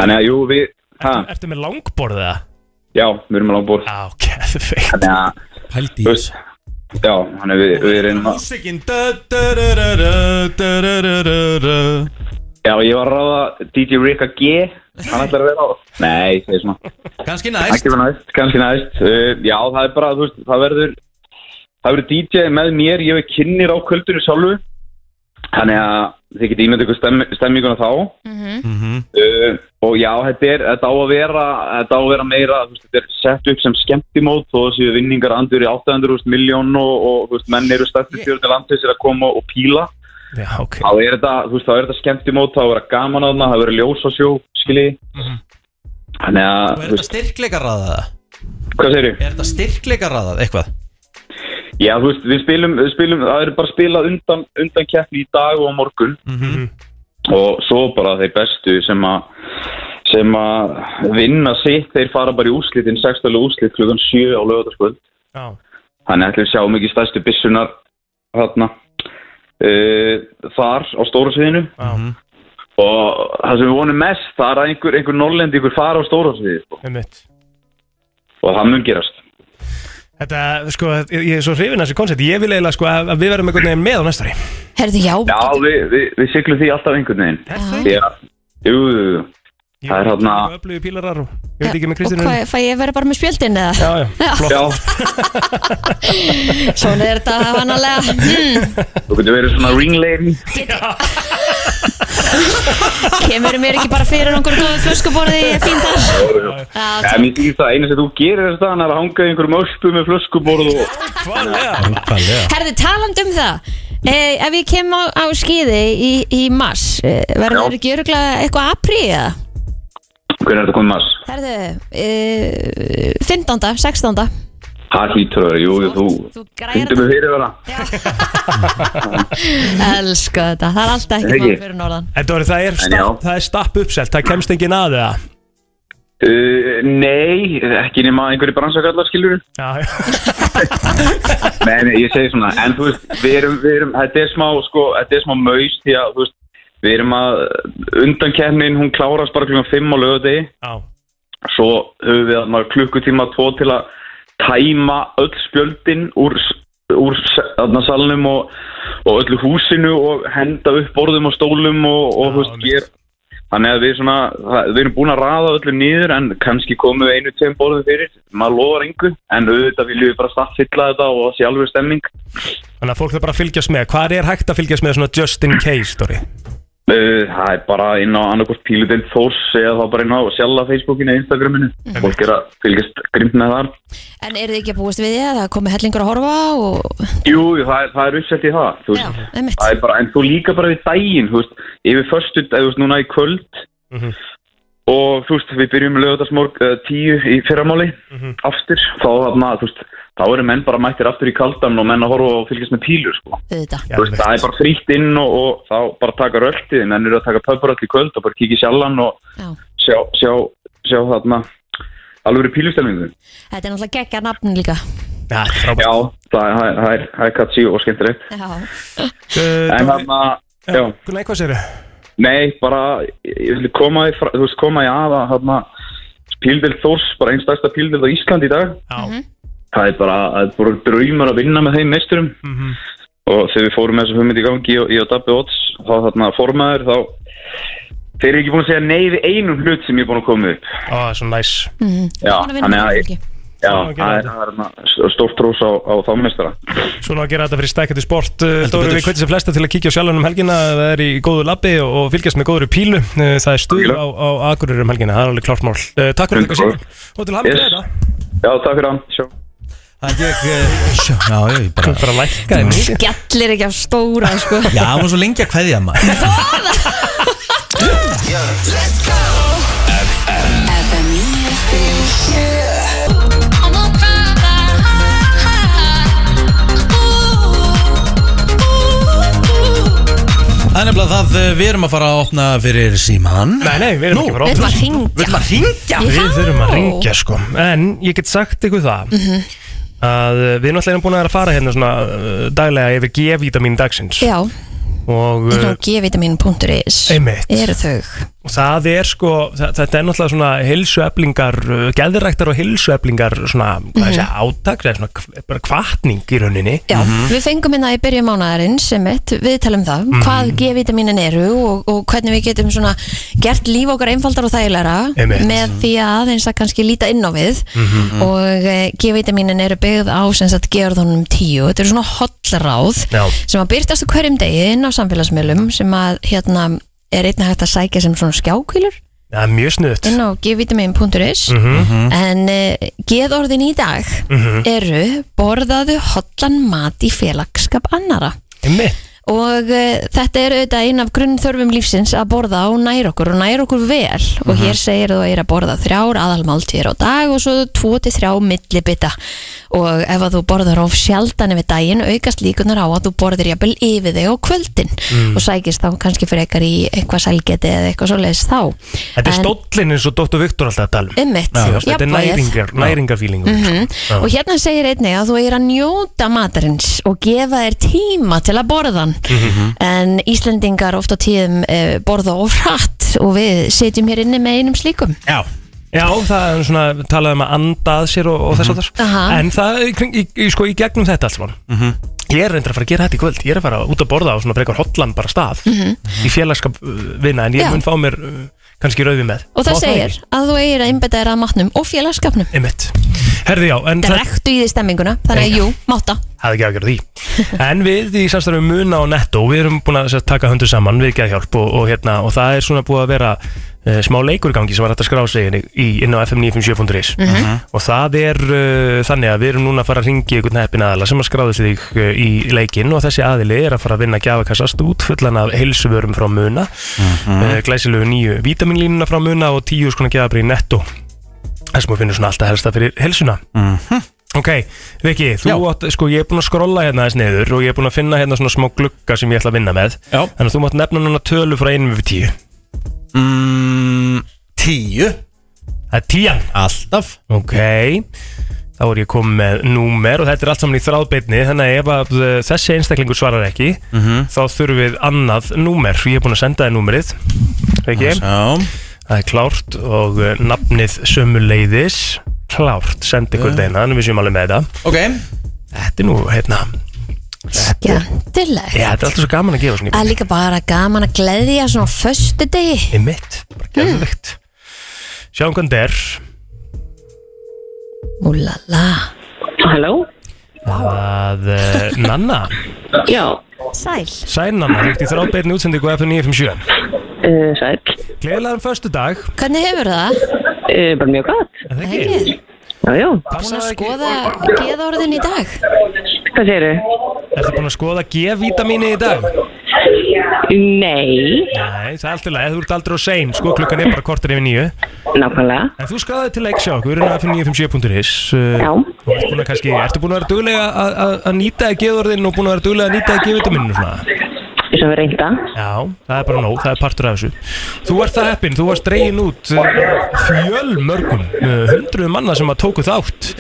[SPEAKER 9] þannig að jú, við ha,
[SPEAKER 4] Ertu með langborða?
[SPEAKER 9] já, við erum að langbúr
[SPEAKER 4] Já, geðveikt
[SPEAKER 9] þannig að,
[SPEAKER 2] Pældi
[SPEAKER 9] þú veist já, þannig að við, við erum að
[SPEAKER 2] Músikin Hvað
[SPEAKER 9] Já, ég var að ráða DJ Rika G Hann ætlar að vera á Nei, ég segi svona
[SPEAKER 2] Kannski næst
[SPEAKER 9] Kannski verður næst Kannski næst uh, Já, það er bara, þú veist, það verður Það verður DJ með mér Ég verð kynnir á kvöldinu sjálfu Þannig að þið getið ímynd ykkur stem, stemminguna þá
[SPEAKER 2] Mhm.
[SPEAKER 9] uh, Og já, þetta er Þetta á að vera Þetta á að vera meira þú veist, Þetta er sett upp sem skemmtimót Þó þessi vinningar andur í 800 miljón og, og þú veist, menn eru stættu fjörðu landið sér að koma og píla
[SPEAKER 4] Já, ok
[SPEAKER 9] þá er þetta, þú veist, þá er þetta skemmt í mót þá er þetta gaman aðna, það verður ljós á sjó skilji þannig að,
[SPEAKER 2] Mhm. Er
[SPEAKER 9] þú
[SPEAKER 2] þetta
[SPEAKER 9] veist,
[SPEAKER 2] styrkleikaræðað?
[SPEAKER 9] hvað segir ég?
[SPEAKER 2] Er þetta styrkleikaræðað eitthvað?
[SPEAKER 9] Já, þú veist, við spilum, við spilum það er bara spilað undan, undan keppni í dag og á morgun
[SPEAKER 4] Mhm.
[SPEAKER 9] og svo bara þeir bestu sem að sem að vinna sitt þeir fara bara í úrslitin, sextalega úrslit klugan 7 á lögataskvöld
[SPEAKER 4] Já,
[SPEAKER 9] þannig að við sjáum ekki stærstu byssunar þarna uh, þar á stóra sviðinu
[SPEAKER 4] já
[SPEAKER 9] og það sem við vonum mest það er að einhver, einhver norrlendi ykkur fara á stórhásviði sko.
[SPEAKER 4] einmitt.
[SPEAKER 9] og það mun gerast
[SPEAKER 4] Þetta, sko, ég ég er svo hrifin að þessu koncept Ég vil eiginlega, sko, að að við verðum einhvern veginn með á næstari
[SPEAKER 3] Herðu, já,
[SPEAKER 9] Já, við, við, við siglum því alltaf einhvern veginn
[SPEAKER 4] Það
[SPEAKER 9] Já, jú, jú, jú. það er hérna- þarna-
[SPEAKER 4] Öflugi pílarar og ég veit ekki með Kristínu
[SPEAKER 3] Og hvað, fæ ég vera bara með spjöldin eða?
[SPEAKER 4] Já, já, flott
[SPEAKER 9] Já,
[SPEAKER 3] Svona er þetta vanalega hmm,
[SPEAKER 9] þú getur verið svona ring lady
[SPEAKER 3] Kemur mér ekki bara fyrir einhver góðu flöskuborði Ég er fín þar Já,
[SPEAKER 9] Já,
[SPEAKER 3] takk.
[SPEAKER 9] mér þykist það eina sem þú gerir þess að hann er að hanga í einhverjum ölpu með flöskuborð og
[SPEAKER 3] Herði, taland um það e, Ef ég kem á, á skýði í, í mars e, Verður það ekki öruglega eitthvað aprí eða?
[SPEAKER 9] hvernig er þetta komið mass?
[SPEAKER 3] Herðu, eh, e, 15. 16.
[SPEAKER 9] Það hlýtur það, jú, jú, þú
[SPEAKER 3] Þú græjar
[SPEAKER 9] Fyndi mig fyrir vera
[SPEAKER 3] Elsku þetta, það er alltaf ekki
[SPEAKER 9] Ekki.
[SPEAKER 3] mál fyrir norðan
[SPEAKER 4] En Dóri, það er,
[SPEAKER 9] En já.
[SPEAKER 4] stapp, það er stapp uppselt, það kemst engin að það
[SPEAKER 9] uh, Nei, ekki nema einhverju bransakallar skilur
[SPEAKER 4] Já, já,
[SPEAKER 9] Nei, nei, ég segi svona En þú veist, við erum, við erum Þetta er smá, sko, þetta er smá maus Því að, þú veist, við erum að Undankeppnin, hún klárast bara klukkan 5 á lögadegi
[SPEAKER 4] já,
[SPEAKER 9] Svo höfum við að maður klukkutíma tvo til að tæma öll spjöldin úr, úr þarna salnum og, og öllu húsinu og henda upp borðum og stólum og, og
[SPEAKER 4] Já,
[SPEAKER 9] þú veist,
[SPEAKER 4] mitt.
[SPEAKER 9] ger Þannig að við, svona, það- við erum búin að raða öllu niður en kannski komum við einu tveim borðum fyrir, maður lofar engu en auðvitað viljum við bara staffilla þetta og það sé alveg stemming.
[SPEAKER 4] þannig að fólk þarf bara að fylgjast með Hvað er hægt að fylgjast með svona just in case, Dóri?
[SPEAKER 9] Uh, það er bara inn á annarkort pílutinn Þórs eða þá bara inn á sjálfa Facebookinu eða Instagraminu. Fólk er að fylgjast grimt með þar.
[SPEAKER 3] En eru þið ekki að búast við því að það komi hellingur að horfa og...
[SPEAKER 9] Jú, jú, það er, það er uppsett í það, þú
[SPEAKER 3] Já,
[SPEAKER 9] veist.
[SPEAKER 3] einmitt
[SPEAKER 9] Það er bara, en þú líka bara við daginn, þú veist, yfir förstu, þú veist, núna í kvöld
[SPEAKER 4] Mhm.
[SPEAKER 9] og þú veist, við byrjum lögðarsmorg uh, tíu í fyrramáli, aftur, þá þarna, þú veist, þá eru menn bara mættir aftur í kaldan og menn að horfa og fylgjast með pílur, sko.
[SPEAKER 3] Auðvitað
[SPEAKER 9] þú veist, það er bara frítt inn og, og þá bara taka röltið, menn eru að taka pöpuröll í kvöld og bara kikið sjallan og
[SPEAKER 3] Já.
[SPEAKER 9] sjá, sjá, sjá þarna, alveg pílustelningu.
[SPEAKER 3] Þetta er náttúrulega geggja nafn líka
[SPEAKER 4] Já, frábært
[SPEAKER 9] Já, það er, það er, það er, það er katsi og skemmtilegt.
[SPEAKER 3] Já,
[SPEAKER 4] Uh, Dóri,
[SPEAKER 9] En þarna, já.
[SPEAKER 4] Nei, hvað segirðu?
[SPEAKER 9] Nei, bara, ég vil koma í, fra- þú veist, koma í aða, hérna, píldel Þórs, bara einn stærsta píldel á Íslandi í dag.
[SPEAKER 4] Já,
[SPEAKER 3] Mhm.
[SPEAKER 9] Það er bara, það er bara draumur að vinna með þeim meisturum.
[SPEAKER 4] mhm.
[SPEAKER 9] Og þegar við fórum með þessu hugmynd í gangi og ég og Dabbi Ots, þá þarna formaður, þá, þeir eru ekki búin að segja nei við einum hlut sem ég er búin að koma upp.
[SPEAKER 4] Ó, það er svo næs
[SPEAKER 9] Já,
[SPEAKER 3] hann að vinna
[SPEAKER 9] að,
[SPEAKER 3] með
[SPEAKER 9] ég-
[SPEAKER 3] fólki
[SPEAKER 9] já,
[SPEAKER 4] Svona að gera
[SPEAKER 9] það er,
[SPEAKER 4] þetta.
[SPEAKER 9] það er hérna stórt rós á, á þá meistara.
[SPEAKER 4] Svona að gera þetta fyrir stækjandi sport uh, Dóri,
[SPEAKER 7] betur.
[SPEAKER 4] við kveitum sem flesta til að kíkja á sjálfan um helgina Það er í góðu labbi og og fylgjast með góður pílu Uh, Það er stuð
[SPEAKER 9] Pílu.
[SPEAKER 4] á, á Akureyri um helgina, það er alveg klart mál uh, Takk fyrir þetta
[SPEAKER 9] Hundra.
[SPEAKER 4] síðan og til hamið
[SPEAKER 9] Yes.
[SPEAKER 4] þetta
[SPEAKER 9] Já, takk fyrir hann, sjá.
[SPEAKER 2] Það gekk eh, sjá, Já, ég bara
[SPEAKER 4] Bara lækkaði mikið
[SPEAKER 3] Gjallir ekki á stóra, sko
[SPEAKER 2] Já, hún var svo lengi að kveðja maður
[SPEAKER 6] FM 957
[SPEAKER 2] Það er nefnilega það, eh, við erum að fara að opna fyrir síman
[SPEAKER 4] Nei, nei, við erum
[SPEAKER 2] Nú,
[SPEAKER 4] ekki bara
[SPEAKER 3] Við
[SPEAKER 4] opnum
[SPEAKER 3] ætlum að hringja
[SPEAKER 2] Vill maður hringja?
[SPEAKER 4] Við þurfum að
[SPEAKER 3] Já.
[SPEAKER 4] ringja sko En ég get sagt ykkur það að uh, við náttúrulega erum búin að vera að fara hérna svona uh, daglega yfir G-vitamin dagsins
[SPEAKER 3] Já,
[SPEAKER 4] og,
[SPEAKER 3] þetta
[SPEAKER 4] uh,
[SPEAKER 3] er gvitamin.is
[SPEAKER 4] Einmitt.
[SPEAKER 3] Eru þau
[SPEAKER 4] og það er sko þa- þetta er náttúrulega svona hilsueflingar uh, geðræktar og hilsueflingar svona, hvað þessi átak, það er svona kv- bara kvartning í rauninni
[SPEAKER 3] Mhm. Já, við fengum hérna í byrjun mánaðarins sem mitt, við talum það,
[SPEAKER 4] Mhm.
[SPEAKER 3] hvað G-vitaminin eru og, og hvernig við getum svona gert líf okkar einfaldar og þægilegra
[SPEAKER 4] Einmitt. Mhm,
[SPEAKER 3] með því að aðeins að kannski líta inn á við og eh, G-vitaminin eru byggð á sem sagt gerðunum 10, þetta eru svona hollráð
[SPEAKER 4] Já.
[SPEAKER 3] sem að byrtast á hverjum degi inn á samfélagsmiðlum sem að hérna er einnig hægt að sækja sem svona skjákvílur
[SPEAKER 4] það er mjög snuðt
[SPEAKER 3] inn á gvitamin.is
[SPEAKER 4] Mhm.
[SPEAKER 3] en uh, geðorðin í dag eru borðaðu hotlan mat í félagskap annara
[SPEAKER 4] einmitt,
[SPEAKER 3] og uh, þetta er auðvitað ein af grunnþörfum lífsins að borða og næra okkur og næra okkur vel og
[SPEAKER 4] Mhm.
[SPEAKER 3] hér segir þú að ég er að borða þrjár aðalmáltíðir á dag og svo tvo til þrjá millibita og ef að þú borðar of sjaldan yfir daginn aukast líkunar á að þú borðir jafnvel yfir þig á kvöldin
[SPEAKER 4] Mm.
[SPEAKER 3] og sækist þá kannski frekar í eitthvað sælgeti eða eitthvað svoleiðis þá
[SPEAKER 4] þetta er
[SPEAKER 3] En-
[SPEAKER 4] stóllin eins og Dr. Viktor alltaf að tala um
[SPEAKER 3] Ummitt,
[SPEAKER 4] Þú veist, þetta er næringar, næringarfíling
[SPEAKER 3] Og hérna segir einnig að þú er að njóta matarins og gefa þér tíma til að borða hann
[SPEAKER 4] Mhm.
[SPEAKER 3] En Íslendingar ofta tíðum e, borða of hratt og við sitjum hér inni með einum slíkum
[SPEAKER 2] Já
[SPEAKER 4] Já, það er svona talað um að anda að sér og, og þess að
[SPEAKER 3] Mhm. Aha.
[SPEAKER 4] það En það, í, kring- í, í, sko, í gegnum þetta alls mm Ég er reyndar að fara að gera þetta í kvöld Ég er að fara út að borða á svona frekar hotlan bara stað Í félagskap uh, vinna En ég
[SPEAKER 3] Mhm. Já.
[SPEAKER 4] mun fá mér uh, kannski rauði með
[SPEAKER 3] Og það
[SPEAKER 4] Má
[SPEAKER 3] segir
[SPEAKER 4] ekki?
[SPEAKER 3] að þú eigir að einbetta þér að matnum og félagskapnum
[SPEAKER 4] Einmitt Herði já, en það
[SPEAKER 3] Drektu í því stemminguna, þannig að jú, máta
[SPEAKER 4] hafði ekki að gera því En við í samstarfum Muna og Netto Við erum búin að sem sagt, taka höndu saman við geðhjálp og, og, hérna, og það er svona búið að vera uh, smá leikur í gangi sem var hægt að skrá sig inn í- í, inn á fm957.is og það er uh, þannig að við erum núna að fara að ringi einhvern heppin aðala sem að skráði sig uh, í leikinn og þessi aðili er að fara að vinna gjafakassast út fullan af heilsuvörum frá Muna mm glæsilegu nýju vítaminlínuna frá Muna og tíu skona gjafabri í Netto þess að maður finnur svona alltaf helsta fyrir helsuna Ok, Viki, þú átt, sko ég er búinn að skrolla hérna þess niður og ég er búinn að finna hérna svona smá glugga sem ég ætla að vinna með
[SPEAKER 2] Já.
[SPEAKER 4] Þannig að þú mátt nefna núna tölu frá einum yfir tíu
[SPEAKER 2] mm, Tíu
[SPEAKER 4] Það er tían
[SPEAKER 2] Alltaf
[SPEAKER 4] Ok, þá er ég komið með númer og þetta er allt saman í þráðbeinni Þannig að ef að uh, þessi einstaklingur svarar ekki
[SPEAKER 2] Mhm.
[SPEAKER 4] þá þurfum við annað númer Ég er búinn að senda þér númerið Viki,
[SPEAKER 2] Já
[SPEAKER 4] það er klárt og uh, nafnið sömuleiðis Klárt, sendi ykkur yeah. deina, en við séum alveg með þetta
[SPEAKER 2] Ok
[SPEAKER 4] Þetta er nú, hérna,
[SPEAKER 3] Skemmtilegt
[SPEAKER 4] já, þetta er alltaf svo gaman að gefa svona í
[SPEAKER 3] Það er líka bara gaman að gleðja svona á föstu degi
[SPEAKER 4] Einmitt, bara gerðvikt Sjáum hvernig þetta er
[SPEAKER 3] Úlala
[SPEAKER 10] Halló?
[SPEAKER 4] að uh, Nanna,
[SPEAKER 10] Já,
[SPEAKER 3] Sæl
[SPEAKER 4] sæn Nanna, líkt í þrábeinni útsendingu F957
[SPEAKER 10] uh, sæl.
[SPEAKER 4] Gleðilegan förstu dag,
[SPEAKER 3] Hvernig hefur það?
[SPEAKER 10] Uh, bara mjög gott.
[SPEAKER 4] er það ekki?
[SPEAKER 3] Hegið
[SPEAKER 10] Já, já.
[SPEAKER 3] Búin
[SPEAKER 4] Passaðu
[SPEAKER 3] að
[SPEAKER 4] ekki-
[SPEAKER 3] skoða geðorðin í dag
[SPEAKER 10] Hvað segir
[SPEAKER 4] Ertu búin að skoða G-vítamíni í dag?
[SPEAKER 10] Nei,
[SPEAKER 4] Nei, það er alltaf leið, þú ert aldrei á sein Sko, klukkan er bara kortur yfir nýju
[SPEAKER 10] nákvæmlega.
[SPEAKER 4] En þú skráði til leiksjá okkur en F957.is uh,
[SPEAKER 10] Já.
[SPEAKER 4] Þú ert búin að kannski, ertu búin að vera duglega að- að að nýta geðorðin og búin að vera duglega að nýta G-vítamíninu svona?
[SPEAKER 10] Þess að við reynda.
[SPEAKER 4] Já, það er bara nóg, það er partur af þessu Þú ert það heppin, þú varst dregin út eh, fjöl mörgum hundruð manna sem að tóku þátt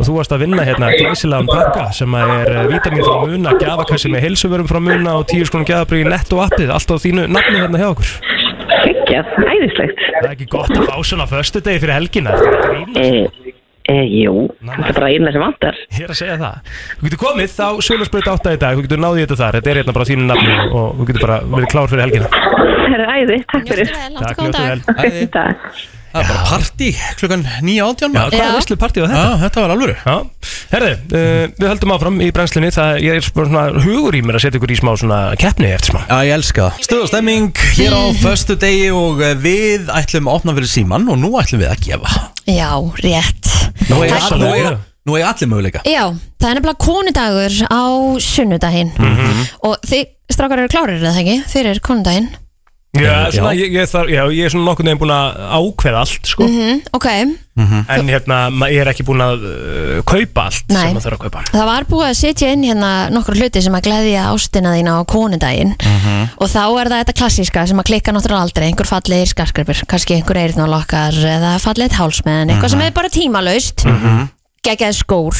[SPEAKER 4] og þú varst að vinna hérna glæsilegan pakka sem að er eh, vítamin frá muna gjafakassi með heilsuvörum frá muna og tíu skonum gjafabrið í netto appið, allt á þínu nafni hérna hjá okkur
[SPEAKER 10] Kekjað, æðislegt.
[SPEAKER 4] Það er ekki gott að fá svona föstu degi fyrir helgina ertu að grínast?
[SPEAKER 10] Uh, uh, jú,
[SPEAKER 4] Nei,
[SPEAKER 10] þetta er bara eina sem vantar.
[SPEAKER 4] Ég er að segja það Þú getur komið þá sölusbröð átta í dag, þú getur náðið þetta þar Þetta er hérna bara á þínu nafni og þú getur bara verið klár fyrir helgina
[SPEAKER 10] Það er æði, takk fyrir.
[SPEAKER 3] Njóttu vel, áttu góðan
[SPEAKER 4] njóttu
[SPEAKER 3] dag
[SPEAKER 4] vel.
[SPEAKER 2] Æði.
[SPEAKER 10] Takk.
[SPEAKER 2] Það er bara partí klukkan 9.18
[SPEAKER 4] Já,
[SPEAKER 2] maður.
[SPEAKER 4] hvað er
[SPEAKER 3] Já.
[SPEAKER 4] veistlu partíð á þetta?
[SPEAKER 2] Já, þetta var alvöru
[SPEAKER 4] Já, herðu, uh, við höldum áfram í brennslunni Það ég er bara svona hugur í mér að setja ykkur í smá svona keppni eftir smá
[SPEAKER 2] Já, ég elska það Stöð og stemming hér á föstu degi og eh, við ætlum að opna fyrir síman og nú ætlum við að gefa
[SPEAKER 3] Já, rétt
[SPEAKER 2] Nú er,
[SPEAKER 4] Hæ-
[SPEAKER 2] nú er, nú er allir möguleika
[SPEAKER 3] Já, það er nefnilega konudagur á sunnudaginn
[SPEAKER 4] Mhm.
[SPEAKER 3] og þið strákar eru klárir eða ekki fyrir konudaginn
[SPEAKER 4] Eh, Já, svona, ég, ég, þar, já, ég er svona nokkurn veginn búin að ákveða allt sko.
[SPEAKER 3] mm, Ok,
[SPEAKER 4] En hérna, ma- ég er ekki búin að uh, kaupa allt
[SPEAKER 3] Nei.
[SPEAKER 4] sem maður þarf að kaupa
[SPEAKER 3] það var búið að setja inn hérna nokkur hluti sem að gleðja ástina þína á konudaginn
[SPEAKER 4] Mhm.
[SPEAKER 3] og þá er það þetta klassíska sem að klikka náttúrulega aldrei einhver fallegir skarkrepur, kannski einhver eirðnálokkar eða fallegit hálsmenn, eitthvað
[SPEAKER 4] Mhm.
[SPEAKER 3] sem er bara tímalaust mm -hmm. skór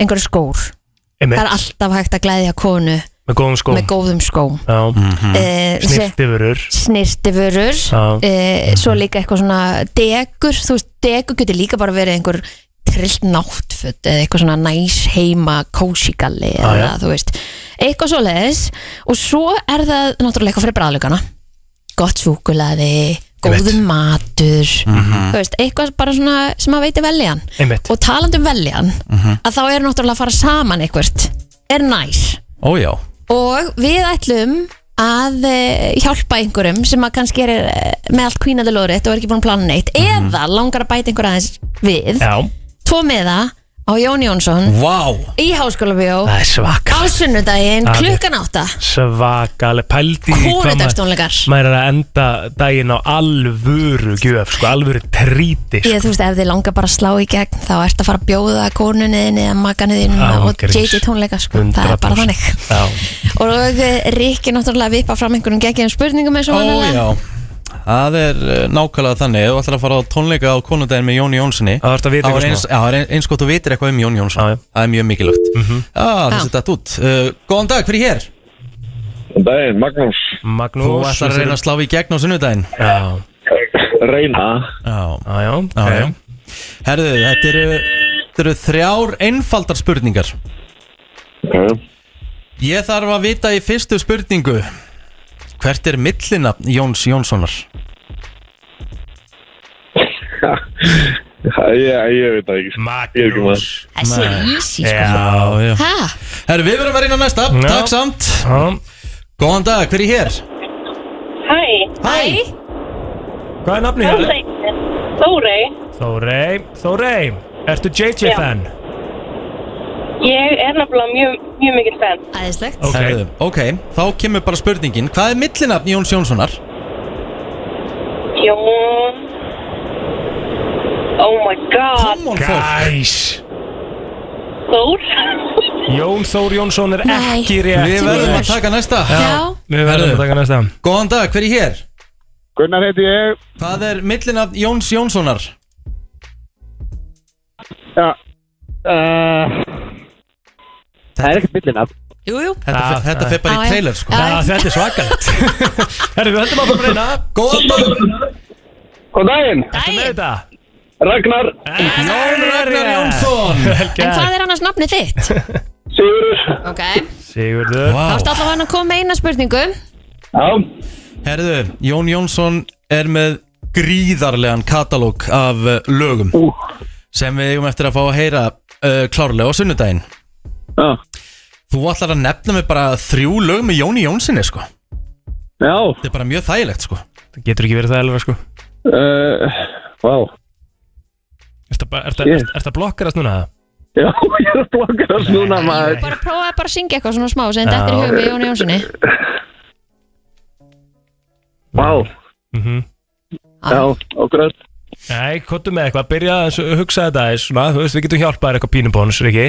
[SPEAKER 3] einhver skór, það er
[SPEAKER 4] Einmitt,
[SPEAKER 3] alltaf hægt að gleðja konu
[SPEAKER 4] með góðum skóm
[SPEAKER 3] með góðum skóm
[SPEAKER 4] Já,
[SPEAKER 3] mm.
[SPEAKER 4] snirtifurur
[SPEAKER 3] snirtifurur
[SPEAKER 4] Já.
[SPEAKER 3] e, svo líka eitthvað svona degur, þú veist, degur getur líka bara verið einhver trillt náttföt eða eitthvað svona næs heima kósigalli eða
[SPEAKER 4] já.
[SPEAKER 3] þú veist eitthvað svo leiðis og svo er það náttúrulega eitthvað fyrir bræðlugana gott súkulaði, góðum matur þú veist, eitthvað bara svona sem að veiti veljan
[SPEAKER 4] Mhm. Einmitt, Mhm.
[SPEAKER 3] og talandi um veljan að þá er náttúrulega að fara saman eitthvað er næs
[SPEAKER 2] Ó já
[SPEAKER 3] og við ætlum að eh, hjálpa einhverjum sem að kannski er eh, með allt kvínandi lóðrétt og er ekki búin að plana neitt eða langar að bæta einhver aðeins við
[SPEAKER 4] Mhm. já,
[SPEAKER 3] tvo miða á Jón Jónsson
[SPEAKER 2] Vá
[SPEAKER 3] í Háskóla Bjó
[SPEAKER 4] það er
[SPEAKER 3] á
[SPEAKER 4] svakal
[SPEAKER 3] sunnudaginn
[SPEAKER 4] Afi.
[SPEAKER 3] klukkan átta
[SPEAKER 4] Svakaleg pældi í hvað maður-
[SPEAKER 3] konudagstónleikar
[SPEAKER 4] Maður er að enda daginn á alvöru gjöf, sko, alvöru tríti sko.
[SPEAKER 3] ég þú veist ef þið langar bara að slá í gegn þá ert að fara að bjóða konunniðin eða maganuðin
[SPEAKER 4] Já,
[SPEAKER 3] og
[SPEAKER 4] gríns.
[SPEAKER 3] JT tónleika sko. það er bara
[SPEAKER 4] 100%.
[SPEAKER 3] þannig
[SPEAKER 4] Já,
[SPEAKER 3] og eh, Rikki náttúrulega vipa fram einhverjum geggjum spurningum eins
[SPEAKER 2] Ó
[SPEAKER 3] og vanalega.
[SPEAKER 2] já Það er eh, nákvæmlega þannig Ef þú ætlar að fara á tónleika á konundaginn með Jóni Jónssoni
[SPEAKER 4] Það þarftu að vita
[SPEAKER 2] Það
[SPEAKER 4] eitthvað
[SPEAKER 2] er eins,
[SPEAKER 4] smá.
[SPEAKER 2] já, það er eins, eins gott þú vitir eitthvað um Jón Jónsson
[SPEAKER 4] Já, Mhm. já.
[SPEAKER 2] Það er mjög mikilvægt mm -hmm. Þessi datt út uh, Góðan dag, hver er hér?
[SPEAKER 9] Góðan daginn, Magnús.
[SPEAKER 4] Magnús
[SPEAKER 2] Þú ætlar að reyna að slá í gegn á sunnudaginn
[SPEAKER 4] Já,
[SPEAKER 9] Reyna.
[SPEAKER 2] Já,
[SPEAKER 4] já, já,
[SPEAKER 2] já,
[SPEAKER 4] ok.
[SPEAKER 2] já. Herðu, þetta eru, þetta eru þrjár einfaldar spurningar
[SPEAKER 9] Ok.
[SPEAKER 2] Ég þarf að vita í fyrstu spurningu Hvert er millinafn Jóns Jónssonar?
[SPEAKER 11] Ég, ég veit það ekki Magnús
[SPEAKER 2] Þessi er
[SPEAKER 3] easy
[SPEAKER 2] sko Já, já Herru, við verðum að reyna næsta
[SPEAKER 11] Já.
[SPEAKER 2] Takk samt Góðan dag, hver er hér?
[SPEAKER 12] Hæ Hæ
[SPEAKER 4] Hvað er nafnið hérna?
[SPEAKER 12] Þórey Þórey
[SPEAKER 4] Þórey, Þórey, ertu JJ
[SPEAKER 12] Já.
[SPEAKER 4] fan?
[SPEAKER 12] Ég er nefnilega mjög, mjög mikil fan
[SPEAKER 3] Æðislegt
[SPEAKER 2] Ok Ok, þá kemur bara spurningin Hvað er millinafn Jóns Jónssonar?
[SPEAKER 12] Jón Oh my god
[SPEAKER 2] Come on
[SPEAKER 4] Guys
[SPEAKER 12] Þór
[SPEAKER 4] Jón Þór Jónsson er
[SPEAKER 12] Nei.
[SPEAKER 4] ekki rétt
[SPEAKER 2] Við verðum að taka næsta
[SPEAKER 4] Við verðum að taka næsta
[SPEAKER 2] Góðan dag, hver er hér? Gunnar heiti ég Hvað er millinafn Jóns Jónssonar?
[SPEAKER 13] Já uh, Það er ekkert millinab
[SPEAKER 3] Jújú
[SPEAKER 2] Þetta, fer, þetta fer bara í trailer sko
[SPEAKER 4] Já, þetta er svakalegt Herru, við höldum að fara að reyna
[SPEAKER 2] Góðan dag
[SPEAKER 13] Góðan daginn
[SPEAKER 4] Ertu með þetta?
[SPEAKER 13] Ragnar
[SPEAKER 4] Jón
[SPEAKER 2] Ragnar Jónsson
[SPEAKER 3] En hvað er annars nafnið þitt?
[SPEAKER 13] Sigurður
[SPEAKER 3] Ok,
[SPEAKER 4] Sigurður
[SPEAKER 3] þá ertu allavega hann að koma með eina spurningu
[SPEAKER 2] Já Herðu, Jón Jónsson er með gríðarlegan katalóg af uh, lögum sem við eigum eftir að fá að heyra uh, klárlega á sunnudaginn Já Þú ætlar að nefna mig bara þrjú lög með Jóni Jónssoni sko Já Þetta er bara mjög þægilegt sko
[SPEAKER 4] Það getur ekki verið það elva sko
[SPEAKER 13] eh,
[SPEAKER 2] uh, Vá
[SPEAKER 4] Ertu að- ertu- ertu- ertu að blokkarast núna?
[SPEAKER 13] Já, ég er að blokkarast núna maður
[SPEAKER 3] Bara prófaði bara að syngja eitthvað svona smá sem
[SPEAKER 4] Já.
[SPEAKER 3] þetta er í hugum við Jóni Jónssoni
[SPEAKER 13] Vá
[SPEAKER 3] Já,
[SPEAKER 13] okkur öll
[SPEAKER 4] Mhm. Nei, kottu með eitthvað, byrja aðeins að hugsa þetta aðeins svona, þú veist, við getum hjálpað þér eitthvað pínubónus, Riki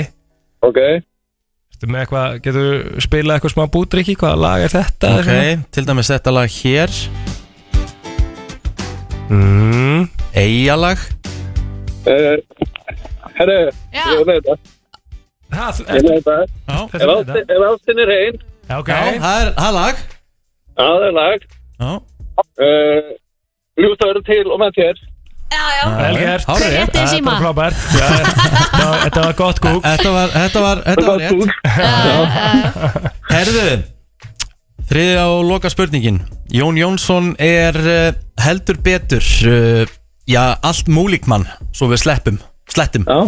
[SPEAKER 13] Ok
[SPEAKER 4] Ertu með eitthvað, getur spilað eitthvað smá bút, Riki, hvaða lag er þetta?
[SPEAKER 2] Ok, til dæmis þetta lag hér
[SPEAKER 4] mm.
[SPEAKER 2] Eyjalag
[SPEAKER 13] uh, Herru Ég veit þetta Ég veit þetta
[SPEAKER 2] Já.
[SPEAKER 13] Ef ástin- Ef ástin er reyn
[SPEAKER 4] Já, ok
[SPEAKER 2] Já, það er það er lag
[SPEAKER 13] Já, það er lag
[SPEAKER 2] Já
[SPEAKER 13] uh, Ljústaður til og með þér
[SPEAKER 4] Vel
[SPEAKER 13] Hárrétt.
[SPEAKER 4] gert
[SPEAKER 13] Hver rétti í síma?
[SPEAKER 4] Þetta var frábært Já, þetta var- Þetta var gott kúk
[SPEAKER 2] Þetta var, þetta var, þetta var rétt Herðu Þriðja og loka spurningin Jón Jónsson er eh, heldur betur eh, Já, allt múlík mann Svo við sleppum, slettum
[SPEAKER 13] Já.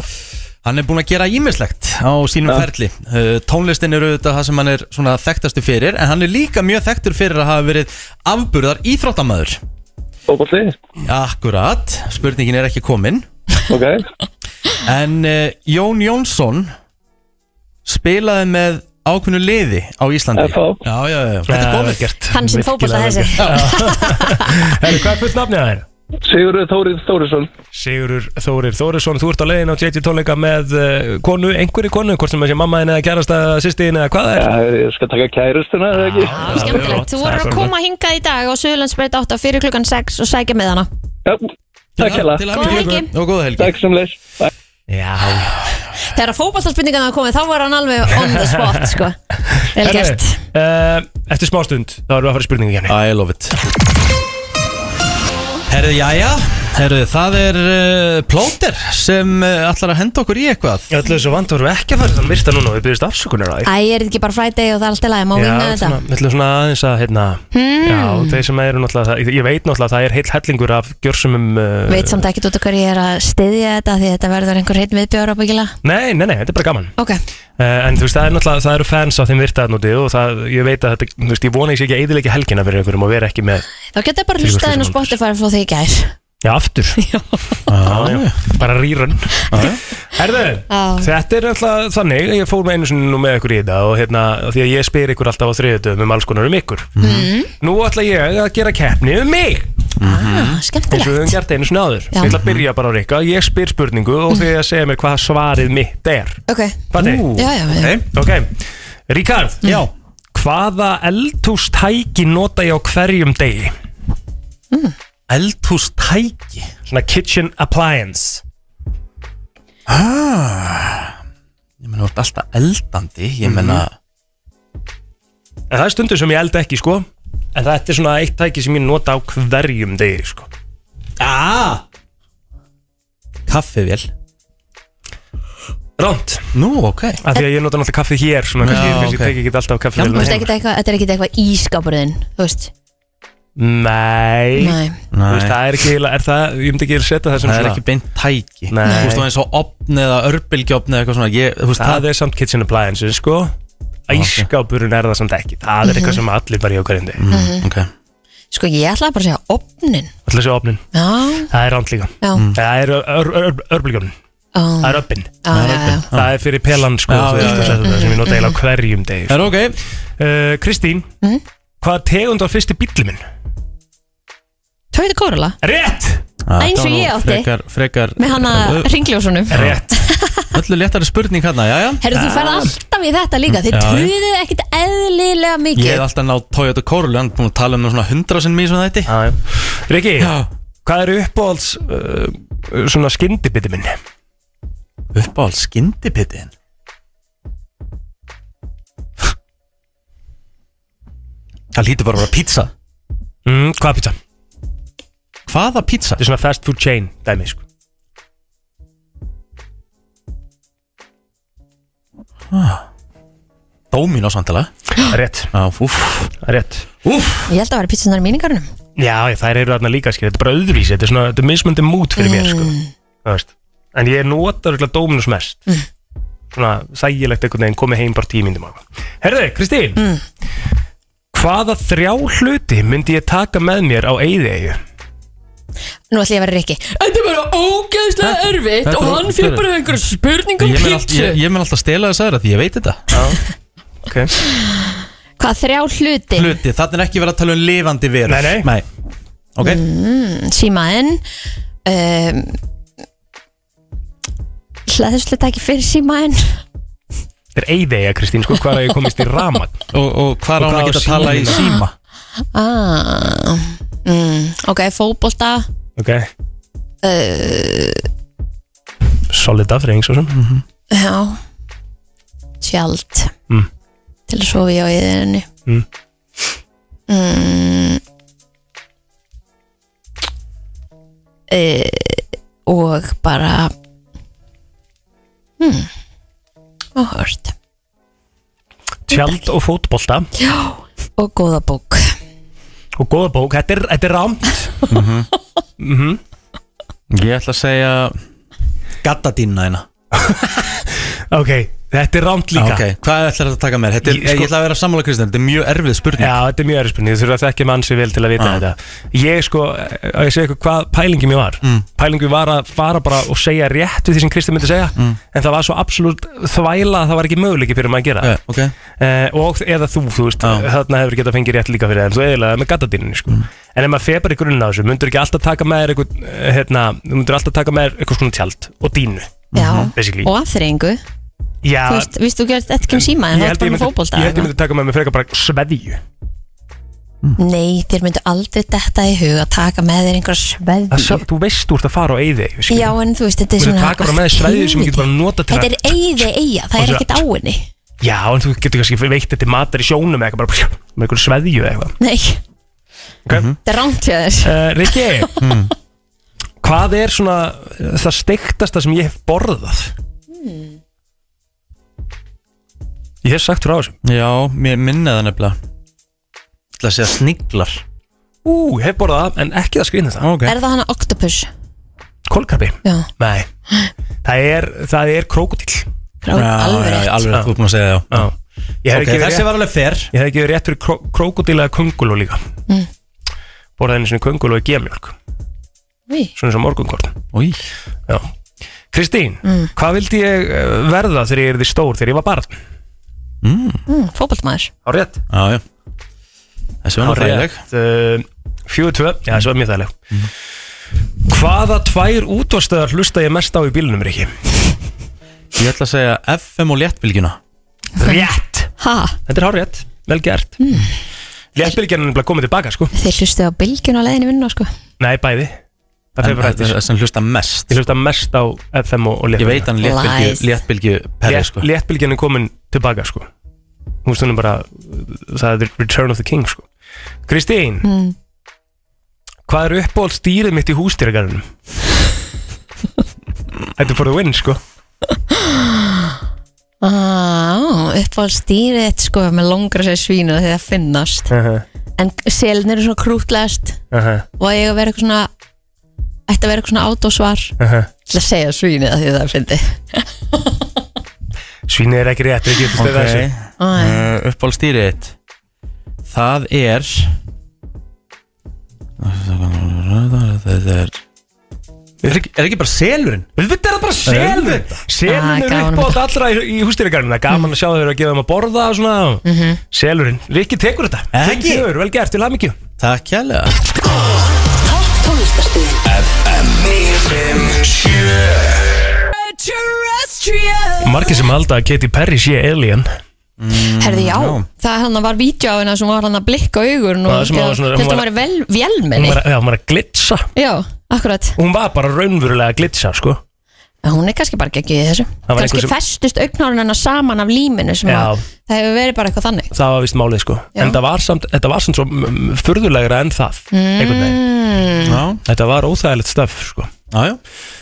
[SPEAKER 2] Hann er búinn að gera ímislegt á sínum
[SPEAKER 13] Já.
[SPEAKER 2] ferli Eh, Tónlistin eru auðvitað það sem hann er svona þekktastu fyrir En hann er líka mjög þekktur fyrir að hafa verið afburðar íþróttamæður
[SPEAKER 13] Fótbolti
[SPEAKER 2] Akkurat, spurningin er ekki komin
[SPEAKER 13] Ok
[SPEAKER 2] En uh, Jón Jónsson spilaði með ákveðnu liði á Íslandi
[SPEAKER 4] FH.
[SPEAKER 2] Já, já, já, já. þetta er
[SPEAKER 4] Já,
[SPEAKER 2] komið
[SPEAKER 4] vel gert.
[SPEAKER 3] Hann sem fótbolta þessi
[SPEAKER 4] Herri, hvað er fullt nafnið það er?
[SPEAKER 13] Sigurður Þórið Þórisson
[SPEAKER 4] Sigurur Þórir Þórisson, þú ert á leiðin á JT tónleika með uh, konu, einhverju konu, hvort sem það sé mammaðin eða kærasta sýstiðin eða hvað það er?
[SPEAKER 13] Já, ég skal taka kærustuna eða ekki
[SPEAKER 3] Skemmtilegt, þú voru að koma hingað í dag á Suðurlandsbreyt 8 fyrir klukkan 6 og sækja með hana
[SPEAKER 13] Takk hella
[SPEAKER 2] Til
[SPEAKER 3] Góða helgi.
[SPEAKER 2] og góða helgi
[SPEAKER 13] Takk sem leys
[SPEAKER 4] Já
[SPEAKER 3] Þegar fótboltaspurningan hafa komið þá var hann alveg on the spot sko. Vel gert
[SPEAKER 4] uh, Eftir smá stund, þá erum við að fara í spurningu hérna
[SPEAKER 2] I love it Herðu, já, já Herðu, það er uh, plóter sem uh, ætlar að henda okkur í eitthvað
[SPEAKER 4] Ég ætlaði svo vant að vorum við ekki að fara þann virta núna og við byrjast afsökunar á því
[SPEAKER 3] Æ, er þetta ekki bara Friday og það er allt í lagi, má
[SPEAKER 4] Já,
[SPEAKER 3] vinna þetta
[SPEAKER 4] svona, við ætlum svona aðeins að hérna
[SPEAKER 3] Hmm.
[SPEAKER 4] Já, þeir sem eru náttúrulega, það- ég veit náttúrulega að það er heill hellingur af gjörsumum uh,
[SPEAKER 3] Veit samt ekki út af hverju ég er að styðja þetta því þetta verður einhver hitt viðbjör ábyggilega
[SPEAKER 4] Nei, nei, nei, þetta er bara gaman
[SPEAKER 3] Ok,
[SPEAKER 4] Uh, en þú veist, það er náttúrulega, það eru fans á þeim virtaðnúti og það, ég veit að þetta, þú veist, ég vona ég sé ekki að eðilegja helgina fyrir einhverjum og vera ekki með,
[SPEAKER 3] þá getur bara
[SPEAKER 4] Þrjú
[SPEAKER 3] hlustað inn á
[SPEAKER 4] þúsund
[SPEAKER 3] Spotify frá því í gær
[SPEAKER 4] já, aftur. Já. Já, Bara rýrun. Herðu,
[SPEAKER 3] Já.
[SPEAKER 4] þetta er náttúrulega þannig, ég fór með einu sinni nú með ykkur í þetta og hérna, og því að ég spyr ykkur alltaf á þriðutum um alls konar um ykkur.
[SPEAKER 3] Mm-hmm.
[SPEAKER 4] Mm. Nú ætla ég að gera keppni um mig.
[SPEAKER 3] Ah,
[SPEAKER 4] eins og við höfum gert einu sinni áður
[SPEAKER 3] Já.
[SPEAKER 4] ég ætla að byrja bara á Rikka, ég spyr spurningu og þið að segja mér hvað svarið mitt er
[SPEAKER 3] Ok,
[SPEAKER 4] Patti?
[SPEAKER 3] Já, já, já.
[SPEAKER 4] Ok, Ríkard Já Hvaða eldhústæki nota ég á hverjum degi?
[SPEAKER 2] Hmm.
[SPEAKER 3] Mm.
[SPEAKER 4] Eldhústæki? Svona kitchen appliance
[SPEAKER 2] ah, Ég meina, þú ert alltaf eldandi Ég meina
[SPEAKER 4] Mhm. En það er stundur sem ég elda ekki, sko En þetta er svona eitt tæki sem ég nota á hverjum degi, sko
[SPEAKER 2] ah. Kaffivél
[SPEAKER 4] Ránt
[SPEAKER 2] Nú, ok
[SPEAKER 4] Af því að ég nota náttúrulega kaffið hér Svona
[SPEAKER 2] Já,
[SPEAKER 4] kannski, kannski
[SPEAKER 2] ok.
[SPEAKER 4] tek ég ekki alltaf kaffið
[SPEAKER 3] Þú veist, ekkert eitthvað- þetta er ekkert eitthvað í skápurðin Þú veist,
[SPEAKER 4] Nei
[SPEAKER 3] Nei.
[SPEAKER 4] Þú veist, það er ekki eiginlega- er það, Ég myndi ekki setja það sem
[SPEAKER 2] Það er
[SPEAKER 4] svona-
[SPEAKER 2] ekki beint tæki
[SPEAKER 4] Nei.
[SPEAKER 2] Þú veist, þá eins og opn eða örbylgjófn eða eitthvað svona ég, þú veist,
[SPEAKER 4] Það er samt kitchen appliances sko Æskápurinn er það samt ekki Það er eitthvað sem allir bara í okkar hindi
[SPEAKER 3] Mhm.
[SPEAKER 2] Ok
[SPEAKER 3] sko ég ætlaði bara að segja opnin
[SPEAKER 4] Alltaf sé opnin
[SPEAKER 3] Já,
[SPEAKER 4] Það er ránt líka
[SPEAKER 3] Já. Mm.
[SPEAKER 4] Það er örbulgjónin
[SPEAKER 3] Ó.
[SPEAKER 4] Það er öppin
[SPEAKER 3] Já, já, já.
[SPEAKER 4] Það er fyrir pelan sko
[SPEAKER 2] Já,
[SPEAKER 4] þú
[SPEAKER 2] já,
[SPEAKER 4] veist, það
[SPEAKER 2] já.
[SPEAKER 4] er það sem ég nota
[SPEAKER 2] Mhm.
[SPEAKER 4] eiginlega á hverjum degi
[SPEAKER 2] Er ok
[SPEAKER 4] Uh, Kristín Hvað tegund var fyrsti bíllinn minn?
[SPEAKER 3] Toyota Corolla
[SPEAKER 4] Rétt
[SPEAKER 2] Ah,
[SPEAKER 3] Eins og
[SPEAKER 2] þetta var nú
[SPEAKER 3] ég átti.
[SPEAKER 2] Frekar, frekar
[SPEAKER 3] Með hana ringljósunum
[SPEAKER 4] Rétt
[SPEAKER 2] Öllu léttari spurning hérna, já, já
[SPEAKER 3] Herru, þú færð alltaf í þetta líka Þið
[SPEAKER 2] Já.
[SPEAKER 3] tröðuð ekkert
[SPEAKER 2] Ég
[SPEAKER 3] eðlilega
[SPEAKER 2] hef
[SPEAKER 3] mikið
[SPEAKER 2] alltaf náð Toyota Corolla Hann er búin að tala um það svona hundra sinn mjög sem þetta
[SPEAKER 4] Já, já Riki Hvað er uppáhalds uh, Svona skyndibiti minn?
[SPEAKER 2] Uppáhald skyndibitinn Það lítur bara að vera pizza
[SPEAKER 4] mm, Hvaða pizza?
[SPEAKER 2] Hvaða pizza?
[SPEAKER 4] Þetta er svona fast food chain dæmi sko
[SPEAKER 2] Dómin á samtala
[SPEAKER 4] Rétt
[SPEAKER 2] Já, úff
[SPEAKER 4] Rétt
[SPEAKER 2] Úff
[SPEAKER 3] Ég held að vera pítsunar í míningarunum
[SPEAKER 4] Já, þær eru þarna líka, skil, þetta er bara öðruvísi Þetta er svona, þetta er mismöndi mút fyrir mér, sko Þú veist. En ég nota röglega Dominus mest Svona þægilegt einhvern veginn komið heim bara tímindum á Herðu, Kristín Hvaða þrjá hluti myndi ég taka með mér á eyðieyju?
[SPEAKER 3] Nú ætlum ég að vera Rikki Þetta er bara ógeðslega erfitt
[SPEAKER 2] þetta
[SPEAKER 3] Og
[SPEAKER 2] er-
[SPEAKER 3] hann fyrir bara einhverja spurningum
[SPEAKER 2] Ég mun allt-
[SPEAKER 3] pítsu
[SPEAKER 2] ég- ég mun alltaf stela þess aðra því ég veit þetta
[SPEAKER 4] Já, ok
[SPEAKER 3] Hvað þrjá hluti?
[SPEAKER 2] Hluti, þarna er ekki verið að tala um lifandi verur
[SPEAKER 4] Nei, nei.
[SPEAKER 2] Ok,
[SPEAKER 3] Mm, símaðinn um, Hleðslu takk fyrir símaðinn
[SPEAKER 4] Þetta er eyðieyja, Kristín, sko, hvað er að ég komist í ramat
[SPEAKER 2] Og, og hvað á hann að geta að tala í síma?
[SPEAKER 3] ah, mm, Ok, fótbolta
[SPEAKER 4] Ok,
[SPEAKER 3] uh,
[SPEAKER 4] solid afreying, svo sem
[SPEAKER 2] Mm.
[SPEAKER 3] Já Tjald
[SPEAKER 4] Mm.
[SPEAKER 3] Til að sofa í á yðinni
[SPEAKER 4] Mm.
[SPEAKER 3] mm, uh, Og bara Hmm Áhört
[SPEAKER 4] Tjald og fótbolta
[SPEAKER 3] Já, og góða bók
[SPEAKER 4] Og góða bók, þetta er, þetta er ramt
[SPEAKER 2] Ég ætla að segja Gattadínna hérna
[SPEAKER 4] Ok, þetta er ramt líka
[SPEAKER 2] Ok, hvað ætlar þetta að taka mér? Þetta er,
[SPEAKER 4] Ég- sko-
[SPEAKER 2] ég ætla að vera sammála Kristján, þetta er mjög erfið spurning
[SPEAKER 4] Já, þetta er mjög erfið spurning, þú þurfa að þekka mann sér vel til að vita
[SPEAKER 2] Já.
[SPEAKER 4] þetta Ég sko, að ég segja eitthvað hvað pælingin mér var mm. Pælingin var að fara bara og segja rétt við því sem Kristi myndi segja
[SPEAKER 2] Mm.
[SPEAKER 4] En það var svo absolutt þvæla að það var ekki möguleiki fyrir maður að gera
[SPEAKER 2] Eh, ok. Ah.
[SPEAKER 4] Eh, Og eða þú, þú veist, þarna hefur getað fengið rétt líka fyrir það En þú eðilega með gattadýrinni
[SPEAKER 2] Mm.
[SPEAKER 4] sko En ef maður fer bara í grunna á þessu, myndur ekki alltaf taka með þér eitthvað Hérna, þú myndur alltaf taka með þér eitthvað svona tjald og dínu
[SPEAKER 3] Já,
[SPEAKER 4] basically.
[SPEAKER 3] Mhm. og aðþreyingu
[SPEAKER 4] Já,
[SPEAKER 3] Þú veist, víst, þú gerst ekki um síma en þú
[SPEAKER 4] ég
[SPEAKER 3] ert
[SPEAKER 4] held ég
[SPEAKER 3] bara með
[SPEAKER 4] myndi-
[SPEAKER 3] fótbolta
[SPEAKER 4] ég held ég myndi taka með mér frekar bara sveðju
[SPEAKER 3] Nei, þér myndu aldrei detta í hug að taka með þér einhver
[SPEAKER 4] Það
[SPEAKER 3] sveðju
[SPEAKER 4] sa- Þú veist, þú ert að fara á eyði
[SPEAKER 3] Já, en þú veist, þetta er
[SPEAKER 4] Þú
[SPEAKER 3] svona
[SPEAKER 4] myndir taka bara með þér sveðju sem þú getur bara notað til
[SPEAKER 3] Þetta er
[SPEAKER 4] að-
[SPEAKER 3] eigði eiga, það er
[SPEAKER 4] Og
[SPEAKER 3] ekkert á henni
[SPEAKER 4] Já, en þú getur kannski veitt þetta matar í sjónum eða eitthvað bara pjú, með einhverju sveðju eða eitthvað
[SPEAKER 3] Nei, þetta
[SPEAKER 4] okay.
[SPEAKER 3] er rangt hjá þér
[SPEAKER 4] uh,
[SPEAKER 2] Mm.
[SPEAKER 4] Rikki Hvað er svona uh, það steiktasta sem ég hef borðað?
[SPEAKER 2] Mm.
[SPEAKER 4] Ég hef sagt frá þessu
[SPEAKER 2] Já, mér minna það nefnilega Ég ætla að segja sniglar
[SPEAKER 4] Ú, ég hef borðað það, en ekki það skrýna það
[SPEAKER 2] okay.
[SPEAKER 3] Er það hana octopus?
[SPEAKER 4] Kolkarbi?
[SPEAKER 3] Já,
[SPEAKER 4] Nei Það er, það er krókutill
[SPEAKER 3] Krá- alveg rétt
[SPEAKER 2] Alveg rétt, þú er búin að segja það já.
[SPEAKER 4] Já Ég hef
[SPEAKER 2] Ah. Ok,
[SPEAKER 4] ekki verið
[SPEAKER 2] þessi
[SPEAKER 4] rétt-
[SPEAKER 2] var alveg fer
[SPEAKER 4] Ég hef ekki verið rétt fyrir kró, krókutill eða könguló líka
[SPEAKER 3] Mm.
[SPEAKER 4] Borðað einu sinni könguló í gemjölk
[SPEAKER 3] Í.
[SPEAKER 4] Svona eins og morgunkorn
[SPEAKER 2] Új,
[SPEAKER 4] Já. Kristín, hvað vildi ég eh, verða þegar ég erði stór, þegar ég var barn?
[SPEAKER 3] mm, Fótboltmaður
[SPEAKER 4] Á rétt.
[SPEAKER 2] já, já Þessi var nú fræðileg
[SPEAKER 4] Fjóðu eh, tvö, já þessi var mjög þægileg.
[SPEAKER 2] Mm.
[SPEAKER 4] Hvaða tvær útvarstöðar hlusta ég mest á í bílunum, Riki?
[SPEAKER 2] Ég ætla að segja FM og léttbylgjuna
[SPEAKER 4] Rétt!
[SPEAKER 3] Ha,
[SPEAKER 4] Þetta er hár rétt, vel gert. Mm. Léttbylgjarnan er bara komið tilbaka, sko.
[SPEAKER 3] þeir hlustu á bylgjun á leiðinu vinna, sko
[SPEAKER 4] Nei, bæði. Það
[SPEAKER 2] En
[SPEAKER 4] fyrir bara
[SPEAKER 2] þetta
[SPEAKER 4] hættis.
[SPEAKER 2] er sem hlusta mest
[SPEAKER 4] Ég hlusta mest á FM og, og
[SPEAKER 2] Ég
[SPEAKER 4] léttbylgjarnan.
[SPEAKER 2] veit hann léttbylgju,
[SPEAKER 3] Lies.
[SPEAKER 2] léttbylgju perri sko
[SPEAKER 4] Léttbylgjarnan er komin tilbaka, sko. Hún stunum bara, það er Return of the King, sko. Kristín,
[SPEAKER 2] Hmm.
[SPEAKER 3] mm.
[SPEAKER 4] Hvað er uppáhald stýrið mitt í hústýragarðinum? Þetta er for the win, sko
[SPEAKER 3] Á, uppáhaldsdýrið þitt, sko með longra sér svínu þegar það finnast en selin eru svona krútlegast og að ég að vera eitthvað svona ætti að vera eitthvað svona autosvar til að segja svínið að því að það fyndi
[SPEAKER 4] Svínið er ekki rétt, við getum stöðað þessu
[SPEAKER 3] Æ.
[SPEAKER 2] uh, Uppáhaldstýrið þitt Það er Það er Er ekki, er ekki bara selurinn?
[SPEAKER 4] Þetta er það bara selur Selurinn
[SPEAKER 2] Ah,
[SPEAKER 4] er
[SPEAKER 2] gaman
[SPEAKER 4] upp á þetta allra í, í hústýrigarnina Gaman að sjá þeir að gefa þeim að borða og svona
[SPEAKER 2] Mhm.
[SPEAKER 4] Selurinn, Rikki tekur þetta Fimm
[SPEAKER 2] Ekki?
[SPEAKER 4] fjögur, vel gert, til hafði mikið
[SPEAKER 2] Takk kærlega
[SPEAKER 6] Tónlistarstöðin FM
[SPEAKER 4] 957 Margir sem halda að Katy Perry sé alien mm,
[SPEAKER 3] Herði já, það hann var vídeo af hennar sem var hann að blikka augur og
[SPEAKER 4] Það sem var svona-
[SPEAKER 3] held
[SPEAKER 4] hún
[SPEAKER 3] að
[SPEAKER 4] var-
[SPEAKER 3] maður vel,
[SPEAKER 4] Hún
[SPEAKER 3] velmenni
[SPEAKER 4] var, að- já, hún var að glitsa
[SPEAKER 3] Já, akkurat
[SPEAKER 4] Hún var bara raunverulega að glitsa, sko
[SPEAKER 3] En Hún er kannski bara ekki í þessu
[SPEAKER 4] Það var
[SPEAKER 3] Kannski
[SPEAKER 4] einhver sem-
[SPEAKER 3] festust augnárun hennar saman af líminu sem
[SPEAKER 4] Já.
[SPEAKER 3] að það hefur verið bara eitthvað þannig
[SPEAKER 4] Það var vist málið, sko
[SPEAKER 3] Já.
[SPEAKER 4] En það var samt, þetta var samt svo mm, furðulegra en það Einhvern veginn
[SPEAKER 3] mm.
[SPEAKER 2] Já.
[SPEAKER 4] Þetta var óþægilegt stöf sko.
[SPEAKER 2] Jájá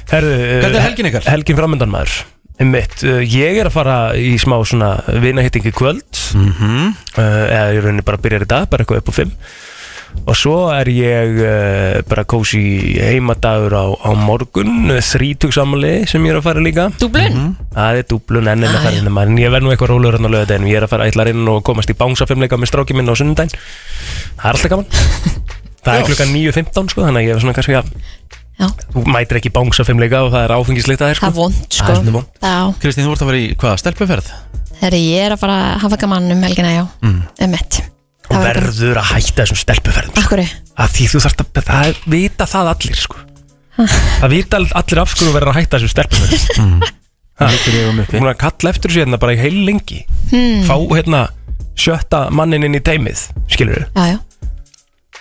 [SPEAKER 4] Herðu, eh,
[SPEAKER 2] Hvernig er helgin ykkar?
[SPEAKER 4] Helgin framöndan maður Mitt, ég er að fara í smá svona vinahittingi kvöld mm
[SPEAKER 2] Mhm.
[SPEAKER 4] -hmm. eða ég rauninni bara byrjar í dag bara eitthvað upp á fimm og svo er ég uh, bara kósi heimadagur á, á morgun þrítug samli sem ég er að fara líka
[SPEAKER 3] Dublun?
[SPEAKER 4] Mhm. Það er dublun enn en að
[SPEAKER 3] Ah,
[SPEAKER 4] fara
[SPEAKER 3] já.
[SPEAKER 4] inn maður en ég verð nú eitthvað rólegur hérna á lögadeginu ég er að fara ætlar inn og komast í bánsafimleika með stráki minn á sunnudaginn Það er alltaf gaman Það er klukkan 9.15 sko þannig að ég er svona kannski að
[SPEAKER 3] Já.
[SPEAKER 4] Þú mætir ekki bánsafimleika og það er áfengislegt að þér sko
[SPEAKER 3] Það er vond
[SPEAKER 4] Það
[SPEAKER 3] sko
[SPEAKER 4] er svolítið vond
[SPEAKER 3] Já,
[SPEAKER 2] Kristín, þú vart að vera í hvaða stelpuferð?
[SPEAKER 3] herri, ég er að fara að hafa gaman um helgina, já
[SPEAKER 2] Mm.
[SPEAKER 3] Um eitt
[SPEAKER 4] Þú verður að hætta þessum stelpuferðum
[SPEAKER 3] Akkur
[SPEAKER 4] að því þú þarft að það er- vita það allir sko Það vita all- allir af hverju þú verður að hætta þessum stelpuferðum Það er hún að kalla eftir þessu hérna bara í heil lengi
[SPEAKER 3] Hmm.
[SPEAKER 4] Fá hérna sjötta mannin inn í teimið skilur
[SPEAKER 3] Já, já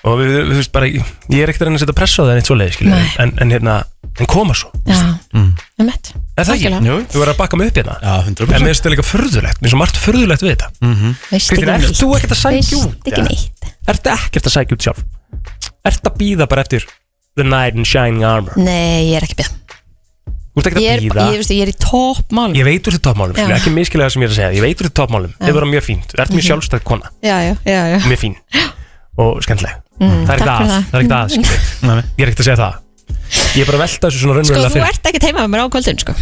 [SPEAKER 4] og við, við, við veist bara, ég er ekkert að reyna að setja pressa á það en eitt svoleið skilur
[SPEAKER 3] Nei.
[SPEAKER 4] en, en hérna, en koma svo
[SPEAKER 3] Já,
[SPEAKER 4] Mm.
[SPEAKER 3] um eitt
[SPEAKER 4] Er það ekki?
[SPEAKER 3] Algjörlega.
[SPEAKER 4] Jú. Þú verður að bakka mig upp hérna
[SPEAKER 2] Já, 100%
[SPEAKER 4] En mér finnst það líka furðulegt, mér finnst það margt furðulegt við þetta mm -hmm.
[SPEAKER 3] Veist ekki
[SPEAKER 4] ert
[SPEAKER 3] neitt.
[SPEAKER 4] þú ekkert að sækja
[SPEAKER 3] Veist
[SPEAKER 4] út?
[SPEAKER 3] ekki
[SPEAKER 4] eða?
[SPEAKER 3] neitt.
[SPEAKER 4] Ertu ekkert að sækja út sjálf? Ertu að býða bara eftir The Knight in Shining Armor?
[SPEAKER 3] Nei, ég er ekki byrð
[SPEAKER 4] Þú ert ekkert
[SPEAKER 3] Ég, er,
[SPEAKER 4] að býða
[SPEAKER 3] ég, veistu, ég er í toppmálum
[SPEAKER 4] Ég veit úr þetta toppmálum, skilur,
[SPEAKER 3] Já.
[SPEAKER 4] ekki miskilega sem ég er að segja Ég veit úr þetta toppmálum,
[SPEAKER 3] Já.
[SPEAKER 4] þið verður mjög fínt Þú ert mjög
[SPEAKER 3] Mhm.
[SPEAKER 4] sjálfstæð kona,
[SPEAKER 3] Já, já, já, já
[SPEAKER 4] mjög fín Og skemmtileg
[SPEAKER 3] Mm,
[SPEAKER 4] Það er ekkert
[SPEAKER 3] takk
[SPEAKER 4] að,
[SPEAKER 3] fyrir
[SPEAKER 4] það er ekkert að,
[SPEAKER 3] það.
[SPEAKER 4] skilur Ég er ekkert að segja það Ég er bara að velta þessu svona
[SPEAKER 3] Sko,
[SPEAKER 4] raunverulega
[SPEAKER 3] þú ert ekkert heima með mér á kvöldin, sko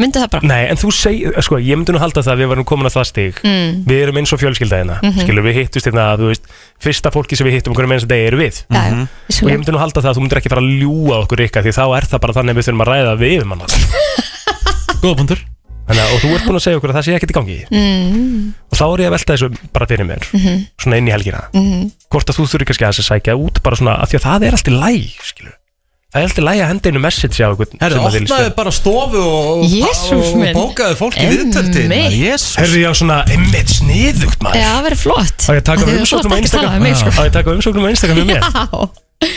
[SPEAKER 3] Myndu það bara
[SPEAKER 4] Nei, en þú segir, sko, ég myndi nú halda það að við varum komin að það stig
[SPEAKER 3] Mm.
[SPEAKER 4] Við erum eins og fjölskylda hérna
[SPEAKER 3] Mhm.
[SPEAKER 4] Skilur, við hittust hérna, þú veist Fyrsta fólki sem við hittum okkur með eins og degi eru við
[SPEAKER 3] Já, já,
[SPEAKER 4] Mhm. Og ég myndi nú halda það að þú myndir ekki fara að ljúga okkur ykkar Því þá er það bara þannig að við þurfum að ræða við yfir mann
[SPEAKER 2] Góða punktur
[SPEAKER 4] Þannig að, og þú ert búin að segja okkur að það sé ekkert í gangi
[SPEAKER 3] Mm,
[SPEAKER 4] Og þá er ég að velta þessu bara fyrir mér
[SPEAKER 3] mhm,
[SPEAKER 4] Svona inn í helgina
[SPEAKER 3] mhm.
[SPEAKER 4] Hvort að þú þurfi kannski að þess að sækja út Bara svona, af því að það er allt í læg, skilur Það er allt í læg að henda einu message á einhvern
[SPEAKER 2] Herru,
[SPEAKER 4] sem að þið líst
[SPEAKER 2] opnaðu
[SPEAKER 4] vel.
[SPEAKER 2] bara stofu og,
[SPEAKER 3] Jesús
[SPEAKER 2] og
[SPEAKER 3] minn.
[SPEAKER 2] bókaðu fólki viðtöldi
[SPEAKER 3] Einmitt.
[SPEAKER 4] Herðu, já, svona, einmitt sniðugt maður
[SPEAKER 3] Já, það verður flott
[SPEAKER 4] Á ég að taka
[SPEAKER 3] Af því þú
[SPEAKER 4] umsóknum Ah, á
[SPEAKER 3] þarft ekki að tala
[SPEAKER 4] Instagram
[SPEAKER 3] við mig, sko.
[SPEAKER 4] Á ég að taka umsóknum á Instagram með mér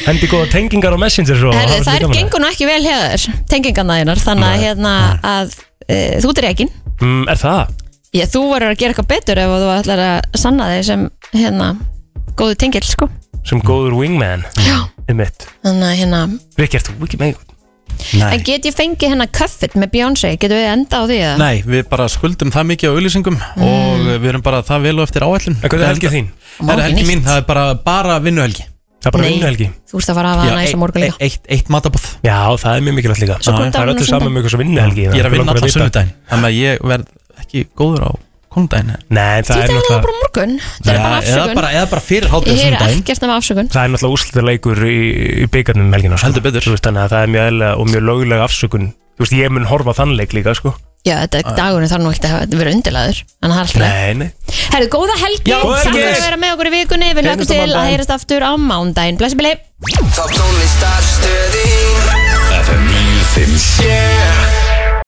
[SPEAKER 4] Hendi góða tengingar á Messenger svo
[SPEAKER 3] Herðu, það er gengur nú ekki vel hefur tengingarna þínar, þannig að, hérna, að e, þú ert ekki
[SPEAKER 4] mm, Er það?
[SPEAKER 3] Já, þú verður að gera eitthvað betur ef þú ætlar að sanna þig sem hérna, góðu tengil, sko
[SPEAKER 4] Sem góður wingman Já Einmitt
[SPEAKER 3] Þannig að hérna
[SPEAKER 4] Rikki, ert þú ekki með einhvern?
[SPEAKER 3] En get ég fengið hérna Cuffit með Beyoncé, getum við enda á því eða?
[SPEAKER 2] Nei, við bara skuldum það mikið á auðlýsingum og
[SPEAKER 3] Mm.
[SPEAKER 2] við erum bara það vel og eftir áætlun En
[SPEAKER 4] hvernig er helgin þín?
[SPEAKER 3] Má
[SPEAKER 2] Það er
[SPEAKER 3] ekki
[SPEAKER 2] helgi
[SPEAKER 3] neitt.
[SPEAKER 2] mín, það er bara, bara vinnuhelgi
[SPEAKER 4] Það er
[SPEAKER 3] bara Nei. vinnuhelgi. Þú ert að fara að hafa
[SPEAKER 2] e-
[SPEAKER 3] næs á morgun líka
[SPEAKER 2] eitt, eitt matabóð
[SPEAKER 4] Já, það er mjög mikilvægt líka
[SPEAKER 3] Svo kom
[SPEAKER 4] Það er
[SPEAKER 3] dagurinn á
[SPEAKER 4] öllu saman
[SPEAKER 3] sunnudaginn.
[SPEAKER 4] með ykkur svo vinnuhelgi
[SPEAKER 2] Ég er að
[SPEAKER 4] Okkur
[SPEAKER 2] vinna
[SPEAKER 4] langar
[SPEAKER 2] allan
[SPEAKER 4] vita.
[SPEAKER 2] sunnudaginn Þannig að ég verð ekki góður á konundaginn
[SPEAKER 4] Nei, e- það er náttúrulega
[SPEAKER 3] Bara á morgun, það er bara
[SPEAKER 2] eða
[SPEAKER 3] afsökun
[SPEAKER 2] bara, eða bara fyrir hátið
[SPEAKER 3] Ég heyri
[SPEAKER 2] sunnudaginn
[SPEAKER 3] ekkert af afsökun
[SPEAKER 4] Það er náttúrulega úrslitaleikur í, í byggarnum um helgina sko. Heldur betur veist, Þannig að það er mjög eðlega og mjög lögulega afsökun Þú veist, ég mun horfa á þann leik líka sko.
[SPEAKER 3] Já, þetta dagurinn þarf nú ekkert að hafa- vera undirlaður Þannig að það er alltaf
[SPEAKER 4] Nei, nei
[SPEAKER 3] Herðu, góða helgi,
[SPEAKER 6] Já, góða
[SPEAKER 3] takk
[SPEAKER 6] helgi.
[SPEAKER 3] fyrir að vera með okkur í vikunni Við
[SPEAKER 6] Heyrumst
[SPEAKER 3] lögum
[SPEAKER 6] á
[SPEAKER 3] til að
[SPEAKER 6] mánudaginn.
[SPEAKER 3] heyrast aftur á mándaginn Blessi bíli
[SPEAKER 6] Top tónlistarstöðin FM 957